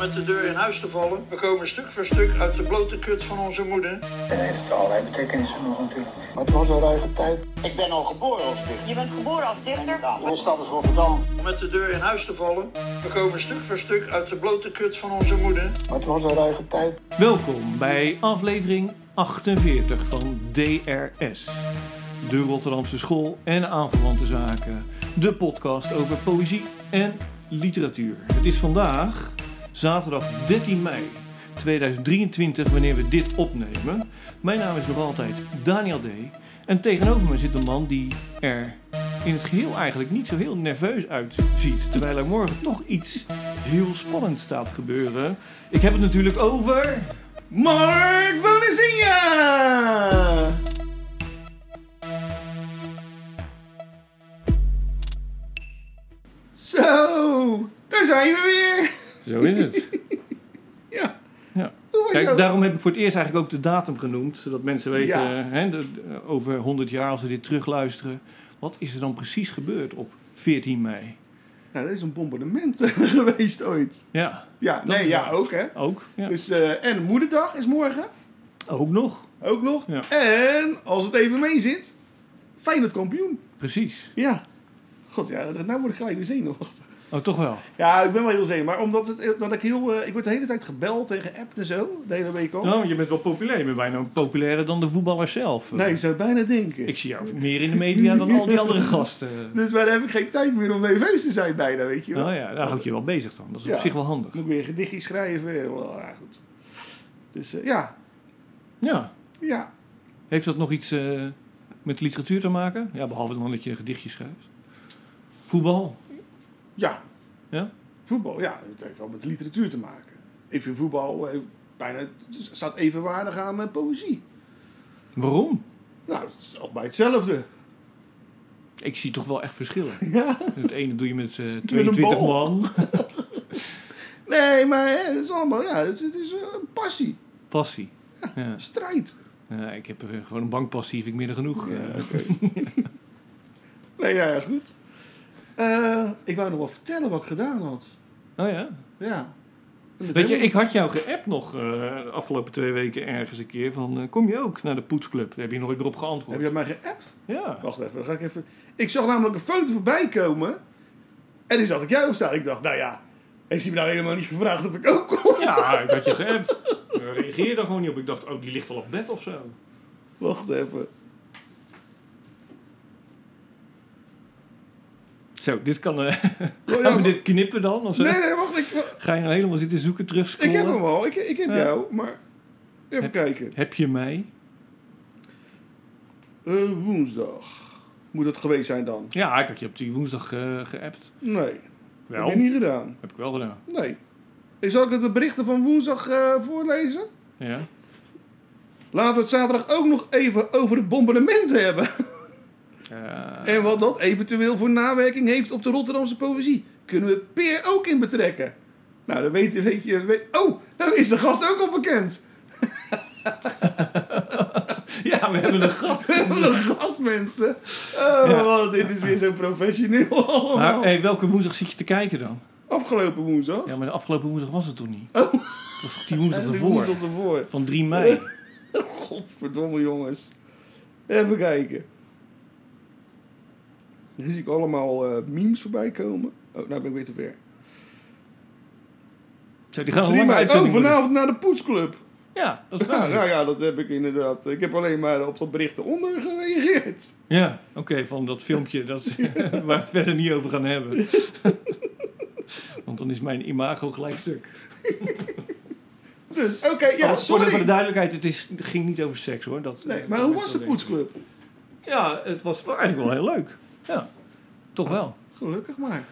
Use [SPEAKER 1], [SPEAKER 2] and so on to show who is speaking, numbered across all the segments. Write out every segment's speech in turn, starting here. [SPEAKER 1] met de deur in huis te vallen. We komen stuk voor stuk uit de blote kut van onze moeder.
[SPEAKER 2] Dat heeft allerlei betekenissen nog natuurlijk.
[SPEAKER 3] Maar het was een ruige tijd.
[SPEAKER 4] Ik ben al geboren als dichter.
[SPEAKER 5] Je bent geboren als dichter?
[SPEAKER 4] Ja, mijn stad is Rotterdam.
[SPEAKER 1] Met de deur in huis te vallen. We komen stuk voor stuk uit de blote kut van onze moeder.
[SPEAKER 3] Maar het was een ruige tijd.
[SPEAKER 6] Welkom bij aflevering 48 van DRS. De Rotterdamse School en aanverwante zaken. De podcast over poëzie en literatuur. Het is vandaag zaterdag 13 mei 2023 wanneer we dit opnemen. Mijn naam is nog altijd Daniel D. En tegenover me zit een man die er in het geheel eigenlijk niet zo heel nerveus uitziet. Terwijl er morgen toch iets heel spannends staat te gebeuren. Ik heb het natuurlijk over... Mark Bonazinha!
[SPEAKER 7] Zo, daar zijn we weer.
[SPEAKER 6] Zo is het.
[SPEAKER 7] Ja.
[SPEAKER 6] Ja.
[SPEAKER 7] Hoe was jouw-
[SPEAKER 6] Kijk, daarom heb ik voor het eerst eigenlijk ook de datum genoemd. Zodat mensen weten,
[SPEAKER 7] Ja.
[SPEAKER 6] hè, de- de- over 100 jaar als ze dit terugluisteren. Wat is er dan precies gebeurd op 14 mei?
[SPEAKER 7] Nou, dat is een bombardement geweest ooit.
[SPEAKER 6] Ja,
[SPEAKER 7] Ja,
[SPEAKER 6] is
[SPEAKER 7] nee, ja,
[SPEAKER 6] waar.
[SPEAKER 7] ook hè.
[SPEAKER 6] ook. Ja.
[SPEAKER 7] Dus, eh, en moederdag is morgen,
[SPEAKER 6] Ook nog.
[SPEAKER 7] ook nog.
[SPEAKER 6] Ja.
[SPEAKER 7] En, als het even mee zit, Feyenoord kampioen.
[SPEAKER 6] Precies.
[SPEAKER 7] Ja. God, ja, dat- nou word ik gelijk weer zenuwachtig.
[SPEAKER 6] Oh, toch wel.
[SPEAKER 7] Ja, ik ben wel heel zenuwachtig, maar omdat het, dat ik heel... eh, ik word de hele tijd gebeld en geappt en zo, de hele week al.
[SPEAKER 6] Oh, je bent wel populair. Je bent bijna populairder dan de voetballer zelf.
[SPEAKER 7] Nee, ik zou het bijna denken.
[SPEAKER 6] Ik zie jou meer in de media dan al die andere gasten.
[SPEAKER 7] Dus maar dan heb ik geen tijd meer om nerveus te zijn bijna, weet je wel.
[SPEAKER 6] Oh ja, daar houd je wel bezig dan. Dat is op
[SPEAKER 7] Ja.
[SPEAKER 6] zich wel handig.
[SPEAKER 7] Moet ik weer een gedichtje schrijven. eh, wel, Ja, goed. Dus eh, ja,
[SPEAKER 6] Ja.
[SPEAKER 7] ja.
[SPEAKER 6] Heeft dat nog iets eh, met literatuur te maken? Ja, behalve dan dat je een gedichtje schrijft. Voetbal?
[SPEAKER 7] Ja.
[SPEAKER 6] Ja?
[SPEAKER 7] Voetbal, ja. Het heeft wel met literatuur te maken. Ik vind voetbal eh, bijna... het staat evenwaardig aan eh, poëzie.
[SPEAKER 6] Waarom?
[SPEAKER 7] Nou, het is al bij hetzelfde.
[SPEAKER 6] Ik zie toch wel echt verschillen.
[SPEAKER 7] Ja.
[SPEAKER 6] Het ene doe je met eh
[SPEAKER 7] een
[SPEAKER 6] 22
[SPEAKER 7] bal.
[SPEAKER 6] man.
[SPEAKER 7] Nee, maar hè, het is allemaal... Ja, het, is- het is eh, een passie.
[SPEAKER 6] Passie. Ja.
[SPEAKER 7] Strijd.
[SPEAKER 6] Ja, ik heb eh, gewoon een bankpassie, vind ik meer dan genoeg. Eh,
[SPEAKER 7] Nee, ja, ja, goed. Eh, ik wou nog wel vertellen wat ik gedaan had.
[SPEAKER 6] Oh ja.
[SPEAKER 7] Ja.
[SPEAKER 6] Weet je, ik had jou geappt nog eh, de afgelopen twee weken ergens een keer. Van, eh, kom je ook naar de poetsclub? Daar heb je nooit meer op
[SPEAKER 7] Heb
[SPEAKER 6] geantwoord.
[SPEAKER 7] je dat mij geappt?
[SPEAKER 6] Ja.
[SPEAKER 7] Wacht even, dan ga ik even. Ik zag namelijk een foto voorbij komen. En die zag ik jou op staan. Ik dacht, nou ja, heeft hij me nou helemaal niet gevraagd of ik ook kom?
[SPEAKER 6] Ja, ik had je geappt. Ik reageerde daar gewoon niet op. Ik dacht, oh, die ligt al op bed of zo.
[SPEAKER 7] Wacht even.
[SPEAKER 6] Zo, dit kan... eh,
[SPEAKER 7] Oh, ja,
[SPEAKER 6] gaan we dit knippen dan? Of zo?
[SPEAKER 7] Nee, nee, wacht. Ik, wa-
[SPEAKER 6] Ga je nou helemaal zitten zoeken,
[SPEAKER 7] ik
[SPEAKER 6] terugscrollen?
[SPEAKER 7] heb hem al. Ik, ik heb
[SPEAKER 6] Ja.
[SPEAKER 7] jou, maar. Even
[SPEAKER 6] Heb-
[SPEAKER 7] kijken.
[SPEAKER 6] Heb je mij?
[SPEAKER 7] Eh, woensdag. Moet dat geweest zijn dan?
[SPEAKER 6] Ja, ik had je op die woensdag eh, geappt.
[SPEAKER 7] Nee.
[SPEAKER 6] Wel,
[SPEAKER 7] Heb je niet gedaan?
[SPEAKER 6] heb ik wel gedaan.
[SPEAKER 7] Nee. Ik zal ik het berichten van woensdag eh, voorlezen?
[SPEAKER 6] Ja.
[SPEAKER 7] Laten we het zaterdag ook nog even over het bombardement hebben.
[SPEAKER 6] Eh,
[SPEAKER 7] En wat dat eventueel voor nawerking heeft op de Rotterdamse poëzie. Kunnen we Peer ook in betrekken? Nou, dan weet, weet je... Weet, oh, dan is de gast ook al bekend.
[SPEAKER 6] ja, we hebben een gast.
[SPEAKER 7] Wat een gast, mensen. Oh,
[SPEAKER 6] Ja.
[SPEAKER 7] wat, dit is weer zo professioneel allemaal.
[SPEAKER 6] Maar hey, welke woensdag zit je te kijken dan?
[SPEAKER 7] Afgelopen woensdag.
[SPEAKER 6] Ja, maar de afgelopen woensdag was het toch niet? Oh. Dat was toch die woensdag
[SPEAKER 7] Eh, die
[SPEAKER 6] ervoor?
[SPEAKER 7] woensdag ervoor.
[SPEAKER 6] Van 3 mei.
[SPEAKER 7] Godverdomme, jongens. Even kijken. Nu zie ik allemaal eh, memes voorbij komen. Oh, nou ben ik weer te ver.
[SPEAKER 6] Zo, die gaan een
[SPEAKER 7] 3
[SPEAKER 6] lange
[SPEAKER 7] mei. Oh,
[SPEAKER 6] uitzending worden.
[SPEAKER 7] vanavond naar de poetsclub.
[SPEAKER 6] Ja, dat is
[SPEAKER 7] Ja,
[SPEAKER 6] waar. Ja,
[SPEAKER 7] nou ja, dat heb ik inderdaad. Ik heb alleen maar op dat bericht eronder gereageerd.
[SPEAKER 6] oké, van dat filmpje dat, waar we het verder niet over gaan hebben. Want dan is mijn imago gelijk stuk.
[SPEAKER 7] Dus, oké, ja,
[SPEAKER 6] Alles Voor de, voor de
[SPEAKER 7] sorry.
[SPEAKER 6] duidelijkheid, het is, het ging niet over seks hoor. Dat,
[SPEAKER 7] Nee,
[SPEAKER 6] eh,
[SPEAKER 7] maar
[SPEAKER 6] dat
[SPEAKER 7] hoe
[SPEAKER 6] mensen
[SPEAKER 7] was
[SPEAKER 6] dat
[SPEAKER 7] de
[SPEAKER 6] denken.
[SPEAKER 7] poetsclub?
[SPEAKER 6] Ja, het was wel eigenlijk wel heel leuk. Ja, toch wel.
[SPEAKER 7] Gelukkig maar.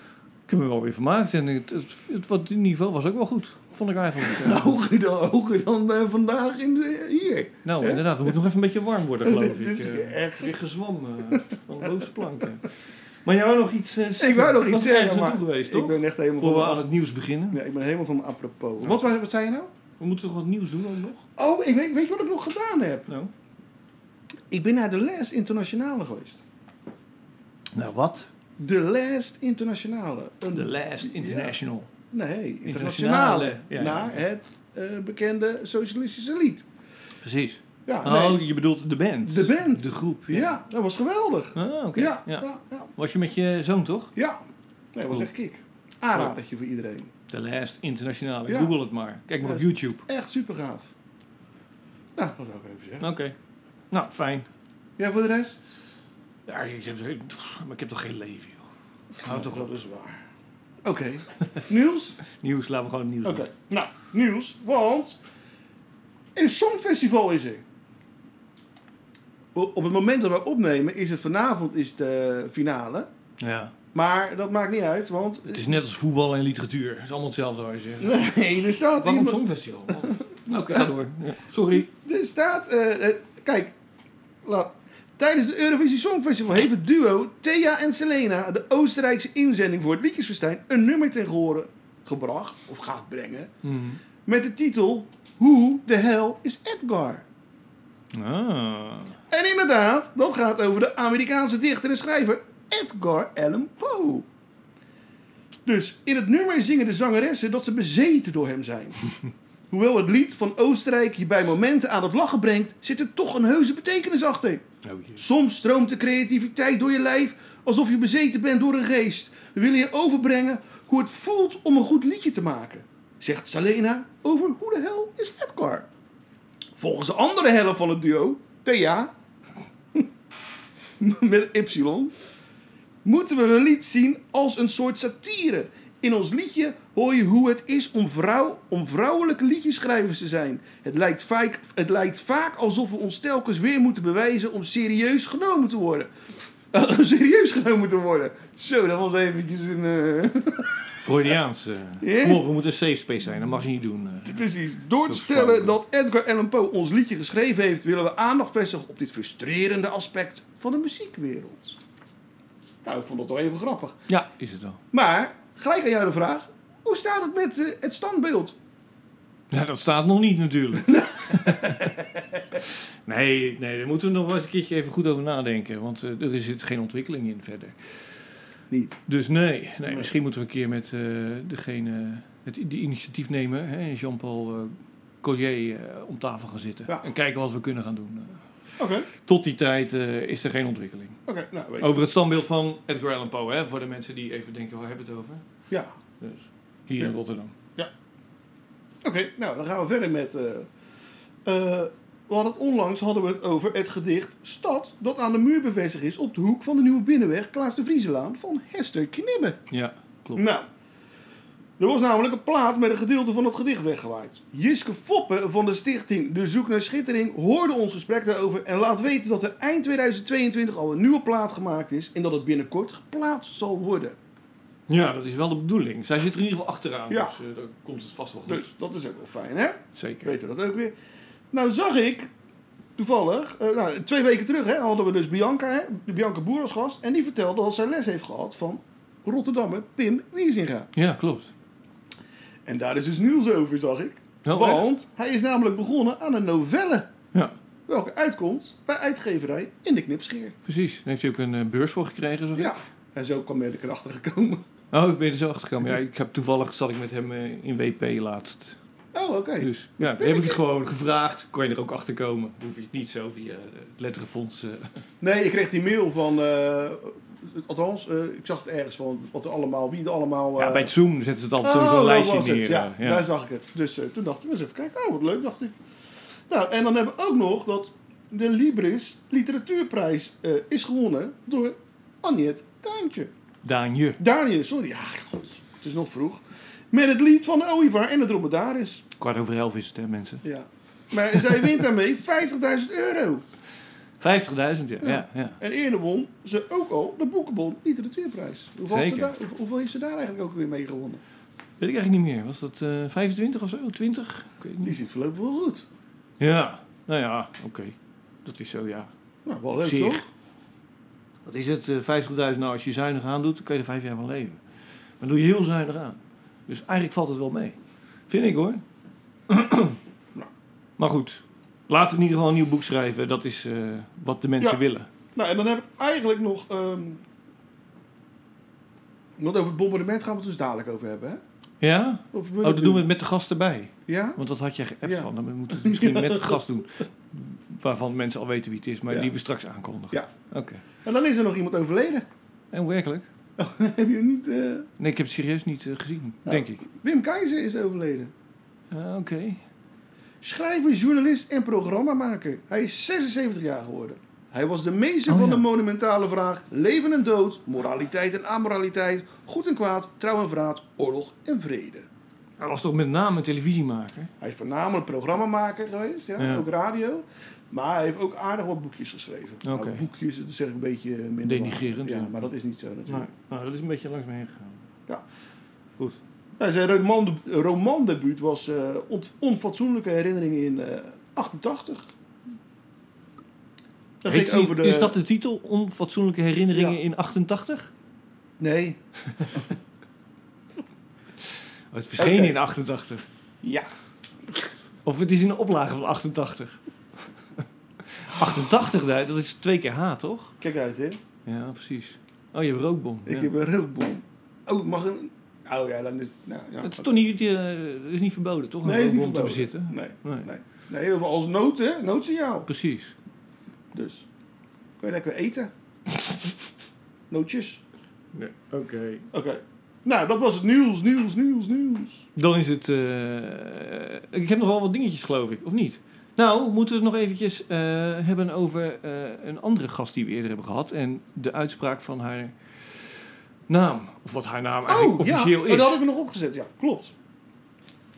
[SPEAKER 6] Ik heb me wel weer vermaakt en het, het, het, wat- het niveau was ook wel goed, vond ik eigenlijk. Eh,
[SPEAKER 7] Hoger dan, hoger dan eh, vandaag in de, hier.
[SPEAKER 6] nou, inderdaad, we moeten nog even een beetje warm worden, geloof ik.
[SPEAKER 7] Dit is
[SPEAKER 6] Eh, Weer gezwam eh, van de bovenste plank. eh. Maar jij wou nog iets eh, zeggen?
[SPEAKER 7] Ik wou nog
[SPEAKER 6] Dat
[SPEAKER 7] iets
[SPEAKER 6] is ergens
[SPEAKER 7] zeggen, maar
[SPEAKER 6] naartoe geweest,
[SPEAKER 7] ik
[SPEAKER 6] toch?
[SPEAKER 7] ben echt helemaal
[SPEAKER 6] Voor
[SPEAKER 7] van,
[SPEAKER 6] we aan het nieuws beginnen.
[SPEAKER 7] ja, ik ben helemaal van mijn apropos.
[SPEAKER 6] Ja.
[SPEAKER 7] Wat, was- wat zei je nou?
[SPEAKER 6] We moeten toch wat nieuws doen ook nog?
[SPEAKER 7] Oh, ik weet, weet je wat ik nog gedaan heb?
[SPEAKER 6] Nou,
[SPEAKER 7] Ik ben naar de Les Internationale geweest.
[SPEAKER 6] nou wat?
[SPEAKER 7] De Les Internationale. Een
[SPEAKER 6] The Last International.
[SPEAKER 7] Nee, internationale.
[SPEAKER 6] Internationale, ja, ja.
[SPEAKER 7] Naar het eh, bekende socialistische lied.
[SPEAKER 6] Precies.
[SPEAKER 7] Ja,
[SPEAKER 6] Oh,
[SPEAKER 7] nee,
[SPEAKER 6] je bedoelt de band.
[SPEAKER 7] De band.
[SPEAKER 6] De groep.
[SPEAKER 7] ja. dat was geweldig.
[SPEAKER 6] Ah, oké.
[SPEAKER 7] Ja,
[SPEAKER 6] ja.
[SPEAKER 7] ja, ja. ja.
[SPEAKER 6] Was je met je zoon toch?
[SPEAKER 7] Nee, dat was
[SPEAKER 6] Cool.
[SPEAKER 7] echt kick. Aanradertje voor iedereen.
[SPEAKER 6] De Last Internationale.
[SPEAKER 7] Ja.
[SPEAKER 6] Google het maar. Kijk maar op
[SPEAKER 7] Ja.
[SPEAKER 6] YouTube.
[SPEAKER 7] Echt super gaaf. Nou, dat zou ik even zeggen.
[SPEAKER 6] Oké. Nou, fijn.
[SPEAKER 7] Ja, voor de rest?
[SPEAKER 6] Ja, ik heb, pff, maar ik heb toch geen leven, joh. Hou toch op.
[SPEAKER 7] Nou, Dat is waar. Oké. nieuws?
[SPEAKER 6] Nieuws, laten we gewoon het nieuws
[SPEAKER 7] Oké.
[SPEAKER 6] doen.
[SPEAKER 7] Nou, nieuws. Want een songfestival is er. O- Op het moment dat wij opnemen is het vanavond is de finale.
[SPEAKER 6] Ja.
[SPEAKER 7] Maar dat maakt niet uit, want...
[SPEAKER 6] Het is net als voetbal en literatuur. Het is allemaal hetzelfde, zou je zeggen.
[SPEAKER 7] Nee, er staat
[SPEAKER 6] Waarom
[SPEAKER 7] iemand...
[SPEAKER 6] Songfestival? Nou, Oké, ga door. Ja. Sorry.
[SPEAKER 7] Er staat... eh, het- kijk, laat. Tijdens het Eurovisie Songfestival heeft het duo Thea en Selena... de Oostenrijkse inzending voor het Liedjesfestijn... een nummer ten gehore gebracht, of gaat brengen...
[SPEAKER 6] Hmm.
[SPEAKER 7] met de titel Who the Hell is Edgar?
[SPEAKER 6] Ah.
[SPEAKER 7] En inderdaad, dat gaat over de Amerikaanse dichter en schrijver Edgar Allan Poe. Dus in het nummer zingen de zangeressen dat ze bezeten door hem zijn. Hoewel het lied van Oostenrijk je bij momenten aan het lachen brengt, zit er toch een heuse betekenis achter.
[SPEAKER 6] Oh, jee.
[SPEAKER 7] Soms stroomt de creativiteit door je lijf alsof je bezeten bent door een geest. We willen je overbrengen hoe het voelt om een goed liedje te maken, zegt Salena over hoe de hel is Edgar. Volgens de andere helft van het duo, Thea, met Y, moeten we een lied zien als een soort satire. In ons liedje hoor je hoe het is om, vrouw, om vrouwelijke liedjeschrijvers te zijn. Het lijkt, vaak, het lijkt vaak alsof we ons telkens weer moeten bewijzen om serieus genomen te worden. Eh, Om serieus genomen te worden. Zo, dat was eventjes een... eh,
[SPEAKER 6] Freudiaans. eh.
[SPEAKER 7] Ja.
[SPEAKER 6] Kom op, we moeten een safe space zijn. Dat mag je niet doen. eh.
[SPEAKER 7] Precies. Door te
[SPEAKER 6] Dat is
[SPEAKER 7] stellen dat
[SPEAKER 6] flauw.
[SPEAKER 7] Edgar Allan Poe ons liedje geschreven heeft, willen we aandacht vestigen op dit frustrerende aspect van de muziekwereld. Nou, ik vond dat wel even grappig.
[SPEAKER 6] Ja, is het wel.
[SPEAKER 7] Maar, gelijk aan jou de vraag: hoe staat het met eh, het standbeeld?
[SPEAKER 6] Ja, dat staat nog niet natuurlijk. nee, nee, daar moeten we nog wel eens een keertje even goed over nadenken. Want eh, er zit geen ontwikkeling in verder.
[SPEAKER 7] Niet.
[SPEAKER 6] Dus nee, nee misschien moeten we een keer met eh, degene het die initiatief nemen, hè, Jean-Paul eh, Collier, eh, om tafel gaan zitten.
[SPEAKER 7] Ja.
[SPEAKER 6] En kijken wat we kunnen gaan doen. Eh,
[SPEAKER 7] Oké,
[SPEAKER 6] Tot die tijd eh, is er geen ontwikkeling.
[SPEAKER 7] oké. Nou, weet je.
[SPEAKER 6] Over het standbeeld van Edgar Allan Poe, hè, voor de mensen die even denken, waar hebben we het over?
[SPEAKER 7] Ja.
[SPEAKER 6] Dus, hier in
[SPEAKER 7] Ja.
[SPEAKER 6] Rotterdam.
[SPEAKER 7] Oké, nou dan gaan we verder met. eh, eh, we hadden het onlangs hadden we het over het gedicht Stad, dat aan de muur bevestigd is op de hoek van de Nieuwe Binnenweg Klaas de Vriezelaan van Hester Knibbe.
[SPEAKER 6] Ja, klopt.
[SPEAKER 7] Nou, er was namelijk een plaat met een gedeelte van het gedicht weggewaaid. Jiske Foppe van de stichting De Zoek naar Schittering hoorde ons gesprek daarover en laat weten dat er eind 2022 al een nieuwe plaat gemaakt is en dat het binnenkort geplaatst zal worden.
[SPEAKER 6] Ja, dat is wel de bedoeling. Zij zit er in ieder geval achteraan,
[SPEAKER 7] Hm? Ja.
[SPEAKER 6] dus eh, dan komt het vast wel goed.
[SPEAKER 7] Dus dat is ook wel fijn, hè?
[SPEAKER 6] Zeker.
[SPEAKER 7] Weten we dat ook weer. Nou zag ik, toevallig, eh, nou, twee weken terug hè, hadden we dus Bianca, hè, de Bianca Boer als gast. En die vertelde dat zij les heeft gehad van Rotterdammer Pim Wiesinga.
[SPEAKER 6] Ja, klopt.
[SPEAKER 7] En daar is dus nieuws over, zag ik.
[SPEAKER 6] Wel
[SPEAKER 7] Want hij is namelijk begonnen aan een novelle.
[SPEAKER 6] Ja,
[SPEAKER 7] Welke uitkomt bij uitgeverij In de Knipscheer.
[SPEAKER 6] precies. Daar heeft hij ook een eh, beurs voor gekregen, zag ik.
[SPEAKER 7] Ja. En zo kwam hij er achter gekomen.
[SPEAKER 6] Oh, ik ben er zo achter gekomen. Ja, ik heb, toevallig zat ik met hem eh, in WP laatst.
[SPEAKER 7] Oh, oké.
[SPEAKER 6] Dus ja, heb ik het gewoon gevraagd. Kon je er ook achter komen? Hoef je het niet zo via eh, het letterenfonds. eh.
[SPEAKER 7] Nee, ik kreeg die mail van... eh, althans, eh, ik zag het ergens van wat er allemaal, wie er allemaal... eh,
[SPEAKER 6] ja, bij het Zoom zetten ze het altijd
[SPEAKER 7] Oh,
[SPEAKER 6] sowieso een
[SPEAKER 7] dat
[SPEAKER 6] lijstje
[SPEAKER 7] was het.
[SPEAKER 6] neer. eh,
[SPEAKER 7] Ja,
[SPEAKER 6] ja.
[SPEAKER 7] daar zag ik het. Dus eh, toen dacht ik, eens even kijken. Oh, wat leuk, dacht ik. Nou, en dan hebben we ook nog dat de Libris Literatuurprijs eh, is gewonnen door Anjet Kaantje.
[SPEAKER 6] Daanje.
[SPEAKER 7] Daniel, sorry. Ja, god. Het is nog vroeg. Met het lied van de Ooievaar en de dromedaris.
[SPEAKER 6] Kwart over elf is het, hè, mensen? 50.000,
[SPEAKER 7] Ja. Maar zij wint daarmee 50.000 euro.
[SPEAKER 6] ja. ja. ja.
[SPEAKER 7] En eerder won ze ook al de Boekenbon Literatuurprijs. Hoeveel, heeft ze
[SPEAKER 6] Zeker.
[SPEAKER 7] daar, hoe- hoeveel heeft ze daar eigenlijk ook weer mee gewonnen?
[SPEAKER 6] Weet ik eigenlijk niet meer. Was dat eh 25 of zo? 20? Ik weet het
[SPEAKER 7] Die
[SPEAKER 6] niet.
[SPEAKER 7] zit voorlopig wel goed.
[SPEAKER 6] Ja, nou ja, oké. Dat is zo, ja.
[SPEAKER 7] Nou, wel leuk
[SPEAKER 6] Zeer.
[SPEAKER 7] toch?
[SPEAKER 6] Wat is het? eh, 50.000? Nou, als je zuinig aan doet, dan kun je er vijf jaar van leven. Maar doe je heel zuinig aan. Dus eigenlijk valt het wel mee. Vind ik hoor. Maar goed, laten we in ieder geval een nieuw boek schrijven. Dat is eh, wat de mensen
[SPEAKER 7] Ja.
[SPEAKER 6] willen.
[SPEAKER 7] Nou, en dan heb ik eigenlijk nog... ehm, want over het bombardement gaan we het dus dadelijk over hebben, hè?
[SPEAKER 6] Ja?
[SPEAKER 7] Of
[SPEAKER 6] Oh, dat doen we Oh. het met de gast erbij.
[SPEAKER 7] Ja?
[SPEAKER 6] Want dat had je geappt
[SPEAKER 7] Ja.
[SPEAKER 6] van. Dan moeten we het misschien met de gast doen. Waarvan mensen al weten wie het is, maar
[SPEAKER 7] Ja.
[SPEAKER 6] die we straks aankondigen.
[SPEAKER 7] Ja.
[SPEAKER 6] Oké.
[SPEAKER 7] En dan is er nog iemand overleden.
[SPEAKER 6] En werkelijk?
[SPEAKER 7] Heb je niet... eh,
[SPEAKER 6] Nee, ik heb het serieus niet eh, gezien,
[SPEAKER 7] Nou.
[SPEAKER 6] denk ik.
[SPEAKER 7] Wim Keizer is overleden.
[SPEAKER 6] Ah, Oké.
[SPEAKER 7] Schrijver, journalist en programmamaker. Hij is 76 jaar geworden. Hij was de meester
[SPEAKER 6] Oh,
[SPEAKER 7] van
[SPEAKER 6] ja.
[SPEAKER 7] de monumentale vraag leven en dood, moraliteit en amoraliteit, goed en kwaad, trouw en verraad, oorlog en vrede.
[SPEAKER 6] Hij was toch met name een televisiemaker?
[SPEAKER 7] Hij is voornamelijk programmamaker geweest, ja,
[SPEAKER 6] Ja.
[SPEAKER 7] ook radio. Maar hij heeft ook aardig wat boekjes geschreven. Nou,
[SPEAKER 6] Oké.
[SPEAKER 7] boekjes, dat zeg ik een beetje minder.
[SPEAKER 6] Denigrerend,
[SPEAKER 7] Ja,
[SPEAKER 6] ja.
[SPEAKER 7] maar dat is niet zo natuurlijk.
[SPEAKER 6] Nou, nou, dat is een beetje langs me heen gegaan.
[SPEAKER 7] Ja.
[SPEAKER 6] Goed.
[SPEAKER 7] Nou, zijn roman, romandebuut was eh, ont- Onfatsoenlijke Herinneringen in eh 88. Dat
[SPEAKER 6] Heet
[SPEAKER 7] ging
[SPEAKER 6] die-
[SPEAKER 7] over de-
[SPEAKER 6] Is dat de titel? Onfatsoenlijke herinneringen
[SPEAKER 7] Ja.
[SPEAKER 6] in 88?
[SPEAKER 7] Nee.
[SPEAKER 6] Oh, het verscheen in 88.
[SPEAKER 7] Ja.
[SPEAKER 6] Of het is in een oplage van 88. 88, daar- dat is twee keer H, toch?
[SPEAKER 7] Kijk uit, hè.
[SPEAKER 6] Ja, precies. Oh, je hebt rookbom.
[SPEAKER 7] Ik
[SPEAKER 6] ja.
[SPEAKER 7] heb een rookbom. Oh, mag een... Oh ja, dan is het... Nou, ja.
[SPEAKER 6] Het is toch niet, eh, het is niet verboden, toch? Een
[SPEAKER 7] Nee, is niet
[SPEAKER 6] rookbom te
[SPEAKER 7] verboden.
[SPEAKER 6] bezitten.
[SPEAKER 7] Nee.
[SPEAKER 6] Nee.
[SPEAKER 7] Nee. Nee, heel veel als nood, hè. Noodsignaal.
[SPEAKER 6] Precies.
[SPEAKER 7] Dus. Kun je lekker eten. Nootjes.
[SPEAKER 6] Oké.
[SPEAKER 7] Oké. Nou, dat was het nieuws, nieuws, nieuws, nieuws.
[SPEAKER 6] Dan is het... eh, ik heb nog wel wat dingetjes, geloof ik. Of niet? Nou, moeten we het nog eventjes eh, hebben over eh, een andere gast die we eerder hebben gehad. En de uitspraak van haar naam. Of wat haar naam eigenlijk officieel
[SPEAKER 7] ja.
[SPEAKER 6] is.
[SPEAKER 7] Oh, dat had ik er nog opgezet. Ja, klopt.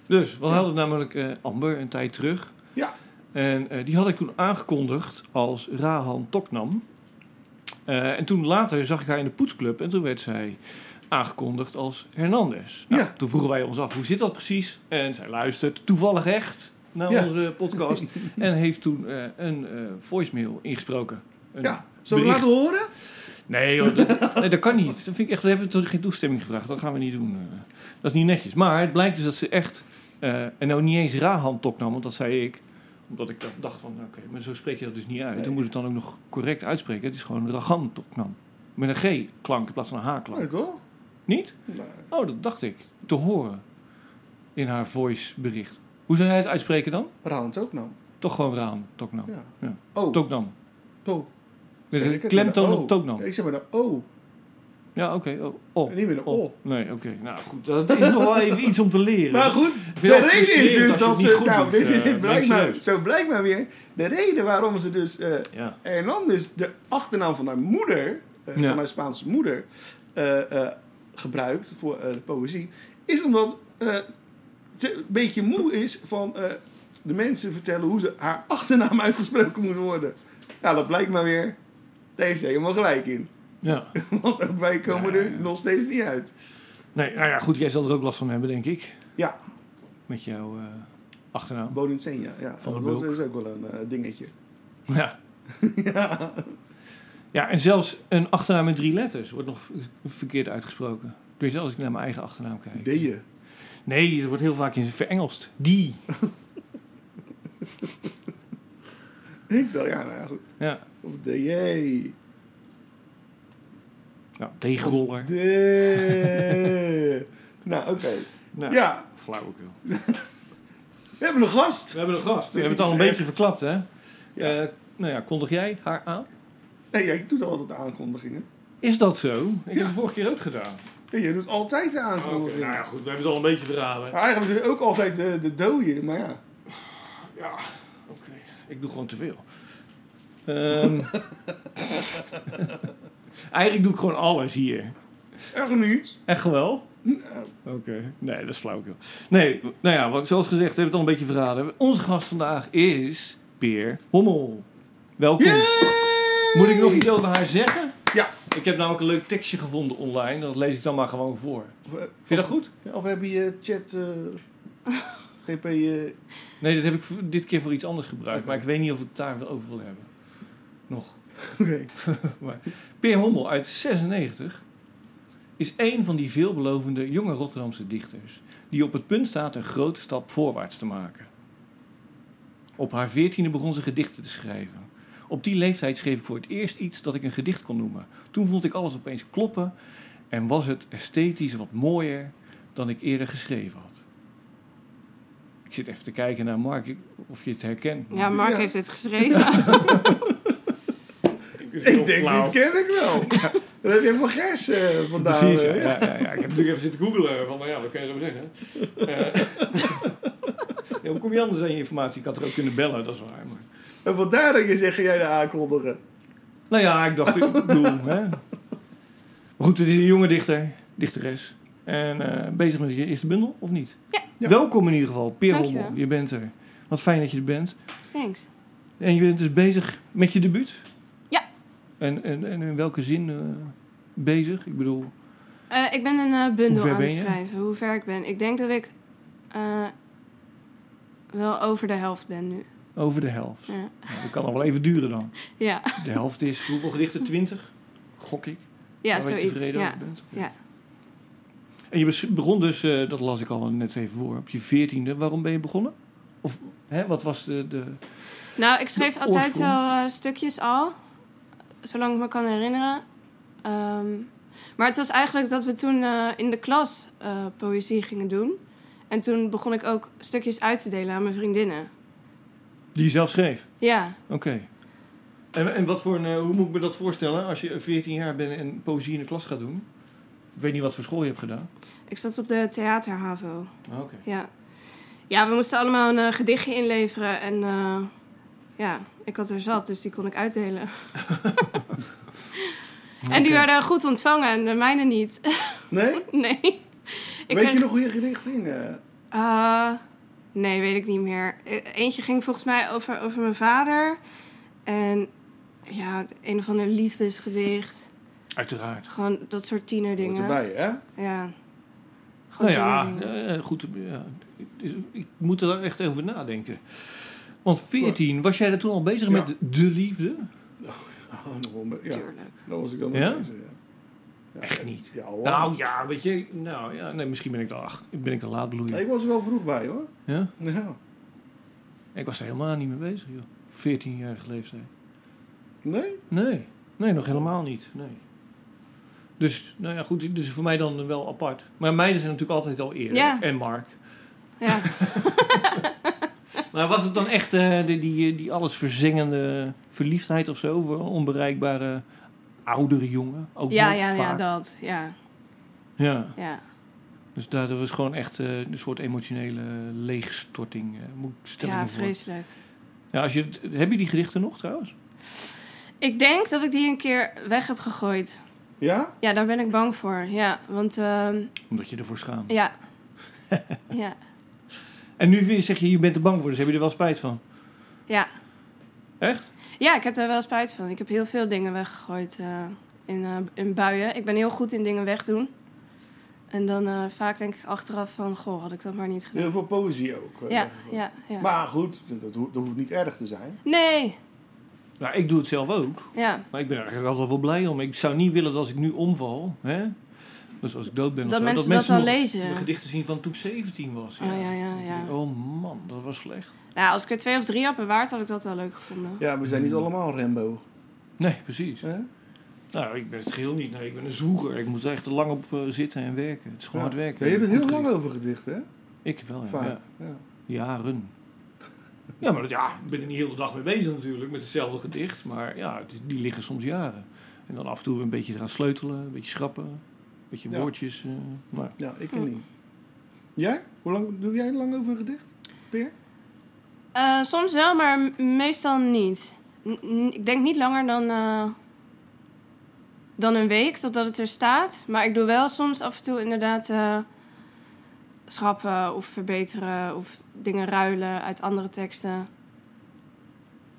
[SPEAKER 6] Dus, we hadden namelijk eh, Amber een tijd terug.
[SPEAKER 7] Ja.
[SPEAKER 6] En eh, die had ik toen aangekondigd als Rahan Toknam. Eh, en toen later zag ik haar in de poetsclub en toen werd zij aangekondigd als Hernandez. Nou,
[SPEAKER 7] Ja.
[SPEAKER 6] Toen vroegen wij ons af, hoe zit dat precies? En zij luistert toevallig echt naar
[SPEAKER 7] Ja.
[SPEAKER 6] onze podcast. en heeft toen eh, een eh, voicemail ingesproken. Een-
[SPEAKER 7] Ja. Zullen we
[SPEAKER 6] bericht.
[SPEAKER 7] laten horen?
[SPEAKER 6] Nee, joh, dat, nee, dat kan niet. Dat vind ik echt, we hebben toch geen toestemming gevraagd. Dat gaan we niet doen. eh. Dat is niet netjes. Maar het blijkt dus dat ze echt... eh, en nou niet eens Rahan Tok nam, want dat zei ik. Omdat ik dat dacht van, nou, oké, maar zo spreek je dat dus niet uit. Dan moet het dan ook nog correct uitspreken. Het is gewoon Rahan Toknam. Met een G-klank in plaats van een H-klank.
[SPEAKER 7] Leuk hoor.
[SPEAKER 6] Niet?
[SPEAKER 7] Nee.
[SPEAKER 6] Oh, dat dacht ik. Te horen. In haar voicebericht. Hoe zou jij het uitspreken dan?
[SPEAKER 7] Raand ook nou.
[SPEAKER 6] Toch gewoon Rahan Toknam.
[SPEAKER 7] Ja.
[SPEAKER 6] Ja.
[SPEAKER 7] Oh.
[SPEAKER 6] Toknam.
[SPEAKER 7] To.
[SPEAKER 6] Met
[SPEAKER 7] Zeg
[SPEAKER 6] een
[SPEAKER 7] ik het?
[SPEAKER 6] klemtoon
[SPEAKER 7] Met een
[SPEAKER 6] op
[SPEAKER 7] O.
[SPEAKER 6] Toknam.
[SPEAKER 7] Ik zeg maar oh. een O.
[SPEAKER 6] Ja, oké. Oh, oh.
[SPEAKER 7] En niet meer een O.
[SPEAKER 6] Nee, oké. Nou goed, dat is nog wel even iets om te leren.
[SPEAKER 7] Maar goed,
[SPEAKER 6] vind het
[SPEAKER 7] de reden is
[SPEAKER 6] frustrerend
[SPEAKER 7] dus
[SPEAKER 6] als je het niet
[SPEAKER 7] dat ze...
[SPEAKER 6] goed
[SPEAKER 7] Nou,
[SPEAKER 6] doet,
[SPEAKER 7] dit,
[SPEAKER 6] eh,
[SPEAKER 7] dit blijkt
[SPEAKER 6] meen ik
[SPEAKER 7] maar, zo blijkt maar weer. De reden waarom ze dus... eh
[SPEAKER 6] Ja.
[SPEAKER 7] Hernandez, dus de achternaam van haar moeder... eh,
[SPEAKER 6] Ja.
[SPEAKER 7] Van haar Spaanse moeder... eh, eh, gebruikt voor eh, de poëzie... Is omdat eh, ze een beetje moe is van... eh, de mensen vertellen hoe ze haar achternaam uitgesproken moet worden. Nou, dat blijkt maar weer. Daar heeft ze helemaal gelijk in.
[SPEAKER 6] Ja.
[SPEAKER 7] Want ook wij komen
[SPEAKER 6] Ja,
[SPEAKER 7] er nog steeds niet uit.
[SPEAKER 6] Nee, nou ja, goed, jij zal er ook last van hebben, denk ik.
[SPEAKER 7] Ja,
[SPEAKER 6] Met jouw eh, achternaam.
[SPEAKER 7] Boninsenia. Ja,
[SPEAKER 6] Van de
[SPEAKER 7] dat
[SPEAKER 6] bulk.
[SPEAKER 7] is ook wel een eh, dingetje.
[SPEAKER 6] Ja. ja. Ja, en zelfs een achternaam met drie letters wordt nog verkeerd uitgesproken. Dus als ik naar mijn eigen achternaam kijk.
[SPEAKER 7] Deed je?
[SPEAKER 6] Nee, dat wordt heel vaak in verengelst. Die.
[SPEAKER 7] Ik dacht, ja, nou ja, goed.
[SPEAKER 6] Ja.
[SPEAKER 7] Of DJ.
[SPEAKER 6] Nou, tegenroller.
[SPEAKER 7] De. nou, oké.
[SPEAKER 6] Nou,
[SPEAKER 7] Ja,
[SPEAKER 6] Flauwekul.
[SPEAKER 7] we hebben een gast.
[SPEAKER 6] We hebben een gast. We
[SPEAKER 7] Dit
[SPEAKER 6] hebben het al een
[SPEAKER 7] is
[SPEAKER 6] beetje
[SPEAKER 7] echt-
[SPEAKER 6] verklapt, hè?
[SPEAKER 7] Ja.
[SPEAKER 6] Eh, nou ja, kondig jij haar aan?
[SPEAKER 7] Nee, jij doet altijd de aankondigingen.
[SPEAKER 6] Is dat zo? Ik heb
[SPEAKER 7] Ja.
[SPEAKER 6] het vorige keer ook gedaan.
[SPEAKER 7] Ja, jij doet altijd de
[SPEAKER 6] Oké,
[SPEAKER 7] aankondigingen.
[SPEAKER 6] nou ja, goed, we hebben het al een beetje verhalen.
[SPEAKER 7] Maar Eigenlijk doe je ook altijd eh, de dooie, maar ja.
[SPEAKER 6] Ja, oké. Ik doe gewoon te veel. Ehm. Eigenlijk doe ik gewoon alles hier.
[SPEAKER 7] Echt niet.
[SPEAKER 6] Echt wel? Oké. Nee, dat is flauwkul. Nee, nou ja, wat- zoals gezegd, hebben we het al een beetje verraden. Onze gast vandaag is Peer Hommel. Welkom. Hm. Moet ik nog iets over haar zeggen?
[SPEAKER 7] Ja.
[SPEAKER 6] Ik heb namelijk een leuk tekstje gevonden online. Dat lees ik dan maar gewoon voor.
[SPEAKER 7] Of, eh,
[SPEAKER 6] Vind je dat goed?
[SPEAKER 7] Ja, Of heb je chat... eh, GP... eh,
[SPEAKER 6] Nee, dat heb ik v- dit keer voor iets anders gebruikt.
[SPEAKER 7] Oké.
[SPEAKER 6] Maar ik weet niet of ik het daarover wil hebben. Nog.
[SPEAKER 7] Oké.
[SPEAKER 6] Peer Hommel uit 96 is een van die veelbelovende jonge Rotterdamse dichters... die op het punt staat een grote stap voorwaarts te maken. Op haar veertiende begon ze gedichten te schrijven. Op die leeftijd schreef ik voor het eerst iets dat ik een gedicht kon noemen. Toen vond ik alles opeens kloppen en was het esthetisch wat mooier... dan ik eerder geschreven had. Ik zit even te kijken naar Mark ik- of je het herkent.
[SPEAKER 5] Ja, Mark
[SPEAKER 7] Ja.
[SPEAKER 5] heeft dit geschreven.
[SPEAKER 7] Ik denk, dit ken ik wel. Dat heb je van Gers eh, vandaag.
[SPEAKER 6] Precies, ja,
[SPEAKER 7] eh,
[SPEAKER 6] ja, ja, ja. Ik heb natuurlijk even zitten googelen. Van, nou ja, wat kun je erover zeggen? Eh, ja, hoe kom je anders aan je informatie? Ik had er ook kunnen bellen, dat is waar. Maar...
[SPEAKER 7] En vandaar dat je zegt, ga jij de aankondigen.
[SPEAKER 6] Nou ja, ik dacht, ik bedoel, hè. Maar goed, het is een jonge dichter, dichteres. En eh, bezig met je eerste bundel, of niet?
[SPEAKER 5] Ja.
[SPEAKER 7] Ja.
[SPEAKER 6] Welkom in ieder geval, Peer
[SPEAKER 5] Dankjewel.
[SPEAKER 6] Hommel. Je bent er. Wat fijn dat je er bent.
[SPEAKER 5] Thanks.
[SPEAKER 6] En je bent dus bezig met je debuut?
[SPEAKER 5] Ja.
[SPEAKER 6] En, en, en in welke zin eh, bezig? Ik bedoel,
[SPEAKER 5] Eh, ik ben een eh, bundel
[SPEAKER 6] Hoe ver
[SPEAKER 5] aan het
[SPEAKER 6] ben je?
[SPEAKER 5] schrijven. Hoe ver ik ben. Ik denk dat ik eh, wel over de helft ben nu.
[SPEAKER 6] over de helft.
[SPEAKER 5] Ja.
[SPEAKER 6] Nou, dat kan nog wel even duren dan.
[SPEAKER 5] Ja,
[SPEAKER 6] De helft is, hoeveel gedichten? Twintig? Gok ik.
[SPEAKER 5] ja
[SPEAKER 6] Waar je
[SPEAKER 5] zoiets.
[SPEAKER 6] tevreden
[SPEAKER 5] Ja.
[SPEAKER 6] over bent.
[SPEAKER 5] Ja.
[SPEAKER 6] En je bes- begon dus, eh, dat las ik al net even voor, op je veertiende. Waarom ben je begonnen? Of hè, wat was de, de...
[SPEAKER 5] Nou, ik schreef
[SPEAKER 6] De
[SPEAKER 5] altijd
[SPEAKER 6] oorsprong.
[SPEAKER 5] wel eh, stukjes al. Zolang ik me kan herinneren. Ehm, maar het was eigenlijk dat we toen eh, in de klas eh, poëzie gingen doen. En toen begon ik ook stukjes uit te delen aan mijn vriendinnen.
[SPEAKER 6] Die je zelf schreef?
[SPEAKER 5] Ja.
[SPEAKER 6] Oké. En, en wat voor een, eh, hoe moet ik me dat voorstellen als je 14 jaar bent en poëzie in de klas gaat doen? Ik weet niet wat voor school je hebt gedaan. Nou,
[SPEAKER 5] Ik zat op de theaterhavo.
[SPEAKER 6] Oké.
[SPEAKER 5] Ja. ja, we moesten allemaal een eh, gedichtje inleveren. En eh, ja, ik had er zat, dus die kon ik uitdelen. En die
[SPEAKER 6] Oké.
[SPEAKER 5] werden goed ontvangen en de mijne niet.
[SPEAKER 7] Nee?
[SPEAKER 5] nee.
[SPEAKER 7] Weet je nog hoe je gedicht ging? eh?
[SPEAKER 5] Eh, nee, weet ik niet meer. E- Eentje ging volgens mij over, over mijn vader. En ja, het een of ander liefdesgedicht.
[SPEAKER 6] Uiteraard.
[SPEAKER 5] Gewoon dat soort
[SPEAKER 7] Hoort
[SPEAKER 5] tienerdingen.
[SPEAKER 7] erbij, hè?
[SPEAKER 5] Ja.
[SPEAKER 6] Nou
[SPEAKER 5] Gewoon
[SPEAKER 6] ja,
[SPEAKER 5] tienerdingen.
[SPEAKER 6] eh, goed. Ja. Ik- ik- Ik moet er echt over nadenken. Want 14, was jij er toen al bezig
[SPEAKER 7] Ja.
[SPEAKER 6] met de liefde?
[SPEAKER 7] Oh, nog wel een be- ja,
[SPEAKER 5] Tuurlijk.
[SPEAKER 7] dat was ik dan nog
[SPEAKER 6] Ja?
[SPEAKER 7] bezig, ja. Ja,
[SPEAKER 6] Echt niet.
[SPEAKER 7] Ja, hoor.
[SPEAKER 6] Nou ja, weet je, nou ja, nee, misschien ben ik er acht, ben ik een laadbloeier.
[SPEAKER 7] Nee, ik was er wel vroeg bij, hoor.
[SPEAKER 6] Ja?
[SPEAKER 7] Ja.
[SPEAKER 6] Ik was er helemaal niet mee bezig, joh. 14-jarige leeftijd.
[SPEAKER 7] Nee?
[SPEAKER 6] Nee, nee, nog helemaal niet. Nee. Dus, nou ja, goed, dus voor mij dan wel apart. Maar meiden zijn natuurlijk altijd al eerder.
[SPEAKER 5] Ja.
[SPEAKER 6] En Mark.
[SPEAKER 5] Ja.
[SPEAKER 6] Maar was het dan echt eh, die, die, die alles verzengende verliefdheid of zo? Voor onbereikbare oudere jongen? Ook
[SPEAKER 5] Ja,
[SPEAKER 6] nog
[SPEAKER 5] ja, ja,
[SPEAKER 6] vaak?
[SPEAKER 5] dat. Ja,
[SPEAKER 6] ja.
[SPEAKER 5] ja.
[SPEAKER 6] Dus daar dat was gewoon echt eh, een soort emotionele leegstorting. eh, moet ik stellen.
[SPEAKER 5] ja vreselijk.
[SPEAKER 6] Ja, als je, het- heb je die gedichten nog trouwens?
[SPEAKER 5] Ik denk dat ik die een keer weg heb gegooid.
[SPEAKER 7] Ja?
[SPEAKER 5] Ja, daar ben ik bang voor. Ja, want ehm,
[SPEAKER 6] Omdat je ervoor schaamt.
[SPEAKER 5] ja. ja.
[SPEAKER 6] En nu weer zeg je, je bent er bang voor, dus heb je er wel spijt van.
[SPEAKER 5] Ja.
[SPEAKER 6] Echt?
[SPEAKER 5] Ja, ik heb daar wel spijt van. Ik heb heel veel dingen weggegooid eh, in, eh, in buien. Ik ben heel goed in dingen wegdoen. En dan eh, vaak denk ik achteraf van, goh, had ik dat maar niet gedaan.
[SPEAKER 7] Heel veel poëzie ook. eh,
[SPEAKER 5] Ja,
[SPEAKER 7] weggegooid.
[SPEAKER 5] ja, ja.
[SPEAKER 7] Maar goed, dat, ho- dat hoeft niet erg te zijn.
[SPEAKER 5] Nee,
[SPEAKER 6] Nou, ik doe het zelf ook.
[SPEAKER 5] ja.
[SPEAKER 6] Maar ik ben er eigenlijk altijd wel blij om. Ik zou niet willen dat als ik nu omval, hè? dus als ik dood ben, of
[SPEAKER 5] Dat
[SPEAKER 6] zo,
[SPEAKER 5] mensen dat dan
[SPEAKER 6] nog
[SPEAKER 5] lezen.
[SPEAKER 6] de gedichten zien van toen ik 17 was. Ja.
[SPEAKER 5] Oh, ja, ja,
[SPEAKER 6] Dat je
[SPEAKER 5] ja.
[SPEAKER 6] denkt, oh man, dat was slecht.
[SPEAKER 5] Nou, als ik er twee of drie had bewaard, had ik dat wel leuk gevonden.
[SPEAKER 7] Ja, we zijn
[SPEAKER 6] Hmm.
[SPEAKER 7] niet allemaal Rembo.
[SPEAKER 6] Nee, precies.
[SPEAKER 7] Hè?
[SPEAKER 6] Nou, ik ben het geheel niet. Nee, ik ben een zwoeger. Ik moet er echt lang op eh, zitten en werken. Het is gewoon
[SPEAKER 7] Ja.
[SPEAKER 6] hard werken.
[SPEAKER 7] Ja, je hebt het heel
[SPEAKER 6] Goed
[SPEAKER 7] lang
[SPEAKER 6] gedicht.
[SPEAKER 7] over gedichten, hè?
[SPEAKER 6] Ik wel, ja.
[SPEAKER 7] Vaak.
[SPEAKER 6] ja.
[SPEAKER 7] Ja.
[SPEAKER 6] Jaren. Ja, maar dat, ja, ik ben er niet heel de dag mee bezig natuurlijk met hetzelfde gedicht. Maar ja, het is- die liggen soms jaren. En dan af en toe een beetje eraan sleutelen, een beetje schrappen, een beetje
[SPEAKER 7] Ja.
[SPEAKER 6] woordjes. eh, maar.
[SPEAKER 7] Ja, ik vind niet. Jij? Hoe lang doe jij lang over een gedicht? Peer?
[SPEAKER 5] Eh, soms wel, maar m- meestal niet. N- n- ik denk niet langer dan, eh, dan een week totdat het er staat. Maar ik doe wel soms af en toe inderdaad eh, schrappen of verbeteren of dingen ruilen uit andere teksten.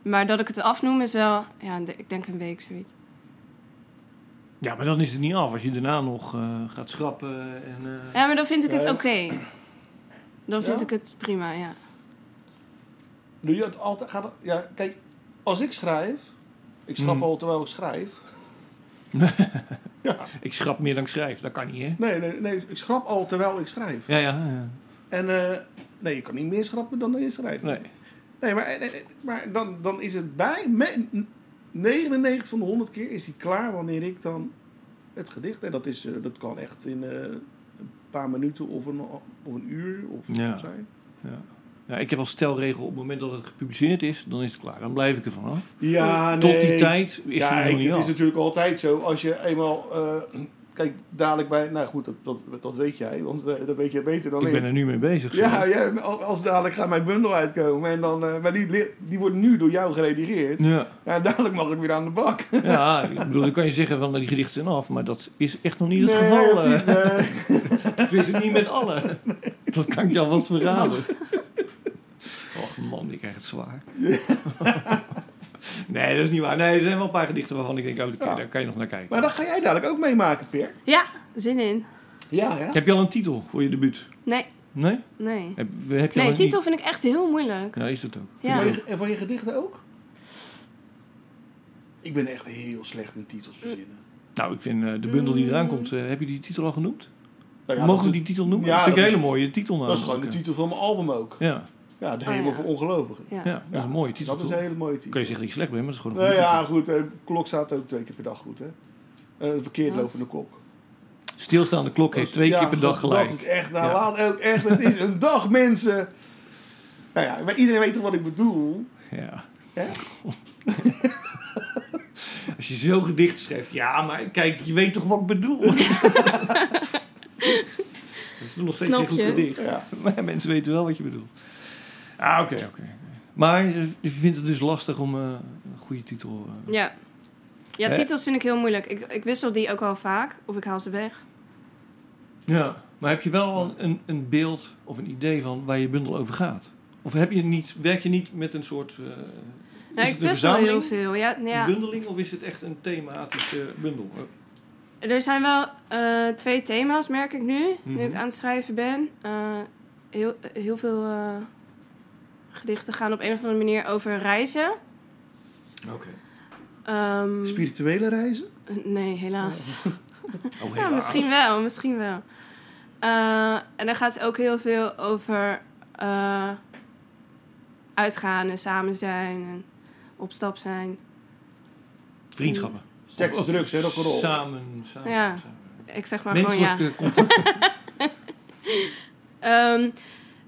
[SPEAKER 5] Maar dat ik het afnoem is wel, ja, de- ik denk een week zoiets.
[SPEAKER 6] Ja, maar dan is het niet af als je daarna nog eh, gaat schrappen. En, eh,
[SPEAKER 5] Ja, maar dan vind ik het
[SPEAKER 7] Ja,
[SPEAKER 5] oké.
[SPEAKER 7] ja.
[SPEAKER 5] Dan vind
[SPEAKER 7] Ja?
[SPEAKER 5] ik het prima, ja.
[SPEAKER 7] Doe je het altijd? Gaat het- ja, kijk, als ik schrijf, ik schrap
[SPEAKER 6] Mm.
[SPEAKER 7] al terwijl ik schrijf. ja,
[SPEAKER 6] Ik schrap meer dan ik schrijf, dat kan niet, hè?
[SPEAKER 7] nee, nee, nee, ik schrap al terwijl ik schrijf.
[SPEAKER 6] Ja, ja, ja.
[SPEAKER 7] En eh, nee, je kan niet meer schrappen dan je schrijft.
[SPEAKER 6] Nee.
[SPEAKER 7] Nee, maar, eh, eh, maar dan, dan is het bij me- n- 99 van de 100 keer is hij klaar wanneer ik dan het gedicht en dat is eh, dat kan echt in eh, een paar minuten of een, of een uur. Of
[SPEAKER 6] Ja.
[SPEAKER 7] zo.
[SPEAKER 6] Ja, Nou, ik heb als stelregel, op het moment dat het gepubliceerd is, dan is het klaar. Dan blijf ik er vanaf.
[SPEAKER 7] ja Ah, nee.
[SPEAKER 6] Tot die tijd is
[SPEAKER 7] ja,
[SPEAKER 6] hij er nog
[SPEAKER 7] ik-
[SPEAKER 6] niet
[SPEAKER 7] het is
[SPEAKER 6] af.
[SPEAKER 7] natuurlijk altijd zo. Als je eenmaal... eh, kijk, dadelijk bij... Nou goed, dat, dat, dat weet jij. Want eh, dat weet jij beter dan
[SPEAKER 6] Ik ben er nu mee bezig. zo.
[SPEAKER 7] Ja, ja, als dadelijk gaat mijn bundel uitkomen. En dan, eh, maar die, li- die wordt nu door jou geredigeerd.
[SPEAKER 6] ja.
[SPEAKER 7] Ja, dadelijk mag ik weer aan de bak.
[SPEAKER 6] Ja, ik bedoel, dan kan je zeggen van die gedichten zijn af, maar dat is echt nog niet het
[SPEAKER 7] Nee,
[SPEAKER 6] geval.
[SPEAKER 7] die-
[SPEAKER 6] eh.
[SPEAKER 7] nee.
[SPEAKER 6] Tenminste, niet met alle. Dat kan ik jou wel eens verraden. Och man, ik krijg het zwaar. Nee, dat is niet waar. Nee, er zijn wel een paar gedichten waarvan ik denk, oh, daar kan- daar kan je nog naar kijken.
[SPEAKER 7] Maar dat ga jij dadelijk ook meemaken, Peer.
[SPEAKER 5] Ja, zin in.
[SPEAKER 7] Ja, hè?
[SPEAKER 6] Heb je al een titel voor je debuut?
[SPEAKER 5] Nee,
[SPEAKER 6] Nee?
[SPEAKER 5] nee.
[SPEAKER 6] Heb, heb je al
[SPEAKER 5] Nee,
[SPEAKER 6] een
[SPEAKER 5] titel vind ik echt heel moeilijk.
[SPEAKER 6] Ja, is dat ook.
[SPEAKER 5] Ja.
[SPEAKER 7] Van je, en van je gedichten ook? Ik ben echt heel slecht in titels verzinnen.
[SPEAKER 6] Nou, ik vind eh, de bundel die eraan komt, eh, heb je die titel al genoemd?
[SPEAKER 7] Nou ja,
[SPEAKER 6] Mogen we
[SPEAKER 7] dat,
[SPEAKER 6] die titel noemen?
[SPEAKER 7] Ja,
[SPEAKER 6] dat vind ik
[SPEAKER 7] dat
[SPEAKER 6] een
[SPEAKER 7] is-
[SPEAKER 6] hele mooie titel.
[SPEAKER 7] is- dat is gewoon de
[SPEAKER 6] namelijk.
[SPEAKER 7] titel van mijn album ook.
[SPEAKER 6] Ja,
[SPEAKER 7] Ja, de
[SPEAKER 5] Ah,
[SPEAKER 7] Hemel
[SPEAKER 5] ja.
[SPEAKER 7] voor Ongelovigen.
[SPEAKER 5] Ja.
[SPEAKER 6] ja, dat is een mooie titel.
[SPEAKER 7] Dat is
[SPEAKER 6] toch?
[SPEAKER 7] een hele mooie
[SPEAKER 6] Kun
[SPEAKER 7] titel.
[SPEAKER 6] je zeggen dat je slecht bent, maar dat is gewoon een
[SPEAKER 7] Nou
[SPEAKER 6] goede
[SPEAKER 7] ja, goed. eh, Klok staat ook twee keer per dag goed, hè? Eh, Een verkeerd
[SPEAKER 5] Wat?
[SPEAKER 7] lopende kok.
[SPEAKER 6] titel. Stilstaande klok heeft twee
[SPEAKER 7] Ja,
[SPEAKER 6] keer per dag gelijk.
[SPEAKER 7] Dat is echt, nou
[SPEAKER 6] Ja.
[SPEAKER 7] laat ook echt, het is een dag mensen. Nou ja, maar iedereen weet toch wat ik bedoel?
[SPEAKER 6] Ja.
[SPEAKER 7] Hè?
[SPEAKER 6] Als je zo gedicht schrijft, ja, maar kijk, je weet toch wat ik bedoel? dat is nog steeds
[SPEAKER 5] Snap
[SPEAKER 6] een goed
[SPEAKER 5] je?
[SPEAKER 6] gedicht.
[SPEAKER 7] Ja.
[SPEAKER 6] Maar mensen weten wel wat je bedoelt. Ah, oké, oké. Maar eh, je vindt het dus lastig om eh, een goede titel... eh,
[SPEAKER 5] Ja. Ja,
[SPEAKER 6] Hè?
[SPEAKER 5] titels vind ik heel moeilijk. Ik, ik wissel die ook wel vaak. Of ik haal ze weg.
[SPEAKER 6] Ja, maar heb je wel een, een beeld of een idee van waar je bundel over gaat? Of heb je niet, werk je niet met een soort... eh, is
[SPEAKER 5] Nou,
[SPEAKER 6] het
[SPEAKER 5] ik
[SPEAKER 6] een
[SPEAKER 5] wissel heel
[SPEAKER 6] verzameling,
[SPEAKER 5] veel. Ja,
[SPEAKER 6] een
[SPEAKER 5] ja.
[SPEAKER 6] bundeling of is het echt een thematische bundel? Oh,
[SPEAKER 5] Er zijn wel eh, twee thema's, merk ik nu. Nu ik
[SPEAKER 6] Mhm.
[SPEAKER 5] aan het schrijven ben. Eh, heel, heel veel eh, gedichten gaan op een of andere manier over reizen.
[SPEAKER 6] Oké.
[SPEAKER 5] Ehm,
[SPEAKER 7] Spirituele reizen?
[SPEAKER 5] nee, helaas.
[SPEAKER 6] Oh,
[SPEAKER 5] Ja,
[SPEAKER 6] helaas.
[SPEAKER 5] misschien wel, misschien wel. Eh, en dan gaat het ook heel veel over eh, uitgaan en samen zijn en op stap zijn.
[SPEAKER 6] Vriendschappen.
[SPEAKER 7] Seks,
[SPEAKER 6] Of- of
[SPEAKER 7] drugs, hè, rock'n'roll.
[SPEAKER 6] Samen, samen,
[SPEAKER 5] Ja.
[SPEAKER 6] samen.
[SPEAKER 5] Ik zeg maar gewoon ja.
[SPEAKER 6] Menselijke contact.
[SPEAKER 5] Ehm,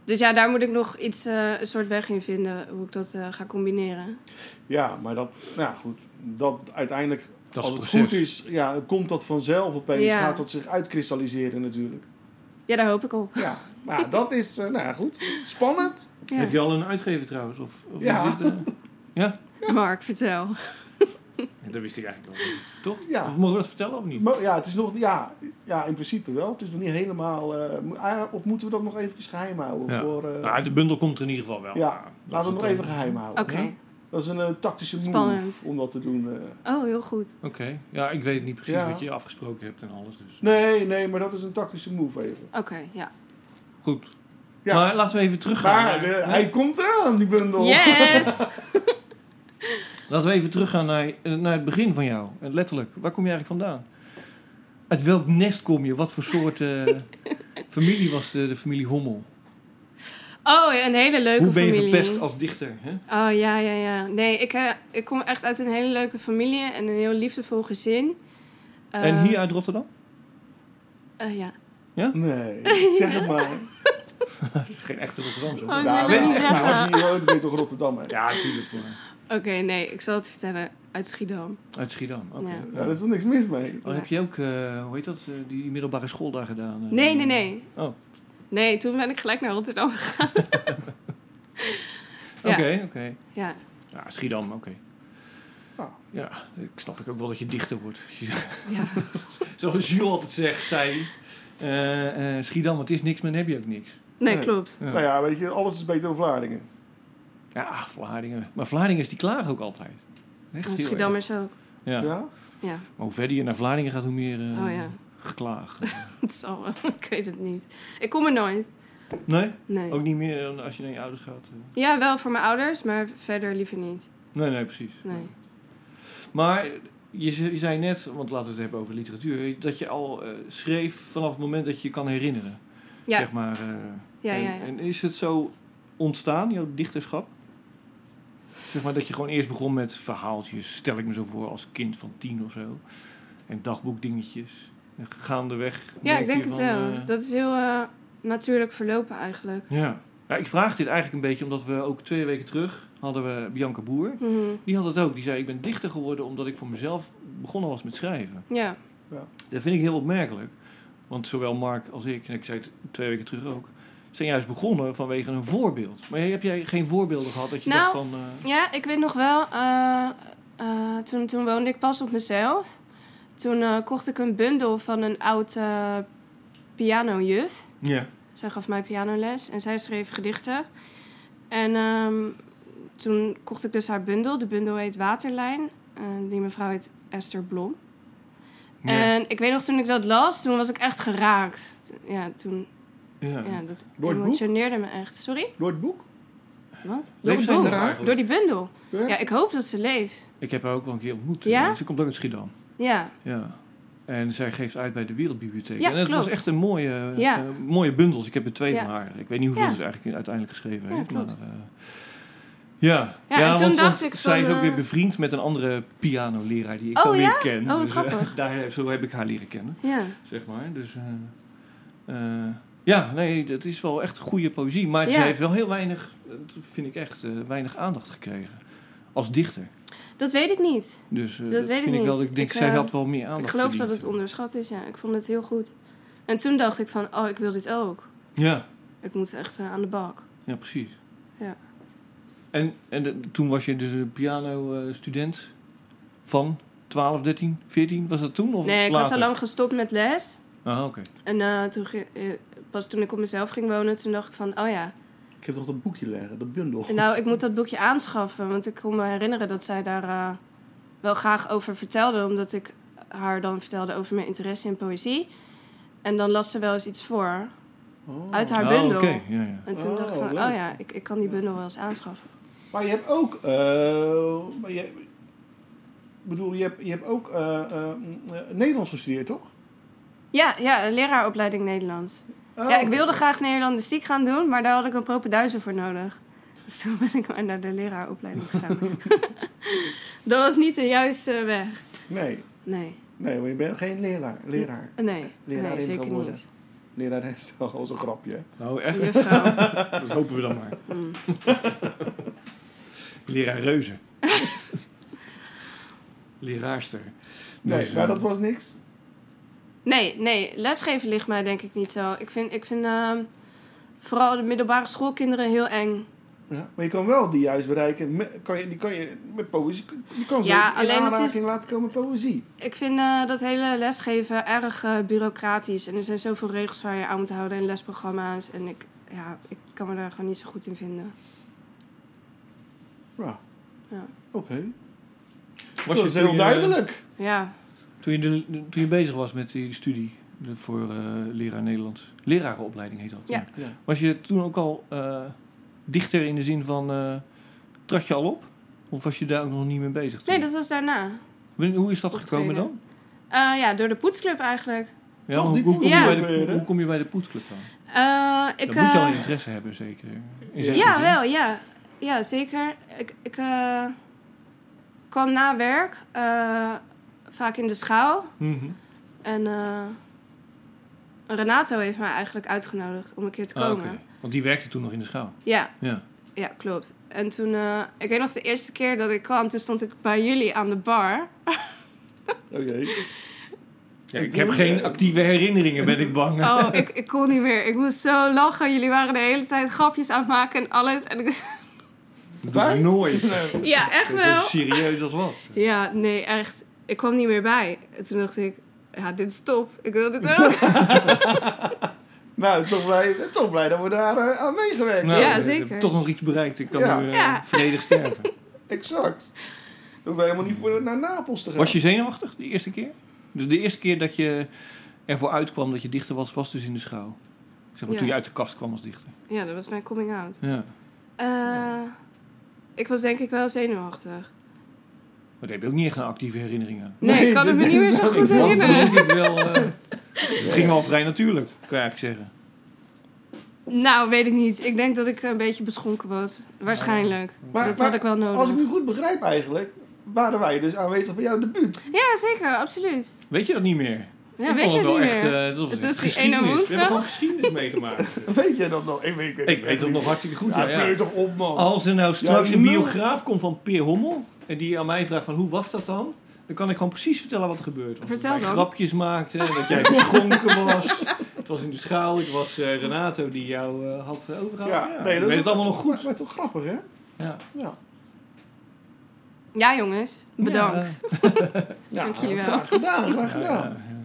[SPEAKER 5] dus ja, daar moet ik nog iets, eh, een soort weg in vinden hoe ik dat eh, ga combineren.
[SPEAKER 7] Ja, maar dat, nou ja, goed, dat uiteindelijk,
[SPEAKER 6] Dat is
[SPEAKER 7] als het
[SPEAKER 6] proces.
[SPEAKER 7] goed is, ja, komt dat vanzelf opeens,
[SPEAKER 5] Ja.
[SPEAKER 7] gaat dat zich uitkristalliseren natuurlijk.
[SPEAKER 5] Ja, daar hoop ik op.
[SPEAKER 7] Ja, maar ja, dat is, eh, nou ja, goed, spannend.
[SPEAKER 5] Ja.
[SPEAKER 6] Heb je al een uitgever trouwens? Of, of
[SPEAKER 7] Ja.
[SPEAKER 6] is dit, eh,
[SPEAKER 5] Mark, vertel.
[SPEAKER 6] Dat wist ik eigenlijk al. Toch?
[SPEAKER 7] Ja.
[SPEAKER 6] Of mogen we dat vertellen of niet?
[SPEAKER 7] Maar ja, het is nog, ja, ja, in principe wel. Het is nog niet helemaal, eh, mo- ah, of moeten we dat nog eventjes geheim houden?
[SPEAKER 6] Ja.
[SPEAKER 7] Voor, eh,
[SPEAKER 6] Nou, de bundel komt er in ieder geval wel.
[SPEAKER 7] Ja,
[SPEAKER 6] Dat is
[SPEAKER 7] laten we het nog
[SPEAKER 6] dan-
[SPEAKER 7] even geheim houden.
[SPEAKER 5] Oké.
[SPEAKER 7] hè? Dat is een eh, tactische move
[SPEAKER 5] Spannend.
[SPEAKER 7] om dat te doen. eh.
[SPEAKER 5] Oh, heel goed.
[SPEAKER 6] Oké. Ja, ik weet niet precies
[SPEAKER 7] Ja.
[SPEAKER 6] wat je afgesproken hebt en alles. Dus.
[SPEAKER 7] Nee, nee, maar dat is een tactische move even.
[SPEAKER 5] Oké, ja.
[SPEAKER 6] Goed.
[SPEAKER 7] Ja.
[SPEAKER 6] Maar laten we even teruggaan.
[SPEAKER 7] Maar
[SPEAKER 6] naar-
[SPEAKER 7] de- eh, hij komt eraan, die
[SPEAKER 6] Oh.
[SPEAKER 7] bundel.
[SPEAKER 5] Yes!
[SPEAKER 6] Laten we even teruggaan naar, naar het begin van jou. Eh, Letterlijk, waar kom je eigenlijk vandaan? Uit welk nest kom je? Wat voor soort eh, familie was de, de familie Hommel?
[SPEAKER 5] Oh, ja, een hele leuke
[SPEAKER 6] Hoe ben je
[SPEAKER 5] familie.
[SPEAKER 6] verpest als dichter? Hè?
[SPEAKER 5] Oh ja, ja, ja. Nee, ik, eh, ik kom echt uit een hele leuke familie en een heel liefdevol gezin. Eh,
[SPEAKER 6] en hier uit Rotterdam?
[SPEAKER 5] eh, ja.
[SPEAKER 7] Nee, zeg het maar.
[SPEAKER 6] Dat is geen echte Rotterdamse.
[SPEAKER 5] Oh,
[SPEAKER 7] Nou,
[SPEAKER 5] ik wil het
[SPEAKER 7] wel,
[SPEAKER 5] niet
[SPEAKER 7] echt, maar
[SPEAKER 5] zeggen.
[SPEAKER 7] als je hier woont, ben je toch Rotterdam, hè?
[SPEAKER 6] Ja, natuurlijk. maar
[SPEAKER 5] Oké, nee, ik zal het vertellen uit Schiedam.
[SPEAKER 6] Uit Schiedam. Oké.
[SPEAKER 5] Ja.
[SPEAKER 7] Ja, daar is toch niks mis mee?
[SPEAKER 6] Oh, heb je ook, eh, hoe heet dat, eh, die middelbare school daar gedaan? eh?
[SPEAKER 5] Nee, nee, nee.
[SPEAKER 6] Oh.
[SPEAKER 5] Nee, toen ben ik gelijk naar Rotterdam gegaan.
[SPEAKER 6] Oké,
[SPEAKER 5] Ja.
[SPEAKER 6] oké.
[SPEAKER 5] Ja.
[SPEAKER 6] Ja, Schiedam, oké. Ah.
[SPEAKER 7] Nou.
[SPEAKER 6] Ja, ik snap ik ook wel dat je dichter wordt.
[SPEAKER 5] ja.
[SPEAKER 6] Zoals Jules altijd zegt, zei eh, eh, Schiedam, het is niks, maar dan heb je ook niks.
[SPEAKER 5] Nee,
[SPEAKER 7] Nee.
[SPEAKER 5] klopt.
[SPEAKER 6] Ja.
[SPEAKER 7] Nou ja, weet je, alles is beter dan Vlaardingen.
[SPEAKER 6] Ja, Vlaardingen. Maar Vlaardingen is die klagen ook altijd. Echt heel
[SPEAKER 5] En
[SPEAKER 6] erg.
[SPEAKER 5] Schiedammers ook.
[SPEAKER 6] Ja.
[SPEAKER 7] Ja?
[SPEAKER 5] Ja.
[SPEAKER 6] Maar hoe verder je naar Vlaardingen gaat, hoe meer eh
[SPEAKER 5] Oh ja.
[SPEAKER 6] geklaagd.
[SPEAKER 5] Het zal wel. ik weet het niet. Ik kom er nooit.
[SPEAKER 6] Nee?
[SPEAKER 5] Nee.
[SPEAKER 6] Ook niet meer dan als je naar je ouders gaat? eh.
[SPEAKER 5] Ja, wel voor mijn ouders, maar verder liever niet.
[SPEAKER 6] Nee, nee, precies.
[SPEAKER 5] Nee.
[SPEAKER 6] Maar je, ze- je zei net, want laten we het hebben over literatuur, dat je al eh, schreef vanaf het moment dat je je kan herinneren.
[SPEAKER 5] Ja.
[SPEAKER 6] Zeg maar, eh,
[SPEAKER 5] Ja,
[SPEAKER 6] en,
[SPEAKER 5] ja, ja.
[SPEAKER 6] en is het zo ontstaan, jouw dichterschap? Zeg maar dat je gewoon eerst begon met verhaaltjes, stel ik me zo voor, als kind van tien of zo. En dagboekdingetjes. gaandeweg.
[SPEAKER 5] Ja,
[SPEAKER 6] merk
[SPEAKER 5] ik
[SPEAKER 6] je
[SPEAKER 5] denk het
[SPEAKER 6] van,
[SPEAKER 5] wel.
[SPEAKER 6] eh,
[SPEAKER 5] Dat is heel eh, natuurlijk verlopen eigenlijk.
[SPEAKER 6] ja. ja, ik vraag dit eigenlijk een beetje omdat we ook twee weken terug hadden we Bianca Boer.
[SPEAKER 5] Mhm.
[SPEAKER 6] Die had het ook. Die zei: Ik ben dichter geworden omdat ik voor mezelf begonnen was met schrijven.
[SPEAKER 5] Ja,
[SPEAKER 6] Dat vind ik heel opmerkelijk. Want zowel Mark als ik, en ik zei het twee weken terug ook, zijn juist begonnen vanwege een voorbeeld. Maar heb jij geen voorbeelden gehad dat je
[SPEAKER 5] Nou,
[SPEAKER 6] dacht van... eh,
[SPEAKER 5] ja ik weet nog wel, eh, eh, toen, toen woonde ik pas op mezelf. Toen eh, kocht ik een bundel van een oud eh, pianojuf.
[SPEAKER 6] ja.
[SPEAKER 5] Zij gaf mij pianoles en zij schreef gedichten. En ehm, toen kocht ik dus haar bundel. De bundel heet Waterlijn. En die mevrouw heet Esther Blom.
[SPEAKER 6] Ja.
[SPEAKER 5] En ik weet nog, toen ik dat las, toen was ik echt geraakt. T- Ja, toen...
[SPEAKER 6] ja.
[SPEAKER 5] Ja, dat
[SPEAKER 7] Door het boek?
[SPEAKER 5] emotioneerde me echt. Sorry?
[SPEAKER 7] Door het boek?
[SPEAKER 5] Wat? Door
[SPEAKER 6] Leeft
[SPEAKER 5] het
[SPEAKER 6] zij nog
[SPEAKER 5] boek?
[SPEAKER 6] eigenlijk?
[SPEAKER 5] Door die bundel.
[SPEAKER 7] Ja.
[SPEAKER 5] Ja, ik hoop dat ze leeft.
[SPEAKER 6] Ik heb haar ook wel een keer ontmoet.
[SPEAKER 5] Ja?
[SPEAKER 6] Ze komt ook uit Schiedam.
[SPEAKER 5] Ja,
[SPEAKER 6] Ja. En zij geeft uit bij de Wereldbibliotheek.
[SPEAKER 5] Ja,
[SPEAKER 6] en het
[SPEAKER 5] klopt.
[SPEAKER 6] was echt een mooie,
[SPEAKER 5] Ja.
[SPEAKER 6] eh, mooie bundels. Ik heb er twee
[SPEAKER 5] Ja.
[SPEAKER 6] van haar. Ik weet niet hoeveel
[SPEAKER 5] Ja.
[SPEAKER 6] ze eigenlijk uiteindelijk geschreven
[SPEAKER 5] Ja,
[SPEAKER 6] heeft. Maar,
[SPEAKER 5] klopt.
[SPEAKER 6] eh, ja.
[SPEAKER 5] Ja, en toen dacht ik
[SPEAKER 6] zij
[SPEAKER 5] van,
[SPEAKER 6] is ook weer
[SPEAKER 5] eh,
[SPEAKER 6] bevriend met een andere pianoleraar die ik
[SPEAKER 5] Oh,
[SPEAKER 6] dan weer
[SPEAKER 5] ja?
[SPEAKER 6] ken.
[SPEAKER 5] Oh, wat
[SPEAKER 6] eh,
[SPEAKER 5] grappig.
[SPEAKER 6] daar, zo heb ik haar leren kennen.
[SPEAKER 5] ja.
[SPEAKER 6] zeg maar. Dus, eh, eh, ja, nee, dat is wel echt goede poëzie. Maar ze
[SPEAKER 5] Ja.
[SPEAKER 6] heeft wel heel weinig, dat vind ik echt, eh, weinig aandacht gekregen. Als dichter.
[SPEAKER 5] Dat weet ik niet.
[SPEAKER 6] Dus eh, dat,
[SPEAKER 5] Dat weet ik
[SPEAKER 6] vind ik wel,
[SPEAKER 5] niet.
[SPEAKER 6] dat ik denk,
[SPEAKER 5] Ik,
[SPEAKER 6] zij
[SPEAKER 5] eh,
[SPEAKER 6] had wel meer aandacht
[SPEAKER 5] Ik geloof dat
[SPEAKER 6] verdiend.
[SPEAKER 5] het onderschat is, ja. Ik vond het heel goed. En toen dacht ik van, oh, ik wil dit ook.
[SPEAKER 6] Ja,
[SPEAKER 5] Ik moet echt eh, aan de bak.
[SPEAKER 6] ja precies.
[SPEAKER 5] Ja.
[SPEAKER 6] En, en de- toen was je dus een piano-student van 12, 13, 14? Was dat toen of
[SPEAKER 5] Nee, ik
[SPEAKER 6] later?
[SPEAKER 5] was al lang gestopt met les.
[SPEAKER 6] Ah, oké.
[SPEAKER 5] En eh, toen ging- eh, pas toen ik op mezelf ging wonen, toen dacht ik van, oh ja.
[SPEAKER 7] Ik heb toch dat boekje liggen, dat bundel.
[SPEAKER 5] En nou, ik moet dat boekje aanschaffen. Want ik kon me herinneren dat zij daar eh, wel graag over vertelde. Omdat ik haar dan vertelde over mijn interesse in poëzie. En dan las ze wel eens iets voor
[SPEAKER 7] Oh.
[SPEAKER 5] uit haar
[SPEAKER 6] Ah,
[SPEAKER 5] bundel.
[SPEAKER 6] oké, ja, ja.
[SPEAKER 5] En toen
[SPEAKER 7] Oh,
[SPEAKER 5] dacht ik van,
[SPEAKER 7] leuk.
[SPEAKER 5] oh ja, ik, ik kan die bundel wel eens aanschaffen.
[SPEAKER 7] Maar je hebt ook... eh, maar je, ik bedoel, je hebt, je hebt ook eh, eh, eh, Nederlands gestudeerd, toch?
[SPEAKER 5] Ja, ja, een leraaropleiding Nederlands.
[SPEAKER 7] Oh,
[SPEAKER 5] ja, ik wilde graag Nederlandistiek gaan doen, maar daar had ik een propenduizer voor nodig. Dus toen ben ik maar naar de leraaropleiding gegaan. dat was niet de juiste weg.
[SPEAKER 7] Nee,
[SPEAKER 5] Nee,
[SPEAKER 7] nee, maar je bent geen leraar. Leraar.
[SPEAKER 5] nee,
[SPEAKER 7] Leraar
[SPEAKER 5] nee
[SPEAKER 7] in
[SPEAKER 5] zeker
[SPEAKER 7] gaan worden.
[SPEAKER 5] niet.
[SPEAKER 7] Leraar is toch al zo'n grapje. hè?
[SPEAKER 6] Oh, echt?
[SPEAKER 5] Juffrouw.
[SPEAKER 6] Dat hopen we dan maar.
[SPEAKER 5] Mm.
[SPEAKER 6] Leraar reuzen. Leraarster.
[SPEAKER 7] Nee,
[SPEAKER 6] Dus,
[SPEAKER 7] maar
[SPEAKER 6] eh,
[SPEAKER 7] dat was niks.
[SPEAKER 5] Nee, nee, lesgeven ligt mij denk ik niet zo. Ik vind, ik vind ehm, vooral de middelbare schoolkinderen heel eng.
[SPEAKER 7] Ja. Maar je kan wel die juist bereiken. Met, kan je, die kan je met poëzie. Je kan ze
[SPEAKER 5] Ja,
[SPEAKER 7] in
[SPEAKER 5] alleen het
[SPEAKER 7] aanraking
[SPEAKER 5] is-
[SPEAKER 7] laten komen met poëzie.
[SPEAKER 5] Ik vind eh, dat hele lesgeven erg eh, bureaucratisch. En er zijn zoveel regels waar je aan moet houden in lesprogramma's. En ik, ja, ik kan me daar gewoon niet zo goed in vinden.
[SPEAKER 7] Ja.
[SPEAKER 5] Ja.
[SPEAKER 7] Oké.
[SPEAKER 6] was
[SPEAKER 7] Dat
[SPEAKER 6] je
[SPEAKER 7] is
[SPEAKER 6] toen eh,
[SPEAKER 7] heel
[SPEAKER 6] je-
[SPEAKER 7] duidelijk.
[SPEAKER 5] Ja,
[SPEAKER 6] Toen je, de- de- toen je bezig was met die studie de- voor eh, leraar Nederlands. Lerarenopleiding heet dat.
[SPEAKER 5] Ja.
[SPEAKER 7] Ja.
[SPEAKER 6] Was je toen ook al eh, dichter in de zin van... eh trad je al op? Of was je daar ook nog niet mee bezig toen?
[SPEAKER 5] nee, dat was daarna.
[SPEAKER 6] Wanneer- Hoe is dat
[SPEAKER 5] Op
[SPEAKER 6] gekomen
[SPEAKER 5] tweede.
[SPEAKER 6] dan?
[SPEAKER 5] Eh, ja, door de poetsclub eigenlijk.
[SPEAKER 6] Ja,
[SPEAKER 7] Toch,
[SPEAKER 6] hoe,
[SPEAKER 7] die
[SPEAKER 6] hoe kom
[SPEAKER 5] poetsclub
[SPEAKER 6] je bij
[SPEAKER 7] weer,
[SPEAKER 6] de,
[SPEAKER 7] hè?
[SPEAKER 6] hoe kom je bij de poetsclub dan?
[SPEAKER 5] Eh, ik,
[SPEAKER 6] dan moet je al
[SPEAKER 5] eh,
[SPEAKER 6] interesse hebben, zeker. In zekere
[SPEAKER 5] Ja,
[SPEAKER 6] zin.
[SPEAKER 5] wel, ja. Ja, zeker. Ik, ik eh, kwam na werk eh, vaak in de schouw.
[SPEAKER 6] Mhm.
[SPEAKER 5] En eh, Renato heeft mij eigenlijk uitgenodigd om een keer te
[SPEAKER 6] Ah,
[SPEAKER 5] komen.
[SPEAKER 6] oké. Want die werkte toen nog in de schaal.
[SPEAKER 5] Ja,
[SPEAKER 6] Ja.
[SPEAKER 5] ja, klopt. En toen, eh, ik weet nog de eerste keer dat ik kwam, toen stond ik bij jullie aan de bar.
[SPEAKER 7] Oké.
[SPEAKER 6] Ja, ik heb geen actieve herinneringen, ben ik bang.
[SPEAKER 5] Oh, ik, ik kon niet meer. Ik moest zo lachen. Jullie waren de hele tijd grapjes aan het maken en alles. En ik-
[SPEAKER 6] Dat doe ik nooit.
[SPEAKER 5] ja, echt
[SPEAKER 6] Dat is zo
[SPEAKER 5] wel.
[SPEAKER 6] serieus als wat.
[SPEAKER 5] Ja, nee, echt. Ik kwam niet meer bij. En toen dacht ik, ja, dit is top. Ik wil dit ook.
[SPEAKER 7] Nou, toch blij, toch blij dat we daar eh, aan meegewerkt
[SPEAKER 6] Nou,
[SPEAKER 5] Ja,
[SPEAKER 6] ik heb
[SPEAKER 5] zeker.
[SPEAKER 6] toch nog iets bereikt. Ik kan
[SPEAKER 7] Ja.
[SPEAKER 6] nu eh,
[SPEAKER 5] Ja.
[SPEAKER 6] vredig sterven.
[SPEAKER 7] Exact. We hoeven helemaal niet voor, naar Napels te gaan.
[SPEAKER 6] Was je zenuwachtig de eerste keer? De, de eerste keer dat je ervoor uitkwam dat je dichter was, was dus in de schouw. Zeg maar,
[SPEAKER 5] Ja.
[SPEAKER 6] toen je uit de kast kwam als dichter.
[SPEAKER 5] Ja, dat was mijn coming out.
[SPEAKER 6] Ja.
[SPEAKER 5] Eh, Ik was denk ik wel zenuwachtig.
[SPEAKER 6] Maar daar heb je ook niet echt een actieve herinnering aan.
[SPEAKER 5] Nee,
[SPEAKER 7] Nee,
[SPEAKER 5] ik kan het me
[SPEAKER 7] dat
[SPEAKER 5] niet meer zo
[SPEAKER 7] denk ik
[SPEAKER 5] goed
[SPEAKER 7] wel.
[SPEAKER 6] Was
[SPEAKER 5] herinneren.
[SPEAKER 6] denk ik wel... eh, het ging wel vrij natuurlijk, kan je eigenlijk zeggen.
[SPEAKER 5] Nou, weet ik niet. Ik denk dat ik een beetje beschonken was. Waarschijnlijk.
[SPEAKER 7] Maar-
[SPEAKER 5] dat
[SPEAKER 7] maar
[SPEAKER 5] had ik wel nodig.
[SPEAKER 7] Als ik nu goed begrijp eigenlijk, waren wij dus aanwezig bij jouw debuut.
[SPEAKER 5] Ja, zeker. Absoluut.
[SPEAKER 6] Weet je dat niet meer?
[SPEAKER 5] Ja,
[SPEAKER 6] Ik
[SPEAKER 5] weet
[SPEAKER 6] vond het
[SPEAKER 5] je het
[SPEAKER 6] wel
[SPEAKER 5] niet
[SPEAKER 6] echt,
[SPEAKER 5] meer?
[SPEAKER 6] eh, dat was
[SPEAKER 5] Het
[SPEAKER 6] echt
[SPEAKER 5] was die ene
[SPEAKER 6] geschiedenis. We hebben
[SPEAKER 5] woensdag.
[SPEAKER 6] gewoon geschiedenis mee te maken.
[SPEAKER 7] Weet jij dat nog? Ik weet, ik
[SPEAKER 6] ik weet het nog hartstikke goed.
[SPEAKER 7] Ja,
[SPEAKER 6] Ja, ja.
[SPEAKER 7] pleur toch op, man.
[SPEAKER 6] Als er nou straks
[SPEAKER 7] Ja,
[SPEAKER 6] een
[SPEAKER 7] nul.
[SPEAKER 6] biograaf komt van Peer Hommel... en die aan mij vraagt van hoe was dat dan... dan kan ik gewoon precies vertellen wat er gebeurd was.
[SPEAKER 5] Vertel
[SPEAKER 6] dat wij
[SPEAKER 5] dan.
[SPEAKER 6] grapjes maakte, dat jij geschonken was. Het was in de schaal, het was eh, Renato die jou eh, had eh, overgehaald. Ja,
[SPEAKER 7] Ja, nee,
[SPEAKER 6] ik weet
[SPEAKER 7] dat is
[SPEAKER 6] het allemaal nog
[SPEAKER 7] Maar
[SPEAKER 6] goed.
[SPEAKER 7] het is toch grappig, hè?
[SPEAKER 6] Ja.
[SPEAKER 7] Ja.
[SPEAKER 5] Ja, jongens. Bedankt.
[SPEAKER 7] ja
[SPEAKER 5] Dank jullie wel.
[SPEAKER 7] Graag gedaan, graag
[SPEAKER 6] Ja,
[SPEAKER 7] gedaan.
[SPEAKER 6] ja, ja.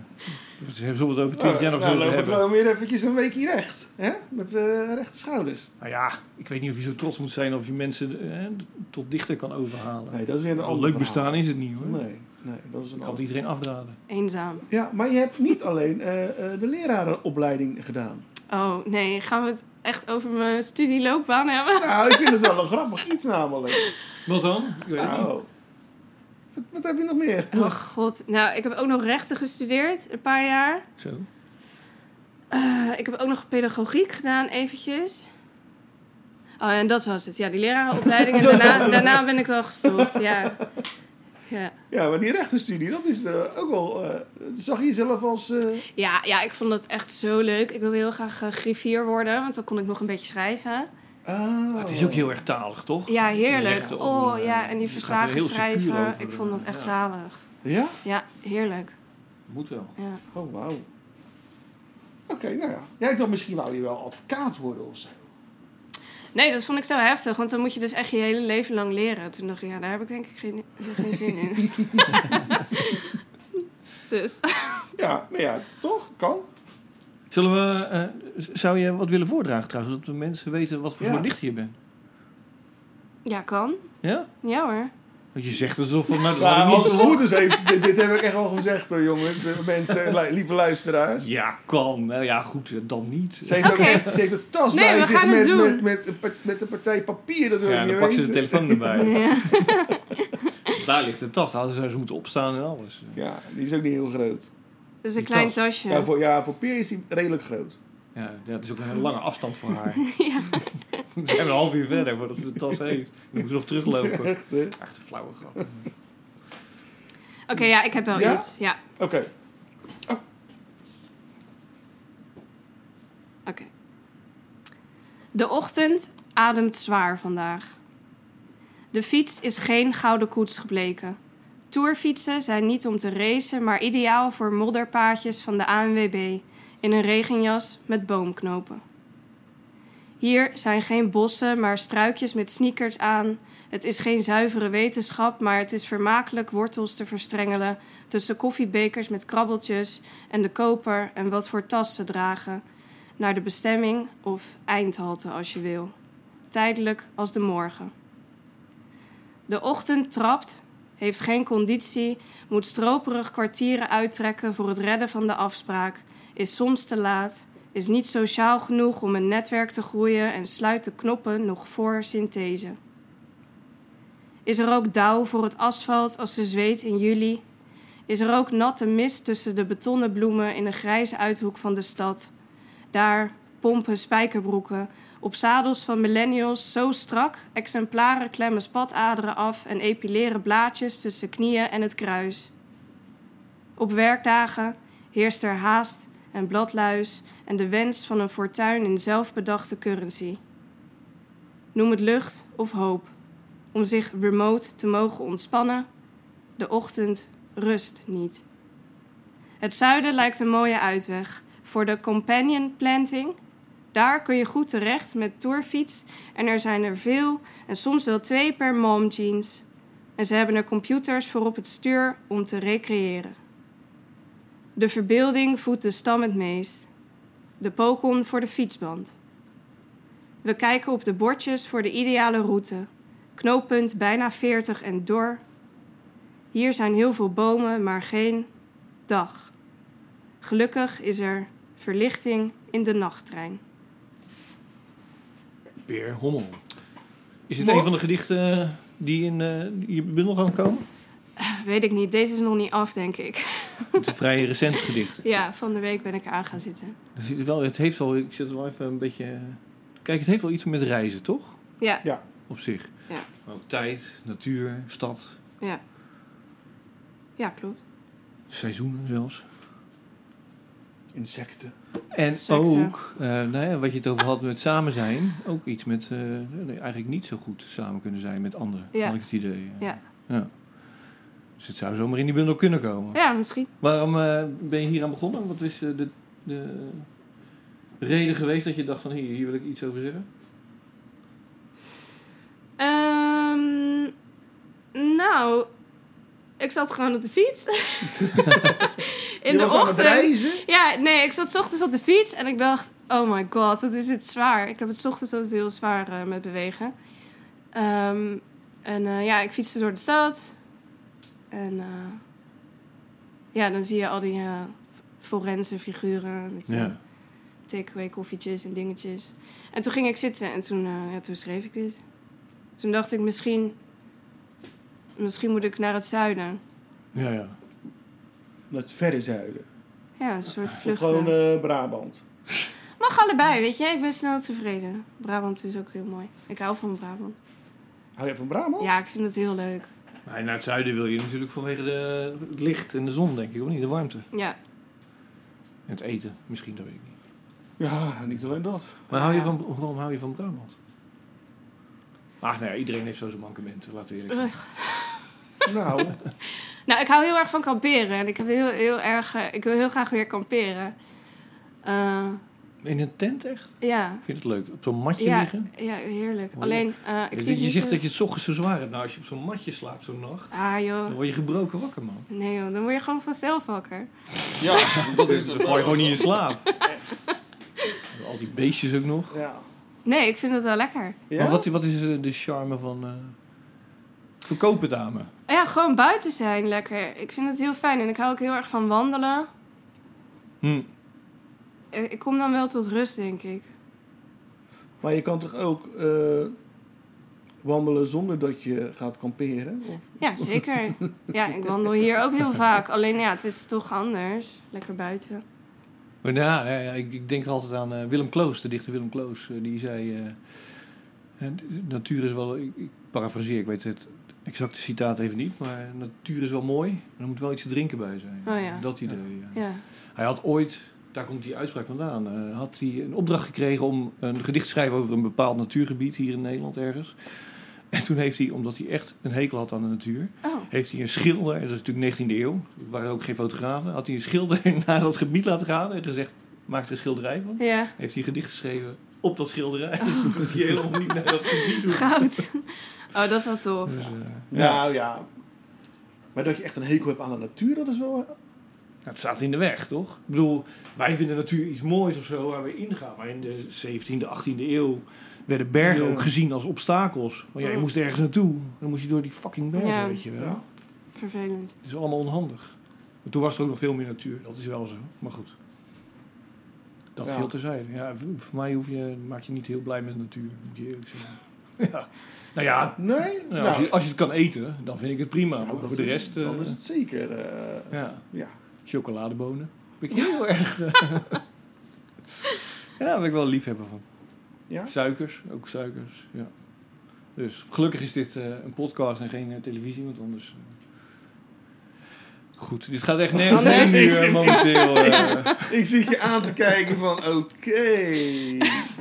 [SPEAKER 6] Dus Zullen we het over 20 jaar nog zo
[SPEAKER 7] nou,
[SPEAKER 6] over
[SPEAKER 7] loop ik
[SPEAKER 6] hebben?
[SPEAKER 7] gewoon weer eventjes een weekje recht. Hè? Met eh rechte schouders.
[SPEAKER 6] Nou ja, ik weet niet of je zo trots moet zijn of je mensen eh, tot dichter kan overhalen.
[SPEAKER 7] Nee, dat is weer een
[SPEAKER 6] Een
[SPEAKER 7] ander
[SPEAKER 6] leuk
[SPEAKER 7] verhaal.
[SPEAKER 6] bestaan is het niet hoor.
[SPEAKER 7] Nee, nee, dat is een
[SPEAKER 6] Ik kan het
[SPEAKER 7] ander.
[SPEAKER 6] iedereen afraden.
[SPEAKER 5] Eenzaam.
[SPEAKER 7] Ja, maar je hebt niet alleen eh, eh, de lerarenopleiding gedaan.
[SPEAKER 5] Oh, nee. Gaan we het echt over mijn studieloopbaan hebben?
[SPEAKER 7] Nou, ik vind het wel een grappig iets namelijk.
[SPEAKER 6] Wat dan? Ik weet het niet.
[SPEAKER 7] Nou, wat, wat heb je nog meer?
[SPEAKER 5] Oh, god. Nou, ik heb ook nog rechten gestudeerd. Een paar jaar.
[SPEAKER 6] Zo.
[SPEAKER 5] Eh, ik heb ook nog pedagogiek gedaan, eventjes. Oh, en dat was het. Ja, die lerarenopleiding. En daarna, daarna ben ik wel gestopt, ja. Ja.
[SPEAKER 7] Ja, maar die rechtenstudie, dat is eh, ook wel... eh, zag je jezelf als... eh,
[SPEAKER 5] Ja, ja, ik vond dat echt zo leuk. Ik wilde heel graag eh, griffier worden, want dan kon ik nog een beetje schrijven.
[SPEAKER 7] ah,
[SPEAKER 6] Het is ook heel erg talig, toch?
[SPEAKER 5] Ja, heerlijk.
[SPEAKER 6] Rechten om,
[SPEAKER 5] Oh
[SPEAKER 6] eh,
[SPEAKER 5] ja, en die
[SPEAKER 6] dus het gaat er
[SPEAKER 5] verslagen
[SPEAKER 6] heel secuur
[SPEAKER 5] schrijven.
[SPEAKER 6] over,
[SPEAKER 5] Ik vond dat
[SPEAKER 6] eh, ja.
[SPEAKER 5] echt zalig.
[SPEAKER 7] Ja?
[SPEAKER 5] Ja, heerlijk.
[SPEAKER 6] Moet wel.
[SPEAKER 5] Ja.
[SPEAKER 7] Oh, wauw. Oké, nou ja. Ja, ik dacht misschien wou je wel advocaat worden of zo.
[SPEAKER 5] Nee, dat vond ik zo heftig, want dan moet je dus echt je hele leven lang leren. Toen dacht ik, ja, daar heb ik denk ik geen, geen zin in. dus.
[SPEAKER 7] Ja, nou ja, toch? Kan.
[SPEAKER 6] Zullen we, eh, z- zou je wat willen voordragen trouwens? Zodat de mensen weten wat voor
[SPEAKER 7] Ja.
[SPEAKER 6] soort dichter je bent.
[SPEAKER 5] Ja, kan.
[SPEAKER 6] Ja?
[SPEAKER 5] Ja hoor.
[SPEAKER 6] Want je zegt alsof we maar
[SPEAKER 7] Nou,
[SPEAKER 6] niet
[SPEAKER 7] als het
[SPEAKER 6] zo-
[SPEAKER 7] goed is, heeft, dit, dit heb ik echt al gezegd hoor, jongens. eh, Mensen, li- lieve luisteraars.
[SPEAKER 6] Ja, kan. Nou ja, goed, eh, dan niet.
[SPEAKER 7] Ze heeft, ook
[SPEAKER 5] Oké.
[SPEAKER 7] echt- ze heeft een tas
[SPEAKER 5] Nee,
[SPEAKER 7] bij
[SPEAKER 5] we
[SPEAKER 7] zich
[SPEAKER 5] gaan het
[SPEAKER 7] met,
[SPEAKER 5] doen.
[SPEAKER 7] met, met, een pa- met een partij papier, dat wil
[SPEAKER 6] ja,
[SPEAKER 7] ik
[SPEAKER 6] dan
[SPEAKER 7] niet
[SPEAKER 6] pak ze
[SPEAKER 7] weten.
[SPEAKER 6] de telefoon erbij.
[SPEAKER 5] Ja.
[SPEAKER 6] Daar ligt de tas. Daar hadden ze zo moeten opstaan en alles.
[SPEAKER 7] Ja, die is ook niet heel groot.
[SPEAKER 5] Dat is
[SPEAKER 6] Die
[SPEAKER 5] een klein
[SPEAKER 6] tas.
[SPEAKER 5] tasje.
[SPEAKER 7] Ja, voor, ja, voor Peer is die redelijk groot.
[SPEAKER 6] Ja, ja, het is ook een hele lange afstand voor haar. We zijn een half uur verder voordat ze de tas heeft. Dan moet ze nog teruglopen.
[SPEAKER 7] Echt, hè?
[SPEAKER 6] Echt een flauwe grap.
[SPEAKER 5] Oké, ja, ik heb wel
[SPEAKER 7] Ja?
[SPEAKER 5] iets. Ja,
[SPEAKER 7] Oké.
[SPEAKER 5] oké. De ochtend ademt zwaar vandaag. De fiets is geen gouden koets gebleken. Tourfietsen zijn niet om te racen, maar ideaal voor modderpaadjes van de ANWB in een regenjas met boomknopen. Hier zijn geen bossen, maar struikjes met sneakers aan. Het is geen zuivere wetenschap, maar het is vermakelijk wortels te verstrengelen tussen koffiebekers met krabbeltjes en de koper en wat voor tas ze dragen. Naar de bestemming of eindhalte als je wil. Tijdelijk als de morgen. De ochtend trapt, heeft geen conditie, moet stroperig kwartieren uittrekken voor het redden van de afspraak, is soms te laat, is niet sociaal genoeg om een netwerk te groeien en sluit de knoppen nog voor synthese. Is er ook dauw voor het asfalt als ze zweet in juli? Is er ook natte mist tussen de betonnen bloemen in een grijze uithoek van de stad? Daar pompen spijkerbroeken. Op zadels van millennials zo strak. Exemplaren klemmen spataderen af en epileren blaadjes tussen knieën en het kruis. Op werkdagen heerst er haast en bladluis en de wens van een fortuin in zelfbedachte currency. Noem het lucht of hoop. Om zich remote te mogen ontspannen, de ochtend rust niet. Het zuiden lijkt een mooie uitweg voor de companion planting. Daar kun je goed terecht met tourfiets en er zijn er veel en soms wel twee per mom jeans. En ze hebben er computers voor op het stuur om te recreëren. De verbeelding voedt de stam het meest. De pokon voor de fietsband. We kijken op de bordjes voor de ideale route. Knooppunt bijna 40 en door. Hier zijn heel veel bomen, maar geen dag. Gelukkig is er verlichting in de nachttrein.
[SPEAKER 6] Peer Hommel. Is dit
[SPEAKER 7] Mooi.
[SPEAKER 6] een van de gedichten die in eh, die je bundel gaan komen?
[SPEAKER 5] Weet ik niet, deze is nog niet af, denk ik.
[SPEAKER 6] Het is een vrij recent gedicht.
[SPEAKER 5] Ja, van de week ben ik eraan gaan zitten.
[SPEAKER 6] Dus het, wel, het heeft wel, ik zit er wel even een beetje... Kijk, het heeft wel iets met reizen, toch?
[SPEAKER 5] Ja,
[SPEAKER 6] Op zich.
[SPEAKER 5] Ja.
[SPEAKER 6] Maar ook tijd, natuur, stad,
[SPEAKER 5] ja. Ja, klopt.
[SPEAKER 6] seizoenen zelfs.
[SPEAKER 7] Insecten.
[SPEAKER 6] En
[SPEAKER 5] Secte.
[SPEAKER 6] ook, eh, nou ja, wat je het over had met samen zijn, ook iets met eh, nee, eigenlijk niet zo goed samen kunnen zijn met anderen.
[SPEAKER 5] Ja.
[SPEAKER 6] Had ik het idee.
[SPEAKER 5] Ja.
[SPEAKER 6] Ja. Dus het zou zomaar in die bundel kunnen komen.
[SPEAKER 5] Ja, misschien.
[SPEAKER 6] Waarom eh, ben je hier aan begonnen? Wat is eh, de, de reden geweest dat je dacht van hier, hier wil ik iets over zeggen?
[SPEAKER 5] Ehm, nou, ik zat gewoon op de fiets. In
[SPEAKER 7] Je
[SPEAKER 5] de
[SPEAKER 7] was aan het
[SPEAKER 5] ochtend.
[SPEAKER 7] reizen.
[SPEAKER 5] Ja, nee, ik zat 's ochtends op de fiets en ik dacht, oh my god, wat is dit zwaar. Ik heb het 's ochtends altijd heel zwaar eh, met bewegen. Ehm, en eh, ja, ik fietste door de stad. En eh, ja, dan zie je al die eh forense figuren met eh, takeaway koffietjes en dingetjes. En toen ging ik zitten en toen, eh, ja, toen schreef ik dit. Toen dacht ik, misschien, misschien moet ik naar het zuiden.
[SPEAKER 6] Ja, ja.
[SPEAKER 7] Naar het verre zuiden.
[SPEAKER 5] Ja, een soort
[SPEAKER 7] Of
[SPEAKER 5] vluchten.
[SPEAKER 7] gewoon eh, Brabant.
[SPEAKER 5] Mag allebei, weet je. Ik ben snel tevreden. Brabant is ook heel mooi. Ik hou van Brabant.
[SPEAKER 7] Hou je van Brabant?
[SPEAKER 5] Ja, ik vind het heel leuk.
[SPEAKER 6] Maar naar het zuiden wil je natuurlijk vanwege de, het licht en de zon, denk ik, of niet? De warmte.
[SPEAKER 5] Ja.
[SPEAKER 6] En het eten, misschien, dat weet ik niet.
[SPEAKER 7] Ja, niet alleen dat.
[SPEAKER 6] Maar hou je van, waarom hou je van Brabant? Ach, nou ja, iedereen heeft zo zijn mankementen, laten we eerlijk zijn.
[SPEAKER 7] Nou,
[SPEAKER 5] Nou, ik hou heel erg van kamperen. En ik, heb heel, heel erg, eh, ik wil heel graag weer kamperen. Eh,
[SPEAKER 6] In een tent echt?
[SPEAKER 5] ja.
[SPEAKER 6] Ik vind het leuk. Op zo'n matje
[SPEAKER 5] Ja,
[SPEAKER 6] liggen.
[SPEAKER 5] ja, heerlijk.
[SPEAKER 6] Mooi.
[SPEAKER 5] Alleen, eh, ik
[SPEAKER 6] Je-
[SPEAKER 5] zie
[SPEAKER 6] je
[SPEAKER 5] niet
[SPEAKER 6] zegt
[SPEAKER 5] zo-
[SPEAKER 6] dat je het 's ochtends zo zwaar hebt. Nou, als je op zo'n matje slaapt zo'n nacht,
[SPEAKER 5] Ah
[SPEAKER 6] dan
[SPEAKER 5] joh.
[SPEAKER 6] word je gebroken wakker, man.
[SPEAKER 5] Nee joh, dan word je gewoon vanzelf wakker.
[SPEAKER 4] Ja, dat is
[SPEAKER 6] Dan val je gewoon niet in slaap. En Al die beestjes ook nog.
[SPEAKER 7] ja.
[SPEAKER 5] Nee, ik vind het wel lekker.
[SPEAKER 7] ja?
[SPEAKER 6] Maar wat, wat is eh, de charme van... eh, verkoop het aan me.
[SPEAKER 5] Ja, gewoon buiten zijn lekker. Ik vind het heel fijn. En ik hou ook heel erg van wandelen.
[SPEAKER 6] Hm.
[SPEAKER 5] Eh, Ik kom dan wel tot rust, denk ik.
[SPEAKER 7] Maar je kan toch ook eh, wandelen zonder dat je gaat kamperen? Of-
[SPEAKER 5] Ja, zeker. Ja, ik wandel hier ook heel vaak. Alleen ja, het is toch anders. Lekker buiten.
[SPEAKER 6] Maar nou, ja, ja, ja, ik, ik denk altijd aan eh, Willem Kloos, de dichter Willem Kloos. eh, die zei, eh, eh, natuur is wel... Ik, ik parafraseer, ik weet het exacte citaat even niet. Maar natuur is wel mooi, maar er moet wel iets te drinken bij zijn.
[SPEAKER 5] Oh ja.
[SPEAKER 6] Dat idee, ja.
[SPEAKER 5] Ja.
[SPEAKER 6] Hij had ooit, daar komt die uitspraak vandaan, eh, had hij een opdracht gekregen om een gedicht te schrijven over een bepaald natuurgebied hier in Nederland ergens. En toen heeft hij, omdat hij echt een hekel had aan de natuur,
[SPEAKER 5] Oh,
[SPEAKER 6] heeft hij een schilder, dat is natuurlijk 19e eeuw, er waren ook geen fotografen, had hij een schilder naar dat gebied laten gaan en gezegd, maak er een schilderij van.
[SPEAKER 5] ja.
[SPEAKER 6] Heeft hij een gedicht geschreven op dat schilderij, dat hij helemaal niet naar dat gebied toe.
[SPEAKER 5] Goud. Oh, dat is wel tof.
[SPEAKER 6] Dus, eh,
[SPEAKER 7] Nou ja. Maar dat je echt een hekel hebt aan de natuur, dat is wel...
[SPEAKER 6] Ja, Nou, het staat in de weg, toch? Ik bedoel, wij vinden natuur iets moois of zo waar we ingaan. Maar in de 17e, 18e eeuw werden bergen
[SPEAKER 7] Ja.
[SPEAKER 6] ook gezien als obstakels. Want ja, je
[SPEAKER 5] Mm.
[SPEAKER 6] moest ergens naartoe. Dan moest je door die fucking bergen,
[SPEAKER 5] Ja.
[SPEAKER 6] weet je wel.
[SPEAKER 7] Ja.
[SPEAKER 5] Vervelend.
[SPEAKER 6] Het is allemaal onhandig. Maar toen was er ook nog veel meer natuur. Dat is wel zo. Maar goed. Dat
[SPEAKER 7] Ja.
[SPEAKER 6] heel terzijde. Ja, v- voor mij hoef je, maak je niet heel blij met natuur, moet je eerlijk zeggen. ja. Nou ja,
[SPEAKER 7] Nee?
[SPEAKER 6] nou, als, je, als je het kan eten, dan vind ik het prima. Maar voor de rest,
[SPEAKER 7] Dan
[SPEAKER 6] eh,
[SPEAKER 7] is het zeker... eh,
[SPEAKER 6] ja.
[SPEAKER 7] ja.
[SPEAKER 6] Chocoladebonen. Ben ik heel erg. eh, ja, daar ben ik wel een liefhebber van.
[SPEAKER 7] Ja?
[SPEAKER 6] Suikers, ook suikers. Ja. Dus gelukkig is dit eh, een podcast en geen eh, televisie, want anders. eh, Goed, dit gaat echt nergens
[SPEAKER 7] Anders-
[SPEAKER 6] heen nu, eh, momenteel. eh.
[SPEAKER 7] Ik zit je aan te kijken van, oké.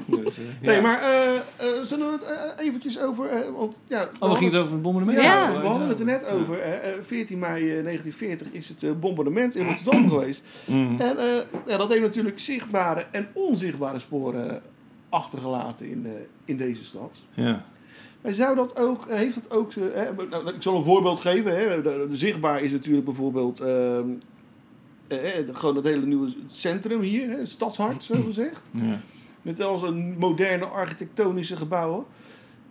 [SPEAKER 6] dus, eh, ja.
[SPEAKER 7] Nee, maar eh, eh, zullen we het eh, eventjes over... eh, want, ja,
[SPEAKER 6] Oh, we gingen het over het bombardement.
[SPEAKER 7] Ja,
[SPEAKER 5] Ja.
[SPEAKER 7] we hadden het er net over. hè. Eh, 14 mei eh, 1940 is het eh, bombardement in Rotterdam geweest.
[SPEAKER 6] Mm.
[SPEAKER 7] En eh, ja, dat heeft natuurlijk zichtbare en onzichtbare sporen achtergelaten in, eh, in deze stad.
[SPEAKER 6] Ja.
[SPEAKER 7] En zou dat ook, heeft dat ook, eh, hè, nou, ik zal een voorbeeld geven. Hè, de, de zichtbaar is natuurlijk bijvoorbeeld ehm, eh, eh, gewoon het hele nieuwe centrum hier, hè, het stadshart zo gezegd.
[SPEAKER 6] Ja.
[SPEAKER 7] Met al zijn moderne architectonische gebouwen.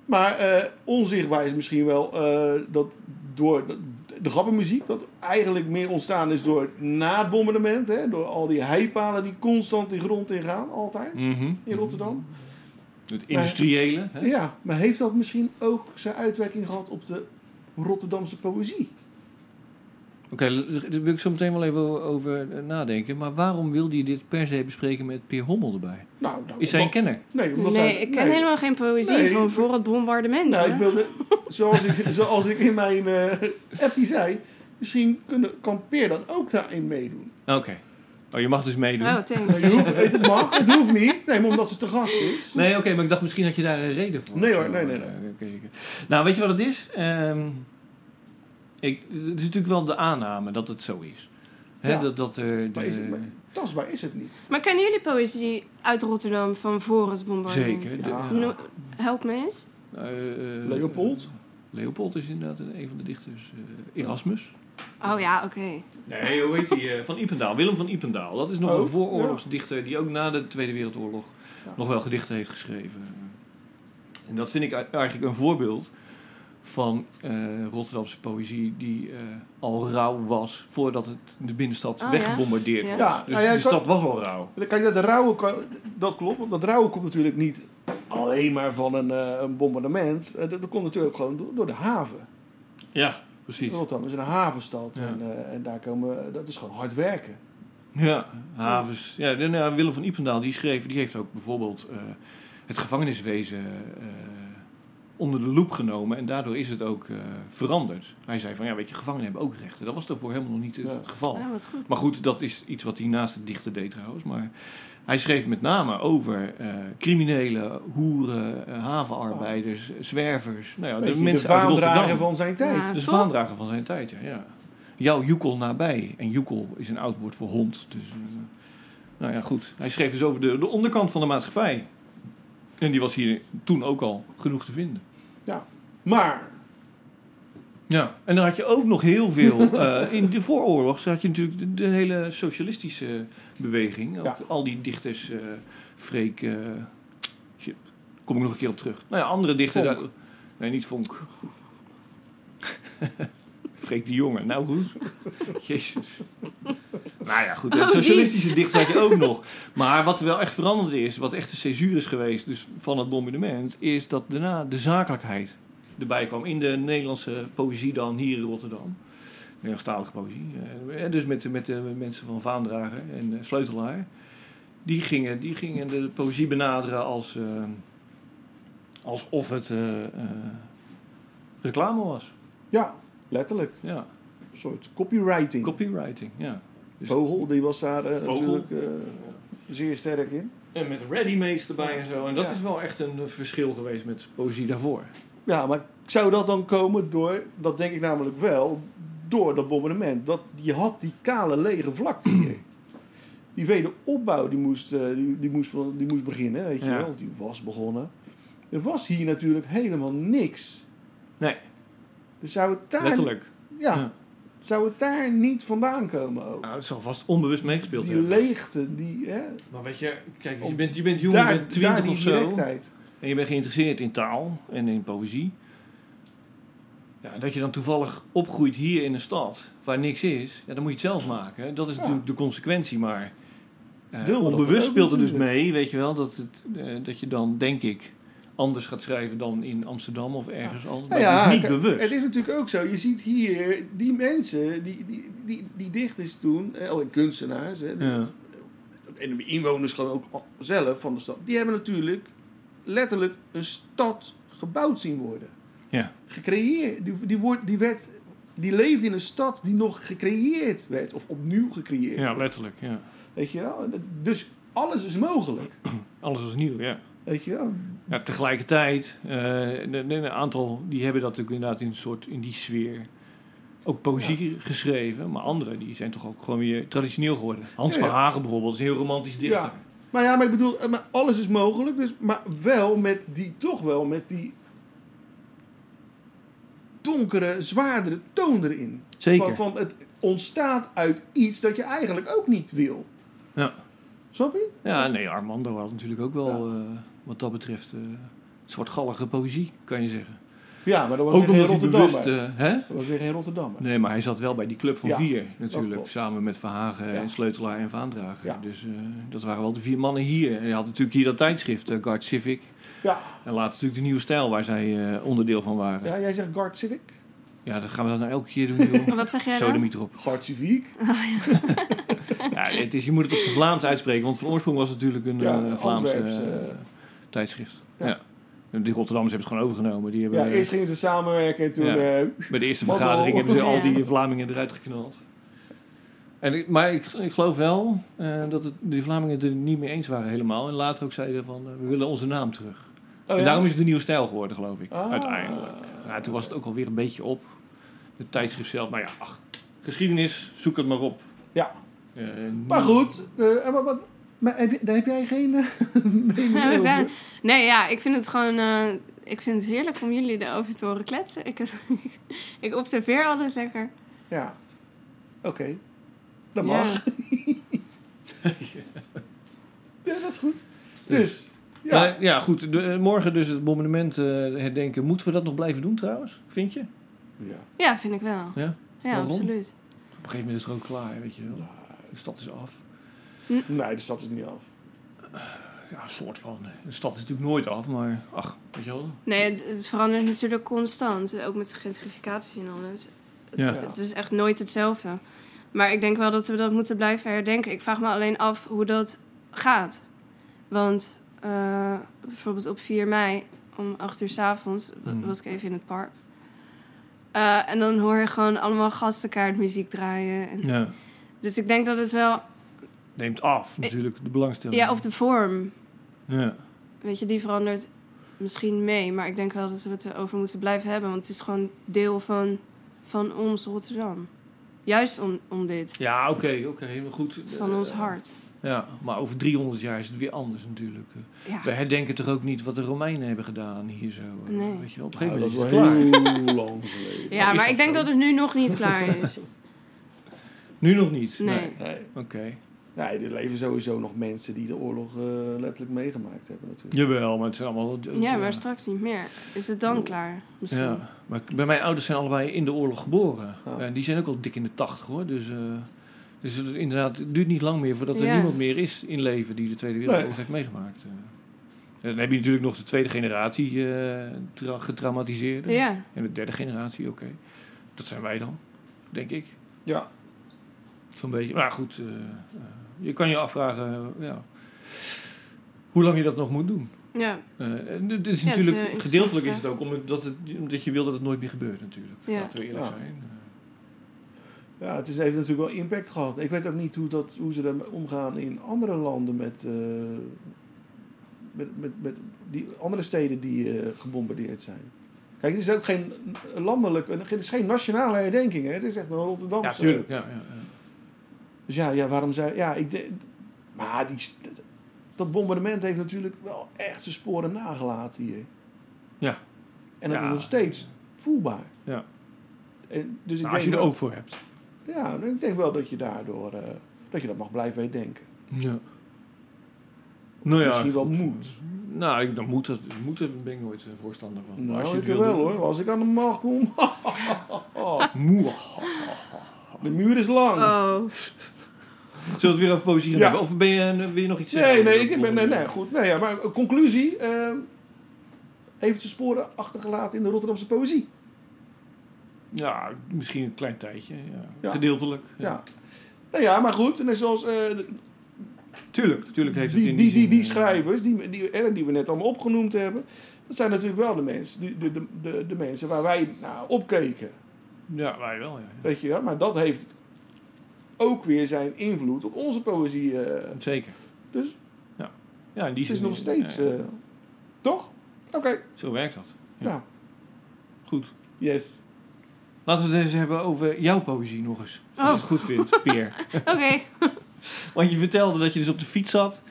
[SPEAKER 7] Maar eh, onzichtbaar is misschien wel eh, dat door de, de grappenmuziek, dat eigenlijk meer ontstaan is door na het bombardement, hè, door al die heipalen die constant die grond ingaan, altijd
[SPEAKER 6] Mhm.
[SPEAKER 7] in Rotterdam.
[SPEAKER 6] Het industriële. Hè?
[SPEAKER 7] Ja, maar heeft dat misschien ook zijn uitwerking gehad op de Rotterdamse poëzie?
[SPEAKER 6] Oké, daar daar wil ik zo meteen wel even over eh, nadenken. Maar waarom wilde je dit per se bespreken met Peer Hommel erbij?
[SPEAKER 7] Nou, nou
[SPEAKER 6] Is hij een
[SPEAKER 7] omdat-
[SPEAKER 6] kenner?
[SPEAKER 7] Nee, omdat
[SPEAKER 5] Nee,
[SPEAKER 7] zij-
[SPEAKER 5] ik ken
[SPEAKER 7] nee.
[SPEAKER 5] helemaal geen poëzie
[SPEAKER 7] Nee,
[SPEAKER 5] van
[SPEAKER 7] ik-
[SPEAKER 5] voor het bombardement.
[SPEAKER 7] Nou,
[SPEAKER 5] hoor.
[SPEAKER 7] ik wilde, zoals ik, zoals ik in mijn eh appie zei, misschien kunnen, kan Peer dan ook daarin meedoen.
[SPEAKER 6] Oké. Oh, je mag dus meedoen.
[SPEAKER 5] Oh, thanks.
[SPEAKER 7] Het hoeft- Het mag, het hoeft niet. Nee, maar omdat ze te gast is.
[SPEAKER 6] Nee, oké, maar ik dacht misschien had je daar een reden voor.
[SPEAKER 7] Nee
[SPEAKER 6] Of
[SPEAKER 7] hoor,
[SPEAKER 6] zo.
[SPEAKER 7] nee, nee, nee.
[SPEAKER 6] Eh, oké, oké. Nou, weet je wat het is? Ehm, ik, het is natuurlijk wel de aanname dat het zo is. Hè,
[SPEAKER 7] Ja.
[SPEAKER 6] dat, dat, eh, de-
[SPEAKER 7] Maar is het, maar, tastbaar is het niet.
[SPEAKER 5] Maar kennen jullie poëzie uit Rotterdam van voor het bombardement?
[SPEAKER 6] Zeker. de-
[SPEAKER 7] Ja.
[SPEAKER 5] No- help me eens.
[SPEAKER 6] eh, eh,
[SPEAKER 7] Leopold?
[SPEAKER 6] Leopold is inderdaad een een van de dichters. eh, Erasmus.
[SPEAKER 5] Oh ja, oké.
[SPEAKER 6] Nee, hoe heet hij? van Ipendaal. Willem van Ipendaal. Dat is nog
[SPEAKER 7] Oh,
[SPEAKER 6] een vooroorlogsdichter die ook na de Tweede Wereldoorlog
[SPEAKER 7] Ja.
[SPEAKER 6] nog wel gedichten heeft geschreven. En dat vind ik ei- eigenlijk een voorbeeld van eh, Rotterdamse poëzie die eh, al rauw was voordat het de binnenstad
[SPEAKER 5] Oh,
[SPEAKER 6] weggebombardeerd
[SPEAKER 5] ja? Ja.
[SPEAKER 6] was.
[SPEAKER 7] Ja,
[SPEAKER 6] Dus
[SPEAKER 7] nou ja,
[SPEAKER 6] de
[SPEAKER 7] ik kan-
[SPEAKER 6] stad was al rauw.
[SPEAKER 7] Kijk, dat rauwe, kan- dat klopt. Want dat rauwe komt natuurlijk niet alleen maar van een, eh, een bombardement. Eh, Dat, dat komt natuurlijk ook gewoon door, door de haven.
[SPEAKER 6] Ja, precies.
[SPEAKER 7] Rotterdam is een havenstad.
[SPEAKER 6] Ja.
[SPEAKER 7] En, eh, en daar komen, dat is gewoon hard werken.
[SPEAKER 6] Ja, havens. Ja, de- nou, Willem van Ipendaal die schreef, die heeft ook bijvoorbeeld eh, het gevangeniswezen eh, onder de loep genomen. En daardoor is het ook eh, veranderd. Hij zei van ja, weet je, gevangenen hebben ook rechten. Dat was daarvoor helemaal nog niet het
[SPEAKER 7] Ja.
[SPEAKER 6] geval.
[SPEAKER 5] Ja, wat goed.
[SPEAKER 6] Maar goed, dat is iets wat hij naast het dichter deed trouwens. Maar hij schreef met name over eh, criminelen, hoeren, eh, havenarbeiders, zwervers. Nou ja,
[SPEAKER 7] Oh. Beetje
[SPEAKER 6] de
[SPEAKER 7] de,
[SPEAKER 6] mensen uit
[SPEAKER 7] vaandrager
[SPEAKER 6] Rotterdam.
[SPEAKER 7] van zijn tijd.
[SPEAKER 5] Ja.
[SPEAKER 6] De
[SPEAKER 5] Toch?
[SPEAKER 6] vaandrager van zijn tijd, ja. ja. Jouw joekel nabij. En joekel is een oud woord voor hond. Dus, eh, nou ja, goed. Hij schreef dus over de, de onderkant van de maatschappij. En die was hier toen ook al genoeg te vinden.
[SPEAKER 7] Maar
[SPEAKER 6] Ja, en dan had je ook nog heel veel. eh, in de vooroorlogs had je natuurlijk de, de hele socialistische beweging. Ook
[SPEAKER 7] Ja.
[SPEAKER 6] Al die dichters, eh Freek. eh, shit, kom ik nog een keer op terug. Nou ja, andere dichters.
[SPEAKER 7] Vonk.
[SPEAKER 6] uit- nee, niet Vonk. Freek de Jonge, nou goed. Jezus. Nou ja, goed. eh,
[SPEAKER 5] Oh, die.
[SPEAKER 6] socialistische dichters had je ook nog. Maar wat wel echt veranderd is, wat echt de césuur is geweest dus van het bombardement, is dat daarna de zakelijkheid erbij kwam in de Nederlandse poëzie dan hier in Rotterdam. Nederlandstalige poëzie. Eh, Dus met, de- met de mensen van Vaandrager en eh, Sleutelaar. Die gingen, die gingen de poëzie benaderen als, eh, alsof het eh, eh, reclame was.
[SPEAKER 7] ja, letterlijk.
[SPEAKER 6] Ja,
[SPEAKER 7] Een soort copywriting.
[SPEAKER 6] copywriting. Ja. Dus-
[SPEAKER 7] Vogel, die was daar eh,
[SPEAKER 6] Vogel.
[SPEAKER 7] natuurlijk eh, zeer sterk in.
[SPEAKER 6] En Eh, met readymates erbij en zo. En dat
[SPEAKER 7] Ja.
[SPEAKER 6] is wel echt een eh, verschil geweest met poëzie daarvoor.
[SPEAKER 7] Ja, maar zou dat dan komen door, dat denk ik namelijk wel, door dat bombardement. Dat, je had die kale lege vlakte hier. Die wederopbouw die moest, eh, die, die moest, van- die moest beginnen, weet je
[SPEAKER 6] Ja.
[SPEAKER 7] wel. Of Die was begonnen. Er was hier natuurlijk helemaal niks.
[SPEAKER 6] Nee.
[SPEAKER 7] Dus zou het daar,
[SPEAKER 6] Letterlijk.
[SPEAKER 7] Ja,
[SPEAKER 6] Ja.
[SPEAKER 7] Zou het daar niet vandaan komen ook?
[SPEAKER 6] Nou, het zal vast onbewust meegespeeld
[SPEAKER 7] Die
[SPEAKER 6] hebben.
[SPEAKER 7] leegte, die, hè,
[SPEAKER 6] Maar weet je, kijk, je
[SPEAKER 7] Om-
[SPEAKER 6] bent, je bent jong, je
[SPEAKER 7] daar,
[SPEAKER 6] bent
[SPEAKER 7] daar
[SPEAKER 6] twintig
[SPEAKER 7] die
[SPEAKER 6] of zo.
[SPEAKER 7] directheid.
[SPEAKER 6] En je bent geïnteresseerd in taal en in poëzie. Ja, dat je dan toevallig opgroeit hier in een stad waar niks is. Ja, dan moet je het zelf maken. hè. Dat is
[SPEAKER 7] Ja.
[SPEAKER 6] natuurlijk de consequentie, maar... eh,
[SPEAKER 7] Deel dat
[SPEAKER 6] onbewust
[SPEAKER 7] ook
[SPEAKER 6] speelt er dus
[SPEAKER 7] natuurlijk.
[SPEAKER 6] mee, weet je wel, dat, het, eh, dat je dan, denk ik, anders gaat schrijven dan in Amsterdam of ergens anders. Maar
[SPEAKER 7] Nou ja,
[SPEAKER 6] dat is niet
[SPEAKER 7] kijk,
[SPEAKER 6] bewust.
[SPEAKER 7] Het is natuurlijk ook zo. Je ziet hier die mensen, die, die, die, die dichters toen, eh, oh, en kunstenaars, hè,
[SPEAKER 6] Ja.
[SPEAKER 7] en de inwoners gewoon ook al- zelf van de stad, die hebben natuurlijk letterlijk een stad gebouwd zien worden.
[SPEAKER 6] Ja.
[SPEAKER 7] Gecreëerd. Die, die, wordt, die, werd, die leefde in een stad die nog gecreëerd werd, of opnieuw gecreëerd.
[SPEAKER 6] ja, letterlijk. Ja.
[SPEAKER 7] Weet je wel? Dus alles is mogelijk.
[SPEAKER 6] Alles was nieuw, ja.
[SPEAKER 7] Weet je wel?
[SPEAKER 6] Ja, tegelijkertijd, eh, een, een- een aantal die hebben dat natuurlijk inderdaad in, een soort, in die sfeer ook poëzie geschreven. Maar anderen die zijn toch ook gewoon weer traditioneel geworden. Hans
[SPEAKER 7] Ja,
[SPEAKER 6] van
[SPEAKER 7] ja.
[SPEAKER 6] Hagen bijvoorbeeld is een heel romantisch dichter.
[SPEAKER 7] Ja. Maar ja, maar ik bedoel, eh, maar alles is mogelijk. Dus, maar wel met die, toch wel met die donkere, zwaardere toon erin. Van,
[SPEAKER 6] Zeker.
[SPEAKER 7] van het ontstaat uit iets dat je eigenlijk ook niet wil.
[SPEAKER 6] Ja.
[SPEAKER 7] Snap je?
[SPEAKER 6] ja, nee, Armando had natuurlijk ook wel eh, wat dat betreft eh zwartgallige poëzie, kan je zeggen.
[SPEAKER 7] Ja, maar dat was
[SPEAKER 6] Ook
[SPEAKER 7] weer geen
[SPEAKER 6] omdat hij
[SPEAKER 7] Rotterdammer.
[SPEAKER 6] bewust... eh, hè?
[SPEAKER 7] Dat was weer geen Rotterdammer.
[SPEAKER 6] Nee, maar hij zat wel bij die club van
[SPEAKER 7] Ja,
[SPEAKER 6] vier
[SPEAKER 7] dat
[SPEAKER 6] natuurlijk.
[SPEAKER 7] klopt.
[SPEAKER 6] Samen met Verhagen
[SPEAKER 7] Ja.
[SPEAKER 6] en Sleutelaar en Vaandrager.
[SPEAKER 7] Ja.
[SPEAKER 6] Dus eh, dat waren wel de vier mannen hier. En je had natuurlijk hier dat tijdschrift, eh, Guard Civic.
[SPEAKER 7] Ja.
[SPEAKER 6] En later natuurlijk de nieuwe stijl waar zij eh, onderdeel van waren. Ja.
[SPEAKER 7] Ja, jij zegt Guard Civic?
[SPEAKER 6] dat gaan we dat nou elke keer doen, joh.
[SPEAKER 5] Wat zeg jij dan?
[SPEAKER 6] Sodemiet erop.
[SPEAKER 7] Guard Civic?
[SPEAKER 6] Ja, het is, je moet het op zijn Vlaams uitspreken, want van oorsprong was het natuurlijk een
[SPEAKER 7] Ja,
[SPEAKER 6] eh,
[SPEAKER 7] een
[SPEAKER 6] Vlaams
[SPEAKER 7] Antwerps,
[SPEAKER 6] eh,
[SPEAKER 7] eh,
[SPEAKER 6] tijdschrift. Ja.
[SPEAKER 7] ja.
[SPEAKER 6] Die Rotterdammers hebben het gewoon overgenomen. Die hebben,
[SPEAKER 7] Ja, eerst gingen ze samenwerken en toen...
[SPEAKER 6] Ja.
[SPEAKER 7] eh,
[SPEAKER 6] Bij de eerste
[SPEAKER 7] Mazzel.
[SPEAKER 6] vergadering hebben ze al
[SPEAKER 5] Ja.
[SPEAKER 6] die Vlamingen eruit geknald. En ik, maar ik, ik geloof wel eh, dat het, die Vlamingen het er niet mee eens waren helemaal. En later ook zeiden van, eh, we willen onze naam terug.
[SPEAKER 7] Oh,
[SPEAKER 6] en
[SPEAKER 7] ja?
[SPEAKER 6] daarom is het de nieuwe stijl geworden, geloof ik.
[SPEAKER 7] Ah.
[SPEAKER 6] Uiteindelijk. Ja, toen was het ook alweer een beetje op. Het tijdschrift zelf. Nou ja, ach, geschiedenis, zoek het maar op.
[SPEAKER 7] Ja.
[SPEAKER 6] Eh,
[SPEAKER 7] Maar
[SPEAKER 6] niet-
[SPEAKER 7] goed, eh, maar, maar, maar heb, je- daar heb jij geen eh, mening
[SPEAKER 5] Ja, maar
[SPEAKER 7] over?
[SPEAKER 5] daar- nee, ja, ik vind het gewoon... eh, ik vind het heerlijk om jullie erover te horen kletsen. Ik, ik observeer alles lekker.
[SPEAKER 7] Ja. Oké. Dat mag.
[SPEAKER 5] Ja.
[SPEAKER 7] Ja, dat is goed. Dus, ja.
[SPEAKER 6] Maar ja, goed. de- eh, morgen dus het bombardement eh, herdenken. Moeten we dat nog blijven doen trouwens? Vind je? Op
[SPEAKER 7] ja.
[SPEAKER 5] Ja, vind ik wel.
[SPEAKER 6] Ja?
[SPEAKER 5] Ja,
[SPEAKER 6] Waarom?
[SPEAKER 5] absoluut.
[SPEAKER 6] een gegeven moment is het ook klaar, weet je wel. De stad is af.
[SPEAKER 7] Nee, de stad is niet af.
[SPEAKER 6] Ja, een soort van. De stad is natuurlijk nooit af, maar ach, weet je wel.
[SPEAKER 5] Nee, het, het verandert natuurlijk constant. eh, Ook met de gentrificatie en alles. Het,
[SPEAKER 6] Ja.
[SPEAKER 5] het is echt nooit hetzelfde. Maar ik denk wel dat we dat moeten blijven herdenken. Ik vraag me alleen af hoe dat gaat. Want eh, bijvoorbeeld op 4 mei om 8 uur s avonds wa-
[SPEAKER 6] Mhm.
[SPEAKER 5] was ik even in het park. Eh, en dan hoor je gewoon allemaal gastenkaartmuziek draaien. En...
[SPEAKER 6] Ja.
[SPEAKER 5] Dus ik denk dat het wel...
[SPEAKER 6] Neemt af natuurlijk de belangstelling.
[SPEAKER 5] Ja, of de vorm.
[SPEAKER 6] Ja.
[SPEAKER 5] Weet je, die verandert misschien mee. Maar ik denk wel dat we het erover moeten blijven hebben. Want het is gewoon deel van, van ons Rotterdam. Juist om, om dit.
[SPEAKER 6] Ja, oké, oké, helemaal goed.
[SPEAKER 5] Van ons
[SPEAKER 6] Eh,
[SPEAKER 5] hart.
[SPEAKER 6] Ja, maar over 300 jaar is het weer anders natuurlijk. Eh,
[SPEAKER 5] Ja.
[SPEAKER 6] We herdenken toch ook niet wat de Romeinen hebben gedaan hier zo. eh,
[SPEAKER 5] Nee.
[SPEAKER 6] Weet je wel, op een
[SPEAKER 7] Nou,
[SPEAKER 6] gegeven
[SPEAKER 7] dat is
[SPEAKER 6] moment
[SPEAKER 7] wel
[SPEAKER 6] is het klaar.
[SPEAKER 7] heel lang geleden.
[SPEAKER 5] Ja,
[SPEAKER 6] Is
[SPEAKER 5] maar
[SPEAKER 6] dat
[SPEAKER 5] ik denk
[SPEAKER 6] zo?
[SPEAKER 5] dat het nu nog niet klaar is.
[SPEAKER 6] Nu nog niet.
[SPEAKER 5] Nee.
[SPEAKER 7] Nee.
[SPEAKER 6] Oké.
[SPEAKER 7] nee, er leven sowieso nog mensen die de oorlog eh, letterlijk meegemaakt hebben natuurlijk.
[SPEAKER 6] Jawel, maar het zijn allemaal...
[SPEAKER 5] Ja, maar straks niet meer. Is het dan klaar? Misschien.
[SPEAKER 6] Ja, maar ik- bij mijn ouders zijn allebei in de oorlog geboren.
[SPEAKER 7] Ja.
[SPEAKER 6] En die zijn ook al dik in de tachtig hoor. Dus, eh, dus het, is inderdaad, het duurt niet lang meer voordat er
[SPEAKER 5] Ja.
[SPEAKER 6] niemand meer is in leven die de Tweede Wereldoorlog heeft meegemaakt. Eh, En dan heb je natuurlijk nog de tweede generatie eh tra- getraumatiseerden.
[SPEAKER 5] Ja.
[SPEAKER 6] En de derde generatie, oké. Dat zijn wij dan, denk ik.
[SPEAKER 7] Ja.
[SPEAKER 6] Zo'n beetje. Maar goed, eh, eh, je kan je afvragen eh, ja, hoe lang je dat nog moet doen.
[SPEAKER 5] Ja.
[SPEAKER 6] Eh, en het is
[SPEAKER 5] Ja, het is,
[SPEAKER 6] natuurlijk,
[SPEAKER 5] eh,
[SPEAKER 6] gedeeltelijk is
[SPEAKER 5] interessant,
[SPEAKER 6] het ook omdat, het, omdat je wil dat het nooit meer gebeurt natuurlijk.
[SPEAKER 5] Ja.
[SPEAKER 6] Laten we eerlijk
[SPEAKER 7] Ja.
[SPEAKER 6] zijn. Eh,
[SPEAKER 7] Ja, het is, heeft natuurlijk wel impact gehad. Ik weet ook niet hoe, dat, hoe ze daarmee omgaan in andere landen met, eh, met, met, met die andere steden die eh, gebombardeerd zijn. Kijk, het is ook geen landelijk, het is geen nationale herdenking. Hè? Het is echt een Rotterdamse.
[SPEAKER 6] Ja, tuurlijk. dus, eh, Ja, ja, ja.
[SPEAKER 7] Dus ja, ja waarom zei... Ja, ik denk... Maar die, st- dat bombardement heeft natuurlijk wel echt zijn sporen nagelaten hier.
[SPEAKER 6] Ja.
[SPEAKER 7] En dat
[SPEAKER 6] Ja.
[SPEAKER 7] is nog steeds voelbaar.
[SPEAKER 6] Ja.
[SPEAKER 7] En, dus ik
[SPEAKER 6] Nou, als je
[SPEAKER 7] denk
[SPEAKER 6] er
[SPEAKER 7] wel-
[SPEAKER 6] ook voor hebt.
[SPEAKER 7] Ja, ik denk wel dat je daardoor... eh, dat je dat mag blijven denken.
[SPEAKER 6] Ja. Nou ja,
[SPEAKER 7] Misschien wel
[SPEAKER 6] goed.
[SPEAKER 7] moet.
[SPEAKER 6] Nou, ik, dan moet dat, moet, daar ben ik nooit eh, voorstander van. Maar
[SPEAKER 7] Nou,
[SPEAKER 6] als je
[SPEAKER 7] ik
[SPEAKER 6] het wil
[SPEAKER 7] wel
[SPEAKER 6] doen-
[SPEAKER 7] hoor. Als ik aan de macht kom...
[SPEAKER 6] Moe.
[SPEAKER 7] de muur is lang.
[SPEAKER 5] Oh.
[SPEAKER 6] Zullen we het weer over positie gaan
[SPEAKER 7] Ja.
[SPEAKER 6] hebben? Of ben je, eh, wil je nog iets
[SPEAKER 7] nee,
[SPEAKER 6] zeggen?
[SPEAKER 7] nee, ik ben... Nee, nee, goed. Nee, ja, maar eh, conclusie... eh, heeft zijn sporen achtergelaten in de Rotterdamse poëzie.
[SPEAKER 6] Ja, misschien een klein tijdje. Ja.
[SPEAKER 7] Ja.
[SPEAKER 6] Gedeeltelijk.
[SPEAKER 7] Ja. Nou ja, maar goed. Net zoals eh,
[SPEAKER 6] Tuurlijk, tuurlijk heeft het
[SPEAKER 7] die,
[SPEAKER 6] in
[SPEAKER 7] die,
[SPEAKER 6] zin,
[SPEAKER 7] die, die
[SPEAKER 6] eh,
[SPEAKER 7] schrijvers, die, die, eh, die we net allemaal opgenoemd hebben, dat zijn natuurlijk wel de mensen, die, de, de, de, de mensen waar wij naar opkeken.
[SPEAKER 6] Ja, wij wel. Ja.
[SPEAKER 7] Weet je wel? Maar dat heeft ook weer zijn invloed op onze poëzie. eh.
[SPEAKER 6] Zeker.
[SPEAKER 7] Dus?
[SPEAKER 6] Ja, ja in die
[SPEAKER 7] het is
[SPEAKER 6] zin,
[SPEAKER 7] nog
[SPEAKER 6] eh,
[SPEAKER 7] steeds.
[SPEAKER 6] ja,
[SPEAKER 7] eh, toch? Oké.
[SPEAKER 6] zo werkt dat. Ja.
[SPEAKER 7] Nou,
[SPEAKER 6] Goed.
[SPEAKER 7] yes.
[SPEAKER 6] Laten we het eens hebben over jouw poëzie nog eens. Als je
[SPEAKER 5] Oh.
[SPEAKER 6] het goed vindt, Peer.
[SPEAKER 5] Oké.
[SPEAKER 6] Want je vertelde dat je dus op de fiets zat.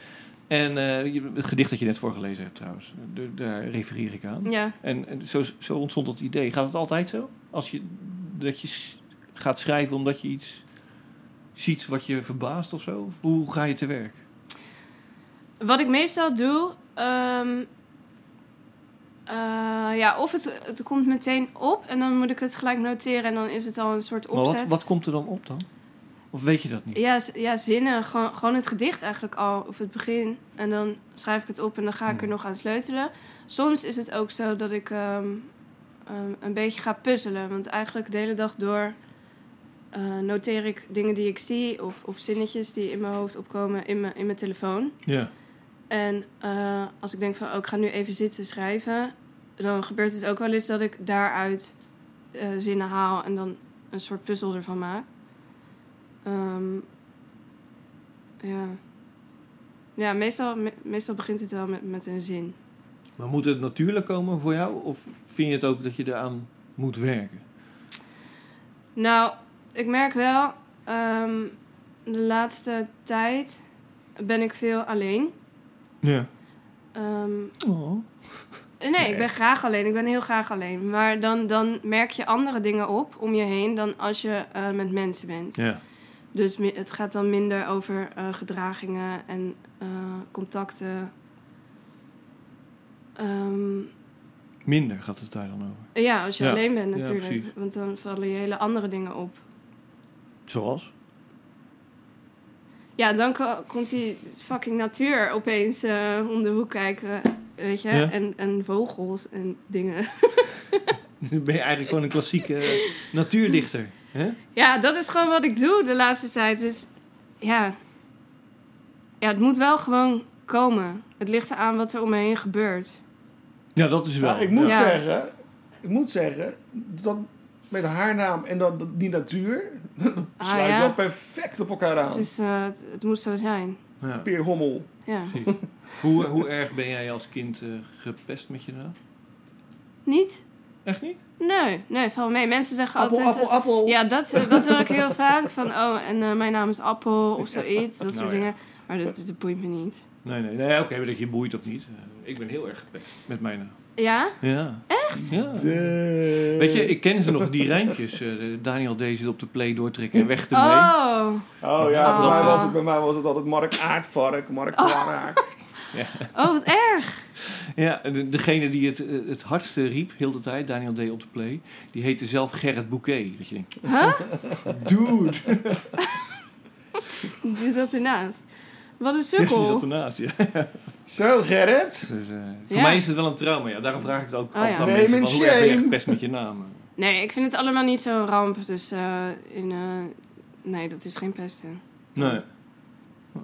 [SPEAKER 6] En eh, je- het gedicht dat je net voorgelezen hebt trouwens, de- daar refereer ik aan.
[SPEAKER 5] Ja.
[SPEAKER 6] En, en zo, zo ontstond dat idee. Gaat het altijd zo? Als je, dat je s- gaat schrijven omdat je iets ziet wat je verbaast of zo? Of Hoe ga je te werk?
[SPEAKER 5] Wat ik meestal doe, ehm, eh, ja, of het, het komt meteen op en dan moet ik het gelijk noteren en dan is het al een soort
[SPEAKER 6] Maar
[SPEAKER 5] opzet.
[SPEAKER 6] wat, wat komt er dan op dan? Of weet je dat niet?
[SPEAKER 5] Ja, z- ja zinnen. Gewoon, gewoon het gedicht eigenlijk al, of het begin. En dan schrijf ik het op en dan ga ik er nog aan sleutelen. Soms is het ook zo dat ik ehm, ehm, een beetje ga puzzelen. Want eigenlijk de hele dag door eh, noteer ik dingen die ik zie... of, of zinnetjes die in mijn hoofd opkomen in mijn, in mijn telefoon.
[SPEAKER 6] Ja.
[SPEAKER 5] En eh, als ik denk van, oh, ik ga nu even zitten schrijven... dan gebeurt het ook wel eens dat ik daaruit eh, zinnen haal... en dan een soort puzzel ervan maak. Ehm, ja. Ja, meestal, me- meestal begint het wel met, met een zin.
[SPEAKER 6] Maar moet het natuurlijk komen voor jou? Of vind je het ook dat je eraan moet werken?
[SPEAKER 5] Nou, ik merk wel, ehm, de laatste tijd ben ik veel alleen.
[SPEAKER 6] Ja.
[SPEAKER 5] Ehm,
[SPEAKER 6] Oh.
[SPEAKER 5] nee, ik ben graag alleen. Ik ben heel graag alleen. Maar dan, dan merk je andere dingen op om je heen dan als je eh, met mensen bent.
[SPEAKER 6] Ja.
[SPEAKER 5] Dus mi- het gaat dan minder over eh, gedragingen en eh, contacten. Ehm,
[SPEAKER 6] Minder gaat het daar dan over.
[SPEAKER 5] ja, als je
[SPEAKER 6] Ja,
[SPEAKER 5] alleen bent
[SPEAKER 6] ja,
[SPEAKER 5] natuurlijk.
[SPEAKER 6] precies.
[SPEAKER 5] want dan vallen je hele andere dingen op.
[SPEAKER 6] Zoals?
[SPEAKER 5] Ja, dan ko- komt die fucking natuur opeens eh, om de hoek kijken. Weet je?
[SPEAKER 6] Ja.
[SPEAKER 5] En, en vogels en dingen.
[SPEAKER 6] Dan ben je eigenlijk gewoon een klassieke eh, natuurdichter. Hè?
[SPEAKER 5] Ja, dat is gewoon wat ik doe de laatste tijd. Dus ja. Ja, het moet wel gewoon komen. Het ligt eraan wat er om me heen gebeurt.
[SPEAKER 6] Ja, dat is wel.
[SPEAKER 7] Nou, ik moet
[SPEAKER 5] Ja.
[SPEAKER 7] zeggen, ik moet zeggen, dat met haar naam en dan die natuur, dat
[SPEAKER 5] Ah,
[SPEAKER 7] sluit
[SPEAKER 5] ja?
[SPEAKER 7] wel perfect op elkaar aan.
[SPEAKER 5] Het, is, eh, het, het moet zo zijn.
[SPEAKER 6] Ja,
[SPEAKER 7] Peer Hommel.
[SPEAKER 5] Ja.
[SPEAKER 6] precies. hoe, eh, hoe erg ben jij als kind eh, gepest met je naam?
[SPEAKER 5] Niet?
[SPEAKER 6] Echt niet?
[SPEAKER 5] Nee, nee, val mee. Mensen zeggen
[SPEAKER 7] Appel,
[SPEAKER 5] altijd...
[SPEAKER 7] appel, appel.
[SPEAKER 5] Ja, dat, eh, dat hoor ik heel vaak. Van, oh, en eh, mijn naam is Appel of zoiets. Dat soort
[SPEAKER 6] Nou ja.
[SPEAKER 5] dingen. Maar dat, dat boeit me niet.
[SPEAKER 6] Nee, nee, nee. Oké, maar dat je boeit of niet. Eh, ik ben heel erg gepest met mijn naam.
[SPEAKER 5] Ja?
[SPEAKER 6] Ja. Echt? Ja.
[SPEAKER 7] De-
[SPEAKER 6] Weet je, ik ken ze nog, die rijntjes. eh, de- Daniel D. zit op de play doortrekken en weg ermee.
[SPEAKER 5] Oh.
[SPEAKER 7] Oh ja, bij,
[SPEAKER 5] Oh.
[SPEAKER 6] eh,
[SPEAKER 7] mij was het, bij mij was het altijd Mark Aardvark, Mark
[SPEAKER 5] Ah.
[SPEAKER 7] Kwanaak.
[SPEAKER 5] oh, wat erg.
[SPEAKER 6] Ja, en de- degene die het, eh, het hardste riep, heel de tijd, Daniel D. op de play, die heette zelf Gerrit Bouquet. Dat je denkt, dude!
[SPEAKER 5] Die zat ernaast. Wat een
[SPEAKER 6] Ja, die
[SPEAKER 5] sukkel.
[SPEAKER 6] zat ernaast, ja.
[SPEAKER 7] Zo Gerrit,
[SPEAKER 6] Dus, eh, voor
[SPEAKER 5] Ja. Oh,
[SPEAKER 6] mij is het wel een trauma, ja. Daarom vraag ik het ook
[SPEAKER 5] ja.
[SPEAKER 6] altijd aan
[SPEAKER 7] Neem
[SPEAKER 6] mensen,
[SPEAKER 7] een
[SPEAKER 6] van, hoe erg ben je
[SPEAKER 7] shame.
[SPEAKER 6] gepest met je naam?
[SPEAKER 5] Nee, ik vind het allemaal niet zo'n ramp. Dus eh, in, eh, nee, dat is geen pesten.
[SPEAKER 6] Nee. Maar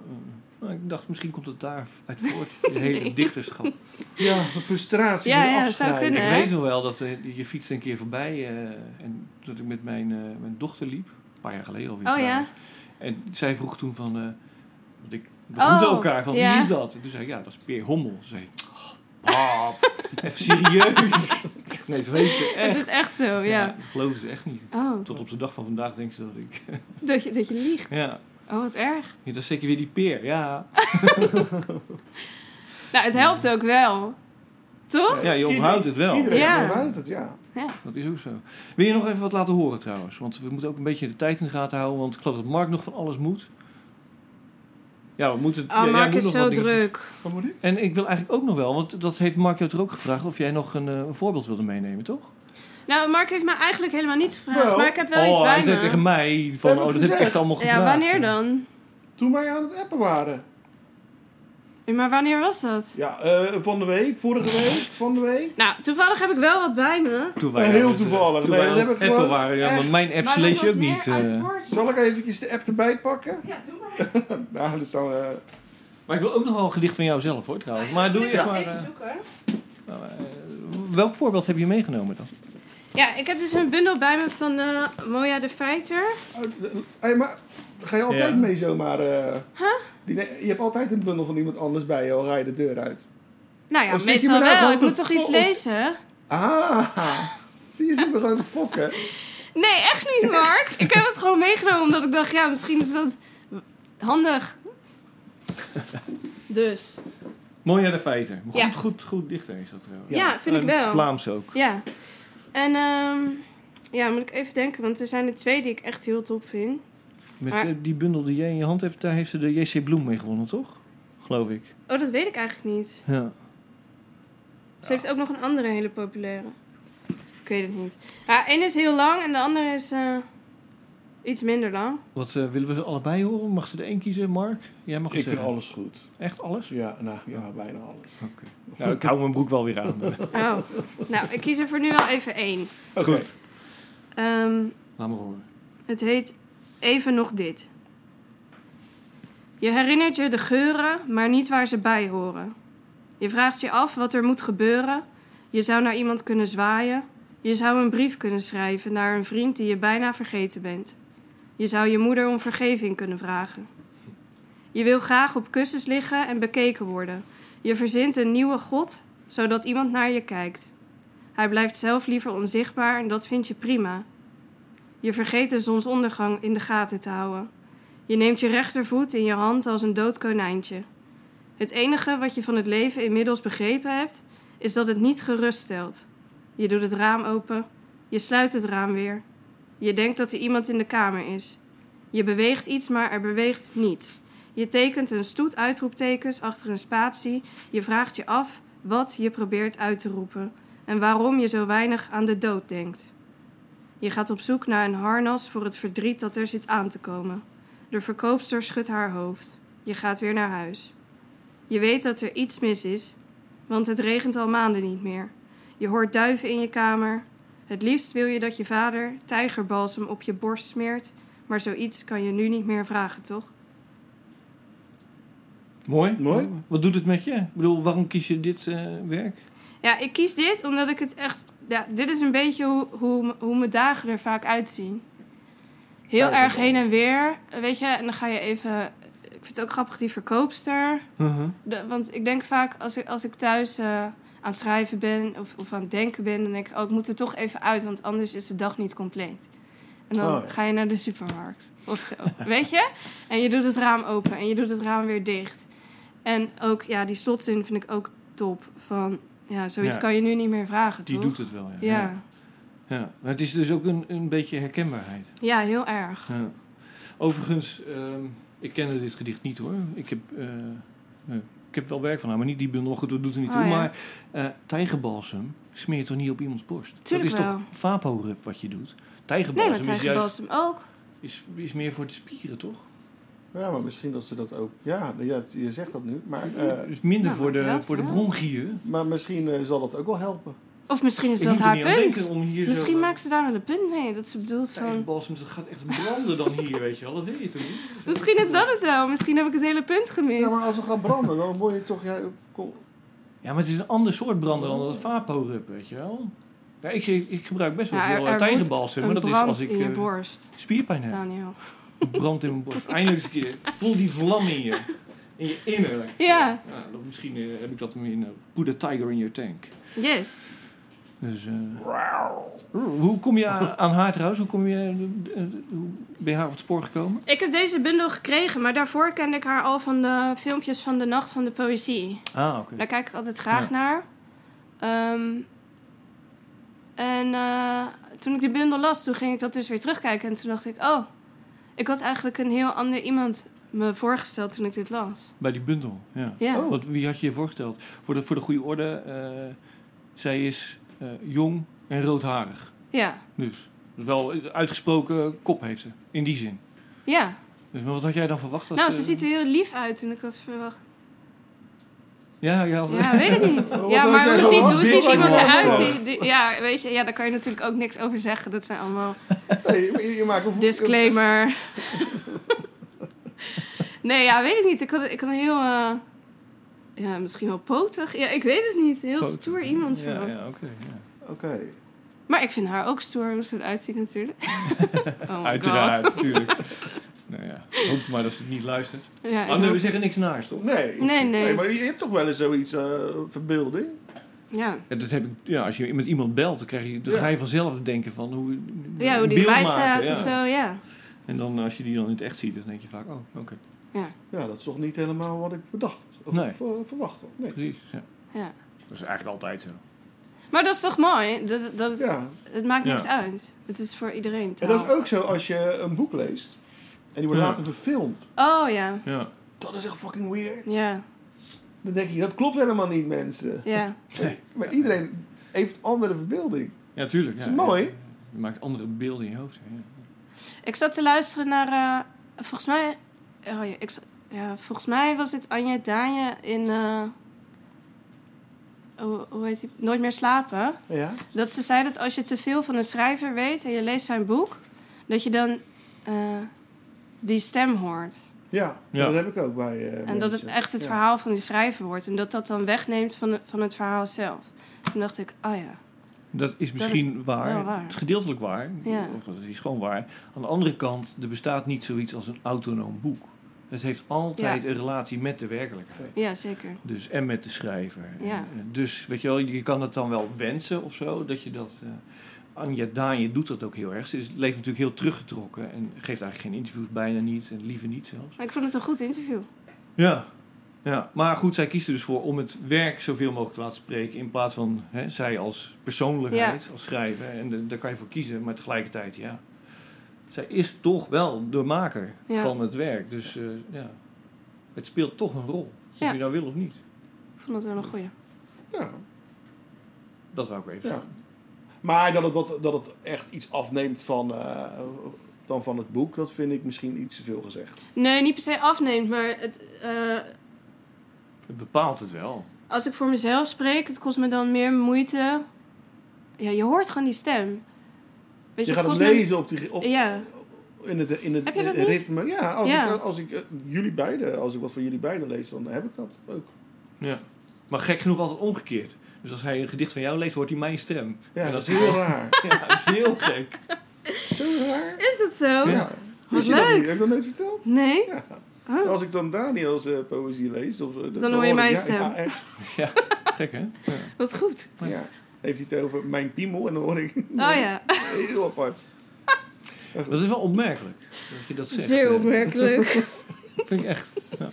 [SPEAKER 6] Eh, ik dacht, misschien komt het daar uit voort, je hele
[SPEAKER 5] Nee.
[SPEAKER 6] dichterschap.
[SPEAKER 7] ja, de frustratie
[SPEAKER 5] Ja,
[SPEAKER 7] van
[SPEAKER 5] ja, dat zou
[SPEAKER 7] afscheid.
[SPEAKER 5] kunnen.
[SPEAKER 6] Ik
[SPEAKER 5] hè?
[SPEAKER 6] weet nog wel dat eh, je fietst een keer voorbij eh, en dat ik met mijn, eh, mijn dochter liep, een paar jaar geleden alweer.
[SPEAKER 5] Oh, ja?
[SPEAKER 6] En zij vroeg toen van, eh, want ik we
[SPEAKER 5] Oh,
[SPEAKER 6] groeten elkaar van
[SPEAKER 5] ja.
[SPEAKER 6] wie is dat? En toen zei ik, ja, dat is Peer Hommel. Ze zei,
[SPEAKER 7] Ah,
[SPEAKER 6] oh, pap, even serieus. nee, ze weet ze
[SPEAKER 5] Het
[SPEAKER 6] echt.
[SPEAKER 5] is echt zo, ja.
[SPEAKER 6] dat geloven ze dus echt niet.
[SPEAKER 5] Oh,
[SPEAKER 6] Tot op de dag van vandaag denkt ze dat ik.
[SPEAKER 5] dat je, dat je liegt.
[SPEAKER 6] ja,
[SPEAKER 5] Oh, wat erg.
[SPEAKER 6] Ja, dat is zeker weer die Peer. Ja,
[SPEAKER 5] Nou, het helpt ook wel. Toch?
[SPEAKER 6] ja je onthoudt het wel.
[SPEAKER 7] Iedereen
[SPEAKER 5] Ja.
[SPEAKER 7] onthoudt het, ja.
[SPEAKER 6] Dat is ook zo. Wil je nog even wat laten horen trouwens? Want we moeten ook een beetje de tijd in de gaten houden. Want ik geloof dat Mark nog van alles moet. Ja, we moeten... ja,
[SPEAKER 5] Oh,
[SPEAKER 6] jij
[SPEAKER 5] Mark
[SPEAKER 6] moet
[SPEAKER 5] is
[SPEAKER 6] nog
[SPEAKER 5] zo
[SPEAKER 6] wat dingen-
[SPEAKER 5] druk.
[SPEAKER 7] Wat moet ik?
[SPEAKER 6] En ik wil eigenlijk ook nog wel, want dat heeft Mark jou toch ook gevraagd... of jij nog een, eh, een voorbeeld wilde meenemen, toch?
[SPEAKER 5] Nou, Mark heeft me eigenlijk helemaal niets gevraagd.
[SPEAKER 7] Wel.
[SPEAKER 5] maar ik heb wel
[SPEAKER 6] oh,
[SPEAKER 5] Nou, iets
[SPEAKER 6] hij
[SPEAKER 5] bij
[SPEAKER 6] zei
[SPEAKER 5] me.
[SPEAKER 6] tegen mij van...
[SPEAKER 7] Heb ik
[SPEAKER 6] oh, dat heb ik
[SPEAKER 7] gezegd.
[SPEAKER 6] echt allemaal gevraagd.
[SPEAKER 5] ja, wanneer dan?
[SPEAKER 7] Toen wij aan het appen waren.
[SPEAKER 5] Ja, Maar wanneer was dat?
[SPEAKER 7] Ja, eh, van de week, vorige week, van de week.
[SPEAKER 5] Nou, toevallig heb ik wel wat bij me.
[SPEAKER 6] Toen wij
[SPEAKER 7] Heel
[SPEAKER 6] aan het-
[SPEAKER 7] toevallig.
[SPEAKER 6] Toen
[SPEAKER 7] Nee,
[SPEAKER 6] wij
[SPEAKER 7] dat
[SPEAKER 6] aan
[SPEAKER 7] heb
[SPEAKER 6] het
[SPEAKER 7] ik
[SPEAKER 6] appen
[SPEAKER 7] gewoon
[SPEAKER 6] waren, ja, want
[SPEAKER 7] echt-
[SPEAKER 6] mijn app
[SPEAKER 5] Maar dat
[SPEAKER 6] lees je
[SPEAKER 5] was
[SPEAKER 6] ook
[SPEAKER 5] meer
[SPEAKER 6] niet.
[SPEAKER 5] uit
[SPEAKER 6] eh.
[SPEAKER 5] voorzorg.
[SPEAKER 7] Zal ik eventjes de app erbij pakken?
[SPEAKER 5] Ja, doe maar.
[SPEAKER 7] Nou, dat zou... eh,
[SPEAKER 6] Maar ik wil ook nog wel een gedicht van jou zelf, hoor, trouwens. Maar doe
[SPEAKER 5] Ik
[SPEAKER 6] eerst
[SPEAKER 5] ga
[SPEAKER 6] maar...
[SPEAKER 5] even
[SPEAKER 6] eh,
[SPEAKER 5] zoeken.
[SPEAKER 6] nou, eh, welk voorbeeld heb je meegenomen dan?
[SPEAKER 5] Ja, ik heb dus een bundel bij me van eh, Moja de Feiter.
[SPEAKER 7] Hé, eh, maar ga je altijd
[SPEAKER 6] Ja.
[SPEAKER 7] mee zomaar? eh die, nee, je hebt altijd een bundel van iemand anders bij je, al ga je de deur uit.
[SPEAKER 5] Nou ja,
[SPEAKER 7] Of zit je
[SPEAKER 5] meestal
[SPEAKER 7] me nou
[SPEAKER 5] wel.
[SPEAKER 7] gewoon
[SPEAKER 5] Ik
[SPEAKER 7] te
[SPEAKER 5] moet toch iets
[SPEAKER 7] fo- of-
[SPEAKER 5] lezen?
[SPEAKER 7] Ah, zie je, zit me gewoon te fokken.
[SPEAKER 5] Nee, echt niet, Mark. Ik heb het gewoon meegenomen omdat ik dacht, ja, misschien is dat handig. Dus,
[SPEAKER 6] Mooi aan de feiten. Goed,
[SPEAKER 5] Ja.
[SPEAKER 6] goed, goed dichter is dat trouwens.
[SPEAKER 5] ja, vind ik
[SPEAKER 6] En
[SPEAKER 5] wel.
[SPEAKER 6] Vlaams ook.
[SPEAKER 5] Ja. En ehm, ja, moet ik even denken, want er zijn er twee die ik echt heel top vind.
[SPEAKER 6] Met
[SPEAKER 5] Maar-
[SPEAKER 6] eh, die bundel die jij in je hand hebt, daar heeft ze de JC Bloem mee gewonnen, toch? Geloof ik.
[SPEAKER 5] Oh, dat weet ik eigenlijk niet.
[SPEAKER 6] Ja.
[SPEAKER 5] Ze heeft ook nog een andere hele populaire. Ik weet het niet. Ja, één is heel lang en de andere is eh, iets minder lang.
[SPEAKER 6] Wat eh, willen we ze allebei horen? Mag ze er één kiezen, Mark? Jij mag het zeggen.
[SPEAKER 7] alles goed.
[SPEAKER 6] Echt alles?
[SPEAKER 7] Ja, nou, ja, bijna alles.
[SPEAKER 6] Oké. Nou, ik hou mijn broek wel weer aan. eh.
[SPEAKER 5] Oh, nou, ik kies er voor nu wel even één.
[SPEAKER 7] Oké.
[SPEAKER 5] Ehm,
[SPEAKER 6] Laat me horen.
[SPEAKER 5] Het heet Even nog dit. Je herinnert je de geuren, maar niet waar ze bij horen. Je vraagt je af wat er moet gebeuren. Je zou naar iemand kunnen zwaaien. Je zou een brief kunnen schrijven naar een vriend die je bijna vergeten bent. Je zou je moeder om vergeving kunnen vragen. Je wil graag op kussens liggen en bekeken worden. Je verzint een nieuwe god, zodat iemand naar je kijkt. Hij blijft zelf liever onzichtbaar en dat vind je prima. Je vergeet de zonsondergang in de gaten te houden. Je neemt je rechtervoet in je hand als een dood konijntje. Het enige wat je van het leven inmiddels begrepen hebt, is dat het niet geruststelt. Je doet het raam open, je sluit het raam weer. Je denkt dat er iemand in de kamer is. Je beweegt iets, maar er beweegt niets. Je tekent een stoet uitroeptekens achter een spatie. Je vraagt je af wat je probeert uit te roepen en waarom je zo weinig aan de dood denkt. Je gaat op zoek naar een harnas voor het verdriet dat er zit aan te komen. De verkoopster schudt haar hoofd. Je gaat weer naar huis. Je weet dat er iets mis is, want het regent al maanden niet meer. Je hoort duiven in je kamer. Het liefst wil je dat je vader tijgerbalsem op je borst smeert, maar zoiets kan je nu niet meer vragen, toch?
[SPEAKER 6] Mooi.
[SPEAKER 7] Mooi.
[SPEAKER 6] Wat doet het met je? Ik bedoel, waarom kies je dit eh, werk?
[SPEAKER 5] Ja, ik kies dit omdat ik het echt. Ja, dit is een beetje hoe, hoe, m- hoe mijn dagen er vaak uitzien. Heel erg heen en weer. Weet je, en dan ga je even. Ik vind het ook grappig, die verkoopster.
[SPEAKER 6] Mhm.
[SPEAKER 5] De- want ik denk vaak als ik, als ik thuis eh, aan het schrijven ben of, of aan het denken ben, dan denk ik, oh, ik moet er toch even uit, want anders is de dag niet compleet. En dan
[SPEAKER 7] Oh, ja.
[SPEAKER 5] ga je naar de supermarkt of zo. Weet je? En je doet het raam open en je doet het raam weer dicht. En ook, ja, die slotzin vind ik ook top. Van, ja, zoiets
[SPEAKER 6] Ja.
[SPEAKER 5] kan je nu niet meer vragen,
[SPEAKER 6] Die
[SPEAKER 5] toch?
[SPEAKER 6] doet het wel, ja.
[SPEAKER 5] Ja.
[SPEAKER 6] Ja. Maar het is dus ook een, een beetje herkenbaarheid.
[SPEAKER 5] ja, heel erg.
[SPEAKER 6] Ja. Overigens, ehm, ik kende dit gedicht niet hoor. Ik heb, eh, eh, ik heb wel werk van haar, maar niet die bundel. Goed, dat doet er niet
[SPEAKER 5] Oh,
[SPEAKER 6] toe.
[SPEAKER 5] ja.
[SPEAKER 6] Maar eh tijgerbalsem smeer je toch niet op iemands borst?
[SPEAKER 5] Tuurlijk
[SPEAKER 6] dat is
[SPEAKER 5] wel.
[SPEAKER 6] toch vaporub wat je doet?
[SPEAKER 5] Nee,
[SPEAKER 6] Tijgerbalsem,
[SPEAKER 5] maar tijgerbalsem ook.
[SPEAKER 6] is, juist, is, is meer voor de spieren, toch?
[SPEAKER 7] Ja, maar misschien dat ze dat ook... Ja, ja, je zegt dat nu. Maar, eh,
[SPEAKER 6] Dus minder
[SPEAKER 5] nou,
[SPEAKER 6] voor, de,
[SPEAKER 5] dat helpt,
[SPEAKER 6] voor de
[SPEAKER 5] ja.
[SPEAKER 6] bronchiën.
[SPEAKER 7] maar misschien eh, zal dat ook wel helpen.
[SPEAKER 5] Of misschien is
[SPEAKER 6] Ik
[SPEAKER 5] dat
[SPEAKER 6] moet er
[SPEAKER 5] haar
[SPEAKER 6] niet aan denken
[SPEAKER 5] punt.
[SPEAKER 6] om hier
[SPEAKER 5] Misschien
[SPEAKER 6] zo...
[SPEAKER 5] maakt ze daar wel een punt mee. Dat ze bedoelt van...
[SPEAKER 6] Tijgerbalsem, dat gaat echt branden dan hier, weet je wel. Dat weet je toch niet?
[SPEAKER 5] Misschien is dat het wel. Misschien heb ik het hele punt
[SPEAKER 7] Ja,
[SPEAKER 5] gemist.
[SPEAKER 7] maar als het gaat branden, dan word je toch... Ja, kom,
[SPEAKER 6] Ja, maar het is een ander soort brander dan dat vaporub, weet je wel. Ja, ik, ik gebruik best wel
[SPEAKER 5] Ja, er-
[SPEAKER 6] veel
[SPEAKER 5] er
[SPEAKER 6] eh,
[SPEAKER 5] moet
[SPEAKER 6] tijgerbalsem, maar
[SPEAKER 5] Een
[SPEAKER 6] dat is
[SPEAKER 5] brand
[SPEAKER 6] als ik
[SPEAKER 5] in je
[SPEAKER 6] eh,
[SPEAKER 5] borst,
[SPEAKER 6] spierpijn heb.
[SPEAKER 5] Daniel.
[SPEAKER 6] Brand in mijn borst. Eindelijk eens een keer. Voel die vlam in je. In je innerlijk.
[SPEAKER 5] Ja.
[SPEAKER 6] Nou, dan misschien eh, heb ik dat in. eh, put a tiger in your tank.
[SPEAKER 5] Yes.
[SPEAKER 6] Dus, eh, hoe kom je aan, aan haar trouwens? Hoe, kom je, eh, eh, hoe ben je haar op het spoor gekomen?
[SPEAKER 5] Ik heb deze bundel gekregen, maar daarvoor kende ik haar al van de filmpjes van de Nacht van de Poëzie.
[SPEAKER 6] Ah, oké.
[SPEAKER 5] Daar kijk ik altijd graag
[SPEAKER 6] Ja.
[SPEAKER 5] naar. Ehm, en eh, toen ik die bundel las, toen ging ik dat dus weer terugkijken. En toen dacht ik, oh, ik had eigenlijk een heel ander iemand me voorgesteld toen ik dit las.
[SPEAKER 6] Bij die bundel, ja. Oh,
[SPEAKER 5] Ja.
[SPEAKER 6] Wat, wie had je je voorgesteld? Voor de, voor de goede orde, eh, zij is eh, jong en roodharig.
[SPEAKER 5] Ja.
[SPEAKER 6] Dus, dus wel een uitgesproken kop heeft ze, in die zin.
[SPEAKER 5] Ja.
[SPEAKER 6] Dus, maar wat had jij dan verwacht? als,
[SPEAKER 5] Nou, ze
[SPEAKER 6] eh,
[SPEAKER 5] ziet er heel lief uit toen ik had verwacht.
[SPEAKER 6] Ja, ja, als-
[SPEAKER 5] Ja, weet ik niet. Ja,
[SPEAKER 7] had
[SPEAKER 5] maar
[SPEAKER 7] jij
[SPEAKER 5] hoe ziet,
[SPEAKER 7] verwacht?
[SPEAKER 5] hoe
[SPEAKER 7] Dit
[SPEAKER 5] ziet
[SPEAKER 7] had je
[SPEAKER 5] iemand
[SPEAKER 7] verwacht.
[SPEAKER 5] eruit? Die- die- Ja, weet je, ja, daar kan je natuurlijk ook niks over zeggen. Dat zijn allemaal
[SPEAKER 7] Nee, je, je maakt een
[SPEAKER 5] disclaimer. Nee, ja, weet ik niet. Ik had, ik had een heel, eh, ja, misschien wel potig. Ja, ik weet het niet. Heel
[SPEAKER 6] Potig.
[SPEAKER 5] stoer iemand
[SPEAKER 6] ja,
[SPEAKER 5] verwacht.
[SPEAKER 6] ja, oké. ja.
[SPEAKER 7] Oké.
[SPEAKER 5] Maar ik vind haar ook stoer hoe ze eruit ziet natuurlijk. Oh my
[SPEAKER 6] Uiteraard, natuurlijk. nou ja, hoop maar dat ze het niet luistert.
[SPEAKER 5] God. Ja, ik
[SPEAKER 6] Ah, nee, we
[SPEAKER 5] hoop-
[SPEAKER 6] zeggen niks naars, toch?
[SPEAKER 7] Nee.
[SPEAKER 5] Nee, nee.
[SPEAKER 7] Maar je hebt toch wel eens zoiets eh, verbeelding?
[SPEAKER 5] ja.
[SPEAKER 6] Ja, dat heb ik, ja, als je met iemand belt, dan, krijg je, dan
[SPEAKER 7] Ja.
[SPEAKER 6] ga je vanzelf denken van hoe...
[SPEAKER 5] ja, hoe
[SPEAKER 6] een
[SPEAKER 5] die
[SPEAKER 6] beeld
[SPEAKER 5] erbij
[SPEAKER 6] maken,
[SPEAKER 5] staat
[SPEAKER 6] ja.
[SPEAKER 5] of zo, ja.
[SPEAKER 6] En dan als je die dan in het echt ziet, dan denk je vaak, oh, oké,
[SPEAKER 7] Ja, dat is toch niet helemaal wat ik bedacht of
[SPEAKER 6] Nee.
[SPEAKER 7] ver- verwacht had. Nee.
[SPEAKER 6] precies. Ja.
[SPEAKER 5] ja.
[SPEAKER 6] Dat is eigenlijk altijd zo.
[SPEAKER 5] Maar dat is toch mooi? Dat, dat,
[SPEAKER 7] Ja.
[SPEAKER 5] Dus Het maakt
[SPEAKER 6] Ja.
[SPEAKER 5] niks uit. Het is voor iedereen
[SPEAKER 7] En dat
[SPEAKER 5] taal.
[SPEAKER 7] is ook zo als je een boek leest en die wordt
[SPEAKER 6] Ja.
[SPEAKER 7] later verfilmd.
[SPEAKER 5] Oh ja,
[SPEAKER 6] Ja.
[SPEAKER 7] Dat is echt fucking weird.
[SPEAKER 5] ja,
[SPEAKER 7] Dan denk je, dat klopt helemaal niet, mensen.
[SPEAKER 5] ja.
[SPEAKER 7] Maar iedereen heeft andere verbeelding.
[SPEAKER 6] Ja, tuurlijk. Ja,
[SPEAKER 7] Is mooi?
[SPEAKER 6] Ja. Je maakt andere beelden in je hoofd. Ja.
[SPEAKER 5] Ik zat te luisteren naar. eh, volgens mij. Oh ja, ik zat- ja, volgens mij was het Anja Daanje in. eh, hoe, hoe heet die? Nooit meer slapen.
[SPEAKER 7] Ja?
[SPEAKER 5] Dat ze zei dat als je te veel van een schrijver weet en je leest zijn boek, dat je dan eh, die stem hoort.
[SPEAKER 7] Ja,
[SPEAKER 6] Ja.
[SPEAKER 7] dat heb ik ook bij eh,
[SPEAKER 5] En dat het
[SPEAKER 7] mensen.
[SPEAKER 5] echt het
[SPEAKER 7] Ja.
[SPEAKER 5] verhaal van die schrijver wordt. En dat dat dan wegneemt van, de- van het verhaal zelf. Toen dacht ik, ah ja,
[SPEAKER 6] Dat is misschien waar.
[SPEAKER 5] wel waar.
[SPEAKER 6] Het is gedeeltelijk waar.
[SPEAKER 5] Ja.
[SPEAKER 6] Of dat is gewoon waar. Aan de andere kant, er bestaat niet zoiets als een autonoom boek. Het heeft altijd een relatie met de werkelijkheid.
[SPEAKER 5] Ja, zeker.
[SPEAKER 6] Dus, en met de schrijver.
[SPEAKER 5] Ja.
[SPEAKER 6] En, eh, dus weet je wel, je kan het dan wel wensen of zo. Dat je dat. eh Anja Daanje doet dat ook heel erg. Ze is- leeft natuurlijk heel teruggetrokken en geeft eigenlijk geen interviews, bijna niet. En liever niet zelfs.
[SPEAKER 5] Maar ik vond het een goed interview.
[SPEAKER 6] Ja. ja, maar goed, zij kiest er dus voor om het werk zoveel mogelijk te laten spreken. In plaats van hè, zij als persoonlijkheid, als schrijver. En de- daar kan je voor kiezen, maar tegelijkertijd, ja. Zij is toch wel de maker
[SPEAKER 5] Ja.
[SPEAKER 6] van het werk. Dus eh, ja, het speelt toch een rol. Of
[SPEAKER 5] Ja.
[SPEAKER 6] je nou wil of niet.
[SPEAKER 5] Ik vond het wel een goeie.
[SPEAKER 7] Ja,
[SPEAKER 6] Dat wou ik even
[SPEAKER 7] ja.
[SPEAKER 6] zeggen.
[SPEAKER 7] Maar dat het, wat, dat het echt iets afneemt van, eh, dan van het boek, dat vind ik misschien iets te veel gezegd.
[SPEAKER 5] Nee, niet per se afneemt, maar het, eh,
[SPEAKER 6] Het bepaalt het wel.
[SPEAKER 5] als ik voor mezelf spreek, het kost me dan meer moeite. Ja, je hoort gewoon die stem. Weet
[SPEAKER 7] Je gaat het
[SPEAKER 5] kost me-
[SPEAKER 7] lezen op die, op,
[SPEAKER 5] Ja,
[SPEAKER 7] in het, in het
[SPEAKER 5] Heb je dat
[SPEAKER 7] eh,
[SPEAKER 5] niet?
[SPEAKER 7] ritme. Ja, als,
[SPEAKER 5] Ja.
[SPEAKER 7] Ik, als, ik, eh, jullie beiden, als ik wat van jullie beiden lees, dan heb ik dat ook.
[SPEAKER 6] Ja. Maar gek genoeg altijd omgekeerd. Dus als hij een gedicht van jou leest, hoort hij mijn stem.
[SPEAKER 7] Ja,
[SPEAKER 6] En
[SPEAKER 7] dat is heel raar.
[SPEAKER 6] Ja, dat is heel gek.
[SPEAKER 7] Zo raar.
[SPEAKER 5] is dat zo?
[SPEAKER 7] Ja.
[SPEAKER 5] Wat
[SPEAKER 7] Wist je dat
[SPEAKER 5] leuk.
[SPEAKER 7] niet? Heb ik dat nooit verteld?
[SPEAKER 5] Nee?
[SPEAKER 7] Ja.
[SPEAKER 5] Oh.
[SPEAKER 7] Als ik dan Daniels eh, poëzie lees... Of, eh, dat-
[SPEAKER 5] hoor je
[SPEAKER 7] ik-
[SPEAKER 5] mijn
[SPEAKER 7] ja,
[SPEAKER 5] stem.
[SPEAKER 7] Ja, echt.
[SPEAKER 6] Ja, gek hè?
[SPEAKER 5] Wat goed.
[SPEAKER 7] Ja. Heeft hij het over mijn piemel en dan hoor ik...
[SPEAKER 5] Oh ja,
[SPEAKER 7] Heel apart.
[SPEAKER 6] Dat is wel opmerkelijk dat je dat zegt.
[SPEAKER 5] zeer
[SPEAKER 6] eh.
[SPEAKER 5] opmerkelijk.
[SPEAKER 6] Vind ik echt. ja.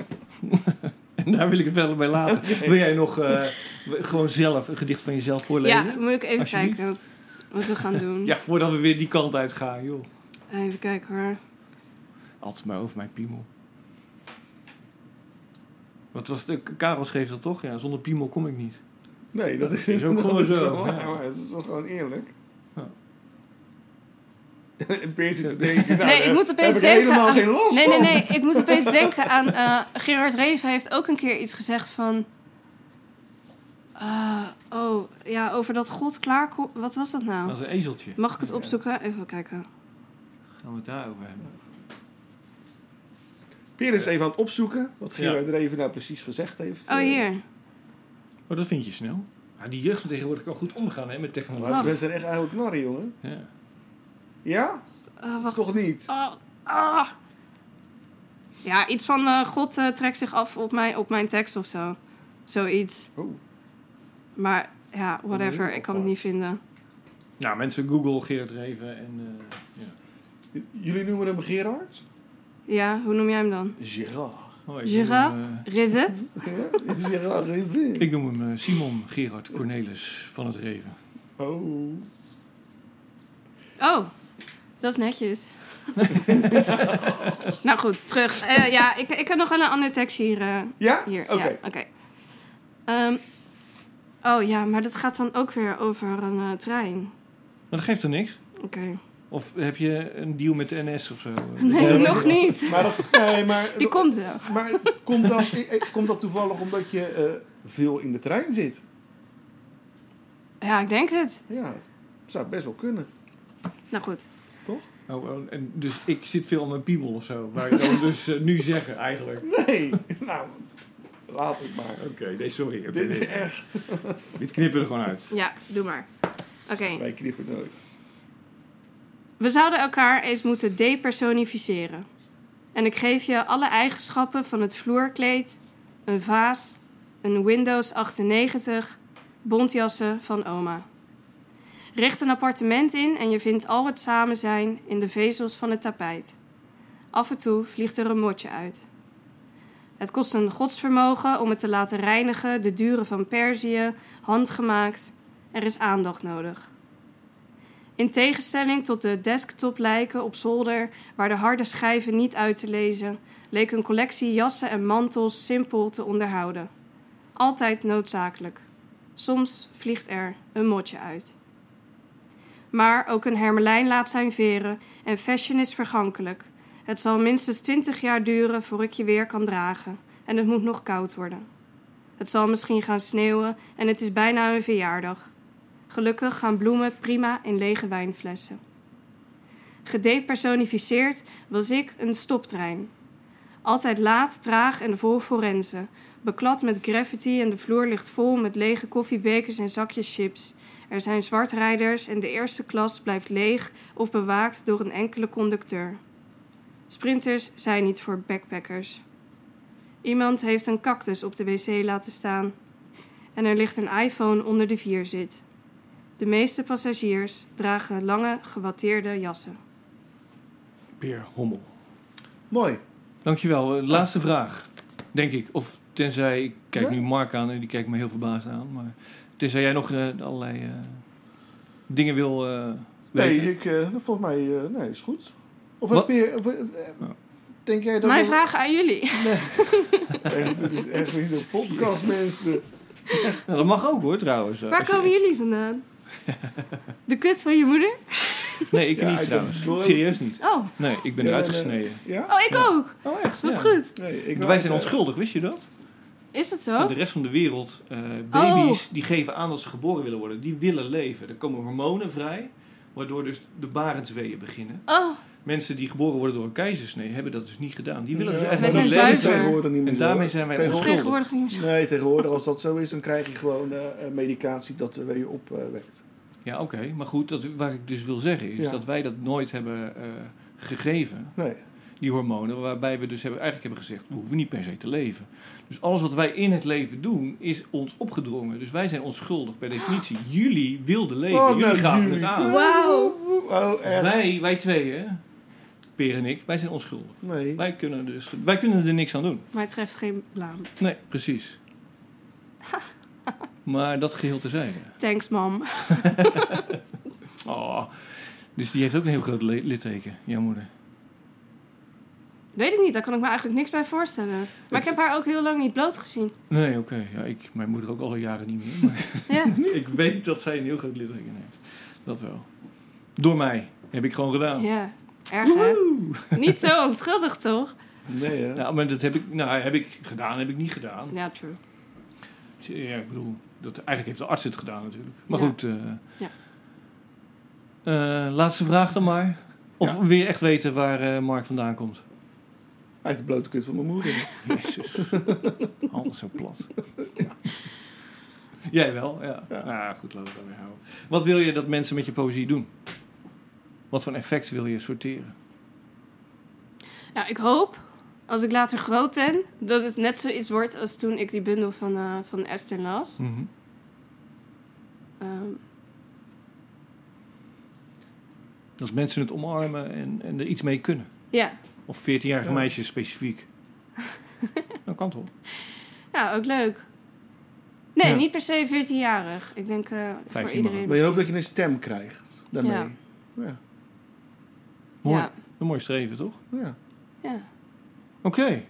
[SPEAKER 6] en daar wil ik het wel bij laten. Wil jij nog eh, gewoon zelf een gedicht van jezelf
[SPEAKER 5] Ja,
[SPEAKER 6] voorlezen?
[SPEAKER 5] moet ik even
[SPEAKER 6] Alsjeblieft.
[SPEAKER 5] kijken wat we gaan doen.
[SPEAKER 6] Ja, voordat we weer die kant uit gaan, joh.
[SPEAKER 5] Even kijken hoor.
[SPEAKER 6] Altijd maar over mijn piemel. Wat was de Karel schreef dat toch? Ja, zonder piemel kom ik niet.
[SPEAKER 7] Nee, dat is,
[SPEAKER 6] is ook gewoon
[SPEAKER 7] dat
[SPEAKER 6] zo,
[SPEAKER 7] wel
[SPEAKER 6] ja.
[SPEAKER 7] waar, maar het is toch gewoon eerlijk?
[SPEAKER 6] Ja.
[SPEAKER 7] En Peer zit te denken... Nou,
[SPEAKER 5] Nee,
[SPEAKER 7] daar
[SPEAKER 5] ik moet
[SPEAKER 7] heb
[SPEAKER 5] opeens
[SPEAKER 7] ik
[SPEAKER 5] denken
[SPEAKER 7] helemaal
[SPEAKER 5] aan-
[SPEAKER 7] geen last
[SPEAKER 5] Nee,
[SPEAKER 7] van.
[SPEAKER 5] nee, nee. Ik moet opeens denken aan... eh, Gerard Reven heeft ook een keer iets gezegd van... ah, oh, ja, over dat God klaarkomt. Wat was dat nou?
[SPEAKER 6] Dat is een ezeltje.
[SPEAKER 5] Mag ik het opzoeken? Even kijken.
[SPEAKER 6] Gaan we het daarover hebben?
[SPEAKER 7] Peer is even aan het opzoeken wat Gerard Reven nou precies gezegd heeft.
[SPEAKER 5] Oh,
[SPEAKER 7] Eh,
[SPEAKER 5] hier.
[SPEAKER 6] Maar Oh, dat vind je snel. Ja, die jeugd van tegenwoordig kan goed omgaan hè, met technologie.
[SPEAKER 7] Maar
[SPEAKER 5] Wacht.
[SPEAKER 7] we zijn echt eigenlijk knorren, jongen.
[SPEAKER 6] Ja.
[SPEAKER 7] Ja?
[SPEAKER 5] Eh, wacht.
[SPEAKER 7] Toch niet?
[SPEAKER 5] Oh, ah. Ja, iets van eh, God eh, trekt zich af op mijn, op mijn tekst of zo. Zoiets.
[SPEAKER 7] Oh.
[SPEAKER 5] Maar ja, whatever. Ik kan het niet vinden.
[SPEAKER 6] Nou, mensen, Google Geert Reven en... eh, ja.
[SPEAKER 7] J- Jullie noemen hem Gerard?
[SPEAKER 5] Ja, hoe noem jij hem dan?
[SPEAKER 7] Gerard.
[SPEAKER 6] Oh, ik
[SPEAKER 5] Gerard?
[SPEAKER 6] noem hem, eh,
[SPEAKER 5] Reven?
[SPEAKER 7] Ja, Gerard Reven.
[SPEAKER 6] ik noem hem eh, Simon Gerard Cornelis van het Reven.
[SPEAKER 7] Oh.
[SPEAKER 5] Oh, dat is netjes. nou goed, terug. Eh, ja, ik, ik heb nog wel een ander tekst hier. eh,
[SPEAKER 7] Ja?
[SPEAKER 5] hier.
[SPEAKER 7] Oké.
[SPEAKER 5] Ja, oké. Ehm, oh ja, maar dat gaat dan ook weer over een eh, trein.
[SPEAKER 6] Maar dat geeft er niks.
[SPEAKER 5] Oké.
[SPEAKER 6] Of heb je een deal met de NS of zo?
[SPEAKER 5] Nee,
[SPEAKER 7] maar-
[SPEAKER 5] nog niet.
[SPEAKER 7] Maar, dat, nee, maar,
[SPEAKER 5] Die komt wel.
[SPEAKER 7] maar komt, dat, eh, eh, komt dat toevallig omdat je eh, veel in de trein zit?
[SPEAKER 5] Ja, ik denk het.
[SPEAKER 7] Ja, zou best wel kunnen.
[SPEAKER 5] Nou goed.
[SPEAKER 6] Oh, oh, en dus ik zit veel aan mijn piemel of zo. Waar ik dan dus eh, nu zeggen eigenlijk. Oké,
[SPEAKER 7] Nee, nou, laat het maar.
[SPEAKER 6] nee, sorry. Oké,
[SPEAKER 7] Dit is
[SPEAKER 6] nee.
[SPEAKER 7] echt...
[SPEAKER 6] Dit knippen we er gewoon uit.
[SPEAKER 5] Ja, doe maar. Oké.
[SPEAKER 7] Wij knippen nooit.
[SPEAKER 5] We zouden elkaar eens moeten depersonificeren. En ik geef je alle eigenschappen van het vloerkleed, een vaas, een Windows 98, bontjassen van oma. Richt een appartement in en je vindt al het samen zijn in de vezels van het tapijt. Af en toe vliegt er een motje uit. Het kost een godsvermogen om het te laten reinigen, de duren van Perzië, handgemaakt. Er is aandacht nodig. In tegenstelling tot de desktoplijken op zolder, waar de harde schijven niet uit te lezen, leek een collectie jassen en mantels simpel te onderhouden. Altijd noodzakelijk. Soms vliegt er een motje uit. Maar ook een hermelijn laat zijn veren en fashion is vergankelijk. Het zal minstens twintig jaar duren voor ik je weer kan dragen en het moet nog koud worden. Het zal misschien gaan sneeuwen en het is bijna een verjaardag. Gelukkig gaan bloemen prima in lege wijnflessen. Gedepersonificeerd was ik een stoptrein. Altijd laat, traag en vol forensen. beklad met graffiti en de vloer ligt vol met lege koffiebekers en zakjes chips. Er zijn zwartrijders en de eerste klas blijft leeg of bewaakt door een enkele conducteur. Sprinters zijn niet voor backpackers. Iemand heeft een cactus op de wc laten staan. En er ligt een iPhone onder de vierzit. De meeste passagiers dragen lange, gewatteerde jassen.
[SPEAKER 8] Peer Hommel.
[SPEAKER 7] Mooi.
[SPEAKER 8] Dankjewel. Eh, Laatste vraag, denk ik. Of tenzij, ik kijk nu Mark aan en die kijkt me heel verbaasd aan. Maar tenzij jij nog eh, allerlei eh, dingen wil eh
[SPEAKER 7] Nee,
[SPEAKER 8] weten.
[SPEAKER 7] ik, eh, volgens mij eh, nee, is goed. Of
[SPEAKER 8] Wat?
[SPEAKER 7] heb je... of, eh, Denk jij dat...
[SPEAKER 5] Mijn
[SPEAKER 7] we-
[SPEAKER 5] vraag aan jullie.
[SPEAKER 7] Echt, dit is echt niet zo'n podcast, mensen.
[SPEAKER 8] Nou, dat mag ook hoor, trouwens. eh,
[SPEAKER 5] Waar
[SPEAKER 8] als je-
[SPEAKER 5] komen jullie vandaan? De kut van je moeder?
[SPEAKER 8] Nee, ik
[SPEAKER 7] Ja, ik
[SPEAKER 8] niet
[SPEAKER 7] heb-
[SPEAKER 8] trouwens.
[SPEAKER 7] ik wil-
[SPEAKER 8] Serieus niet.
[SPEAKER 5] Oh,
[SPEAKER 8] Nee, ik ben
[SPEAKER 7] Ja,
[SPEAKER 8] eruit
[SPEAKER 7] nee, nee.
[SPEAKER 8] gesneden.
[SPEAKER 7] Ja?
[SPEAKER 5] oh ik ook.
[SPEAKER 8] Oh echt?
[SPEAKER 5] Wat
[SPEAKER 8] Ja.
[SPEAKER 5] goed.
[SPEAKER 7] Nee, ik
[SPEAKER 8] Wij
[SPEAKER 7] wou-
[SPEAKER 8] zijn onschuldig, wist je dat?
[SPEAKER 5] Is dat
[SPEAKER 8] En
[SPEAKER 5] zo?
[SPEAKER 8] De rest van de wereld, eh,
[SPEAKER 7] Oh.
[SPEAKER 8] baby's, die geven aan dat ze geboren willen worden. Die willen leven. Er komen hormonen vrij, waardoor dus de barensweeën beginnen.
[SPEAKER 5] Oh,
[SPEAKER 8] Mensen die geboren worden door een keizersnee hebben dat dus niet gedaan. Die willen
[SPEAKER 7] Ja,
[SPEAKER 8] dus
[SPEAKER 7] maar
[SPEAKER 5] zijn
[SPEAKER 8] eigenlijk
[SPEAKER 7] dat
[SPEAKER 8] gewoon
[SPEAKER 7] leeft
[SPEAKER 5] zuiver.
[SPEAKER 7] tegenwoordig niet meer
[SPEAKER 8] En
[SPEAKER 7] zo.
[SPEAKER 8] daarmee zijn wij
[SPEAKER 5] dat is
[SPEAKER 7] Tegenwoordig-
[SPEAKER 8] onschuldig.
[SPEAKER 5] tegenwoordig niet meer zo.
[SPEAKER 7] Nee, tegenwoordig als dat zo is, dan krijg je gewoon eh, eh, medicatie dat er weer je eh, opwekt.
[SPEAKER 8] Ja, oké. Maar goed, dat, waar ik dus wil zeggen is
[SPEAKER 7] Ja.
[SPEAKER 8] dat wij dat nooit hebben eh, gegeven.
[SPEAKER 7] nee.
[SPEAKER 8] die hormonen, waarbij we dus hebben, eigenlijk hebben gezegd, we hoeven niet per se te leven. Dus alles wat wij in het leven doen, is ons opgedrongen. Dus wij zijn onschuldig per definitie. Jullie wilden leven,
[SPEAKER 7] Oh,
[SPEAKER 8] jullie
[SPEAKER 7] nou,
[SPEAKER 8] gaven
[SPEAKER 7] jullie.
[SPEAKER 8] het aan.
[SPEAKER 5] Wauw.
[SPEAKER 7] Oh, echt?
[SPEAKER 8] Wij, wij tweeën, Peer en ik, wij zijn onschuldig.
[SPEAKER 7] Nee.
[SPEAKER 8] Wij kunnen, dus, wij kunnen er niks aan doen.
[SPEAKER 5] Maar het treft geen blaam.
[SPEAKER 8] Nee, precies. Maar dat geheel tezijde.
[SPEAKER 5] Thanks, mam.
[SPEAKER 8] Oh, dus die heeft ook een heel groot le- litteken, jouw moeder.
[SPEAKER 5] Weet ik niet, daar kan ik me eigenlijk niks bij voorstellen. Maar ik heb haar ook heel lang niet bloot gezien.
[SPEAKER 8] Nee, oké. Ja, ik, mijn moeder ook alle jaren niet meer. maar-
[SPEAKER 5] Ja.
[SPEAKER 8] Ik weet dat zij een heel groot litteken heeft. Dat wel. Door mij. Heb ik gewoon gedaan.
[SPEAKER 5] Ja, erg hè? Niet zo onschuldig toch?
[SPEAKER 7] Nee, hè?
[SPEAKER 8] Nou, maar dat heb ik, nou, heb ik gedaan, heb ik niet gedaan.
[SPEAKER 5] Ja, true.
[SPEAKER 8] Ja, ik bedoel, dat, eigenlijk heeft de arts het gedaan natuurlijk. Maar
[SPEAKER 5] Ja.
[SPEAKER 8] goed. eh,
[SPEAKER 5] Ja.
[SPEAKER 8] eh, laatste vraag dan maar. Of
[SPEAKER 7] Ja.
[SPEAKER 8] wil je echt weten waar eh, Mark vandaan komt?
[SPEAKER 7] Uit de blote kut van mijn moeder.
[SPEAKER 8] Jezus. Alles zo plat. Jij wel, ja.
[SPEAKER 7] Ja.
[SPEAKER 8] Nou, goed, laten we daarmee houden. Wat wil je dat mensen met je poëzie doen? Wat voor effect wil je sorteren?
[SPEAKER 5] Nou, ik hoop, als ik later groot ben, dat het net zoiets wordt als toen ik die bundel van, eh, van Esther las.
[SPEAKER 8] Mhm.
[SPEAKER 5] Ehm,
[SPEAKER 8] Dat mensen het omarmen en, en er iets mee kunnen.
[SPEAKER 5] ja.
[SPEAKER 8] Of 14-jarige
[SPEAKER 7] Ja.
[SPEAKER 8] meisjes specifiek. dat kan toch?
[SPEAKER 5] ja, ook leuk. Nee,
[SPEAKER 8] Ja.
[SPEAKER 5] niet per se 14-jarig. Ik denk eh, voor
[SPEAKER 8] 15
[SPEAKER 5] iedereen.
[SPEAKER 7] Maar je hoopt dat je een stem krijgt daarmee.
[SPEAKER 5] Ja.
[SPEAKER 7] Ja. Ja.
[SPEAKER 8] Mooi.
[SPEAKER 5] Ja,
[SPEAKER 8] Een mooi streven, toch?
[SPEAKER 5] ja,
[SPEAKER 8] Oké.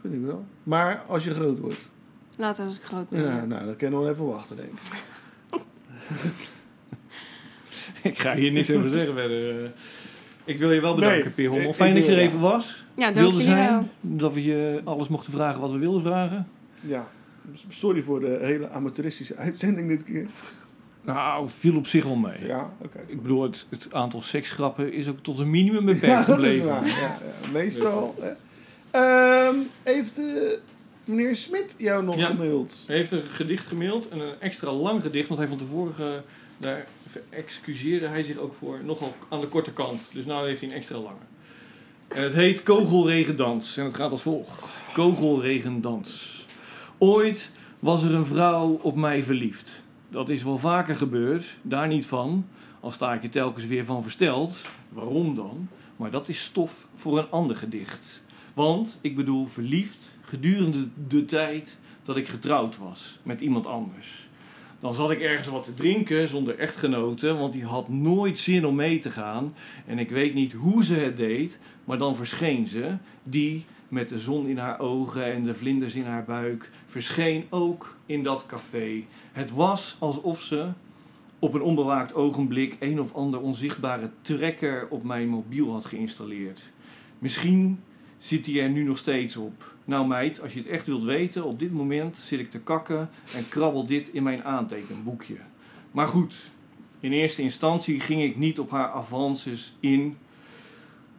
[SPEAKER 7] vind ik wel. Maar als je groot wordt.
[SPEAKER 5] later als ik groot ben.
[SPEAKER 7] Ja,
[SPEAKER 5] ja.
[SPEAKER 7] Nou, dan kan je nog wel even wachten, denk ik.
[SPEAKER 8] Ik ga hier niks over zeggen verder. eh. Ik wil je wel bedanken,
[SPEAKER 7] Nee,
[SPEAKER 8] Pier Hommel.
[SPEAKER 7] ik-
[SPEAKER 8] Fijn
[SPEAKER 7] ik
[SPEAKER 8] dat je er
[SPEAKER 7] wil-
[SPEAKER 8] even was.
[SPEAKER 5] Ja, dank
[SPEAKER 8] wilde
[SPEAKER 5] jullie wel.
[SPEAKER 8] zijn. Dat we je alles mochten vragen wat we wilden vragen.
[SPEAKER 7] Ja. Sorry voor de hele amateuristische uitzending dit keer.
[SPEAKER 8] Nou, viel op zich wel mee.
[SPEAKER 7] Ja, oké.
[SPEAKER 8] Ik bedoel, het, het aantal seksgrappen is ook tot een minimum beperkt
[SPEAKER 7] Ja, Nou, dat is
[SPEAKER 8] gebleven.
[SPEAKER 7] waar. Ja, ja. Meestal. hè. Ehm, heeft eh, meneer Smit jou nog
[SPEAKER 8] Ja.
[SPEAKER 7] gemaild?
[SPEAKER 8] Hij heeft een gedicht gemaild en een extra lang gedicht, want hij vond de vorige, daar excuseerde hij zich ook voor, nogal aan de korte kant. Dus nu heeft hij een extra lange. En het heet Kogelregendans en het gaat als volgt. Kogelregendans. Ooit was er een vrouw op mij verliefd. Dat is wel vaker gebeurd, daar niet van. Al sta ik er telkens weer van versteld. Waarom dan? Maar dat is stof voor een ander gedicht. Want, ik bedoel, verliefd gedurende de tijd dat ik getrouwd was met iemand anders. Dan zat ik ergens wat te drinken zonder echtgenoten, want die had nooit zin om mee te gaan. En ik weet niet hoe ze het deed, maar dan verscheen ze, die met de zon in haar ogen en de vlinders in haar buik, verscheen ook in dat café. Het was alsof ze op een onbewaakt ogenblik een of ander onzichtbare trekker op mijn mobiel had geïnstalleerd. Misschien zit hij er nu nog steeds op. Nou meid, als je het echt wilt weten, op dit moment zit ik te kakken en krabbel dit in mijn aantekenboekje. Maar goed, in eerste instantie ging ik niet op haar avances in.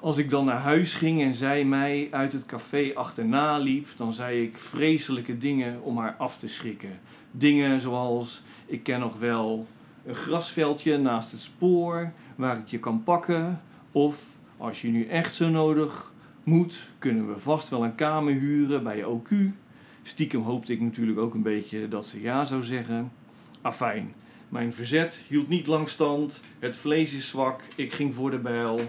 [SPEAKER 8] Als ik dan naar huis ging en zij mij uit het café achterna liep, dan zei ik vreselijke dingen om haar af te schrikken. Dingen zoals: ik ken nog wel een grasveldje naast het spoor waar ik je kan pakken. Of als je nu echt zo nodig moet, kunnen we vast wel een kamer huren bij OQ. Stiekem hoopte ik natuurlijk ook een beetje dat ze ja zou zeggen. Afijn, mijn verzet hield niet lang stand. Het vlees is zwak, ik ging voor de bijl.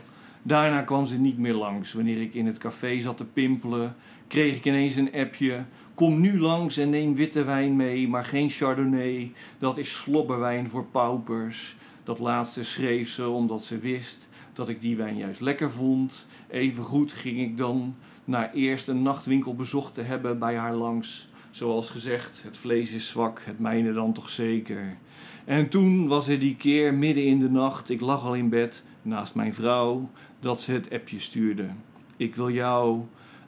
[SPEAKER 8] Daarna kwam ze niet meer langs. Wanneer ik in het café zat te pimpelen, kreeg ik ineens een appje. Kom nu langs en neem witte wijn mee, maar geen chardonnay. Dat is slobberwijn voor paupers. Dat laatste schreef ze omdat ze wist dat ik die wijn juist lekker vond. Evengoed ging ik dan na eerst een nachtwinkel bezocht te hebben bij haar langs. Zoals gezegd, het vlees is zwak, het mijne dan toch zeker. En toen was er die keer midden in de nacht, ik lag al in bed naast mijn vrouw, dat ze het appje stuurde. Ik wil jou,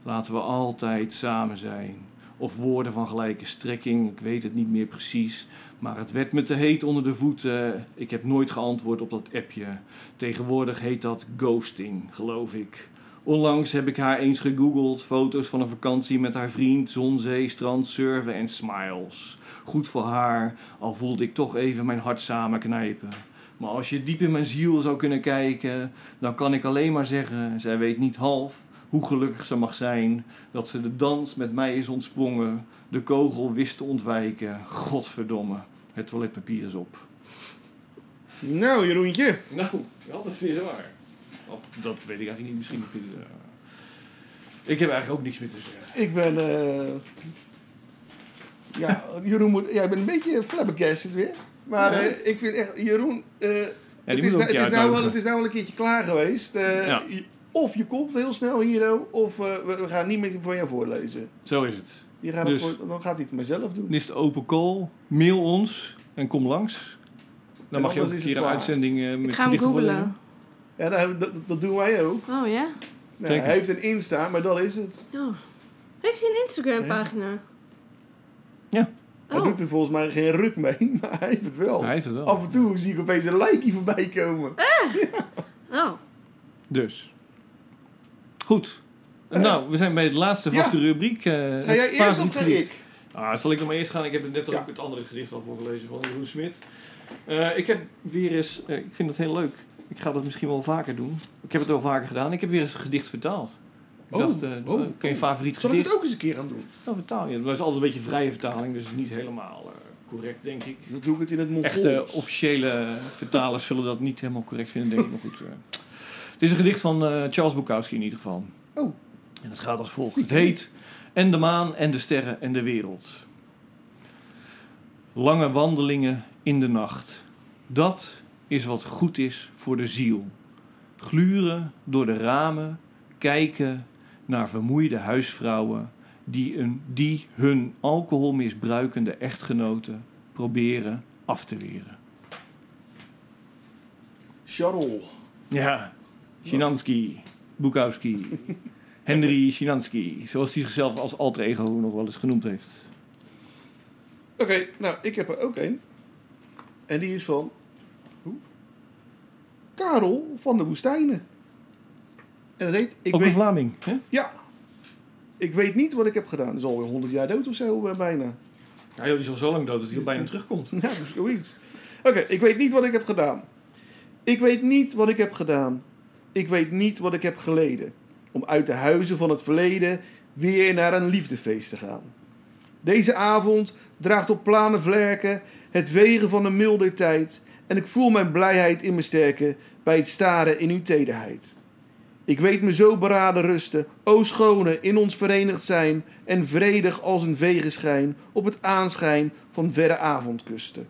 [SPEAKER 8] laten we altijd samen zijn. Of woorden van gelijke strekking, ik weet het niet meer precies. Maar het werd me te heet onder de voeten. Ik heb nooit geantwoord op dat appje. Tegenwoordig heet dat ghosting, geloof ik. Onlangs heb ik haar eens gegoogeld. Foto's van een vakantie met haar vriend, zon, zee, strand, surfen en smiles. Goed voor haar, al voelde ik toch even mijn hart samenknijpen. Maar als je diep in mijn ziel zou kunnen kijken, dan kan ik alleen maar zeggen: zij weet niet half hoe gelukkig ze mag zijn dat ze de dans met mij is ontsprongen, de kogel wist te ontwijken. Godverdomme, het toiletpapier is op.
[SPEAKER 7] Nou, Jeroentje.
[SPEAKER 8] Nou, dat is weer waar. Of dat weet ik eigenlijk niet, misschien. heb je het, eh. Ik heb eigenlijk ook niks meer te zeggen.
[SPEAKER 7] Ik ben... eh, Ja, Jeroen moet... Jij bent een beetje flabbergasted weer. Maar
[SPEAKER 8] Ja.
[SPEAKER 7] eh, ik vind echt... Jeroen... eh,
[SPEAKER 8] die
[SPEAKER 7] het,
[SPEAKER 8] moet
[SPEAKER 7] is nou,
[SPEAKER 8] ook een
[SPEAKER 7] het,
[SPEAKER 8] keer
[SPEAKER 7] is nou wel,
[SPEAKER 8] uitnodigen.
[SPEAKER 7] het is nou wel een keertje klaar geweest. Eh,
[SPEAKER 8] Ja.
[SPEAKER 7] je- Of je komt heel snel hier, of eh, we, we gaan niet meer van jou voorlezen.
[SPEAKER 8] Zo is het.
[SPEAKER 7] Je gaat het
[SPEAKER 8] Dus-
[SPEAKER 7] voor- dan gaat hij het maar zelf doen.
[SPEAKER 8] Dan is het open call. Mail ons en kom langs. Dan
[SPEAKER 7] En
[SPEAKER 8] mag je ook
[SPEAKER 7] anders
[SPEAKER 8] een
[SPEAKER 7] is het
[SPEAKER 8] keer een
[SPEAKER 7] klaar.
[SPEAKER 8] uitzending eh, met
[SPEAKER 5] Ik ga hem
[SPEAKER 8] gedichten
[SPEAKER 5] googlen.
[SPEAKER 8] voorlezen.
[SPEAKER 7] Ja, nou, dat, dat doen wij ook.
[SPEAKER 5] Oh ja?
[SPEAKER 7] Nou,
[SPEAKER 8] Zeker.
[SPEAKER 7] hij heeft een Insta, maar dat is het.
[SPEAKER 5] Oh. Heeft hij een Instagram pagina?
[SPEAKER 8] Ja.
[SPEAKER 7] Hij
[SPEAKER 5] Oh.
[SPEAKER 7] doet er volgens mij geen ruk mee, maar hij heeft het wel.
[SPEAKER 8] Hij heeft het wel.
[SPEAKER 7] Af en toe zie ik opeens een likeje voorbij komen.
[SPEAKER 5] oh.
[SPEAKER 8] Dus. Goed. Nou, we zijn bij de laatste
[SPEAKER 7] Eh. Ja.
[SPEAKER 8] vaste rubriek. eh,
[SPEAKER 7] Ga
[SPEAKER 8] het
[SPEAKER 7] jij eerst
[SPEAKER 8] favoriet
[SPEAKER 7] of ga
[SPEAKER 8] gedicht.
[SPEAKER 7] ik?
[SPEAKER 8] Ah, zal ik nog maar eerst gaan? Ik heb net ook
[SPEAKER 7] Ja.
[SPEAKER 8] het andere gedicht al voorgelezen van Jeroen Smit. Eh, ik heb weer eens, eh, ik vind het heel leuk. Ik ga dat misschien wel vaker doen. Ik heb het al vaker gedaan. Ik heb weer eens een gedicht vertaald. Ik
[SPEAKER 7] Oh,
[SPEAKER 8] dacht, eh,
[SPEAKER 7] oh,
[SPEAKER 8] eh, kan je
[SPEAKER 7] oh.
[SPEAKER 8] favoriet
[SPEAKER 7] Zal ik
[SPEAKER 8] gedicht?
[SPEAKER 7] het ook eens een keer gaan doen?
[SPEAKER 8] Dan vertaal je. Het was altijd een beetje vrije vertaling, dus het is niet helemaal eh, correct, denk ik.
[SPEAKER 7] Dan doe ik het in het Mongols.
[SPEAKER 8] Echte officiële vertalers zullen dat niet helemaal correct vinden, denk ik. Maar goed. eh. Het is een gedicht van eh, Charles Bukowski in ieder geval.
[SPEAKER 7] Oh.
[SPEAKER 8] En het gaat als volgt. Het heet En de maan en de sterren en de wereld. Lange wandelingen in de nacht. Dat is wat goed is voor de ziel. Gluren door de ramen, kijken naar vermoeide huisvrouwen die, een, die hun alcoholmisbruikende echtgenoten proberen af te weren.
[SPEAKER 7] Charol.
[SPEAKER 8] Ja, Sinansky, Bukowski, Henry Sinansky, zoals hij zichzelf als alter ego nog wel eens genoemd heeft.
[SPEAKER 7] Oké, nou, ik heb er ook een. En die is van... Hoe? Karel van de Woestijnen. En dat heet... Ik
[SPEAKER 8] Ook
[SPEAKER 7] weet,
[SPEAKER 8] een Vlaming, hè?
[SPEAKER 7] ja. Ik weet niet wat ik heb gedaan. Dat is alweer 100 jaar dood of zo, eh, bijna.
[SPEAKER 8] Ja, joh, die is al zo lang dood dat hij al bijna terugkomt.
[SPEAKER 7] Ja, dus zoiets. Oké, ik weet niet wat ik heb gedaan. Ik weet niet wat ik heb gedaan. Ik weet niet wat ik heb geleden. Om uit de huizen van het verleden weer naar een liefdefeest te gaan. Deze avond draagt op plane vlerken het wegen van een milder tijd. En ik voel mijn blijheid in mijn sterken bij het staren in uw tederheid. Ik weet me zo beraden rusten, o schone, in ons verenigd zijn en vredig als een vegeschijn op het aanschijn van verre avondkusten.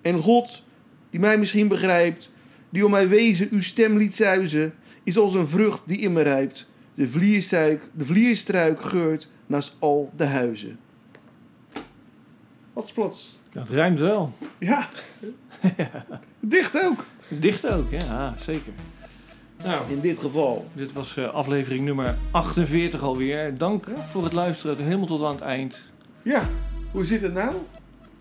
[SPEAKER 7] En God, die mij misschien begrijpt, die om mijn wezen uw stem liet zuizen, is als een vrucht die in me rijpt. De vlierstruik, de vlierstruik geurt naast al de huizen. Wat plots.
[SPEAKER 8] Dat rijmt wel.
[SPEAKER 7] Ja. Dicht ook.
[SPEAKER 8] Dicht ook, ja, zeker. Nou,
[SPEAKER 7] In dit geval.
[SPEAKER 8] dit was eh, aflevering nummer 48 alweer. Dank voor het luisteren, helemaal tot aan het eind.
[SPEAKER 7] Ja. Hoe zit het nou?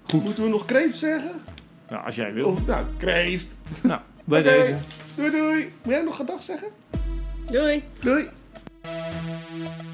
[SPEAKER 8] Goed.
[SPEAKER 7] Moeten we nog kreeft zeggen?
[SPEAKER 8] Nou, als jij wil.
[SPEAKER 7] Of, nou, kreeft.
[SPEAKER 8] Nou, bij
[SPEAKER 7] Oké.
[SPEAKER 8] deze.
[SPEAKER 7] Doei doei. Moet jij nog gedag zeggen?
[SPEAKER 5] Doei.
[SPEAKER 7] Doei.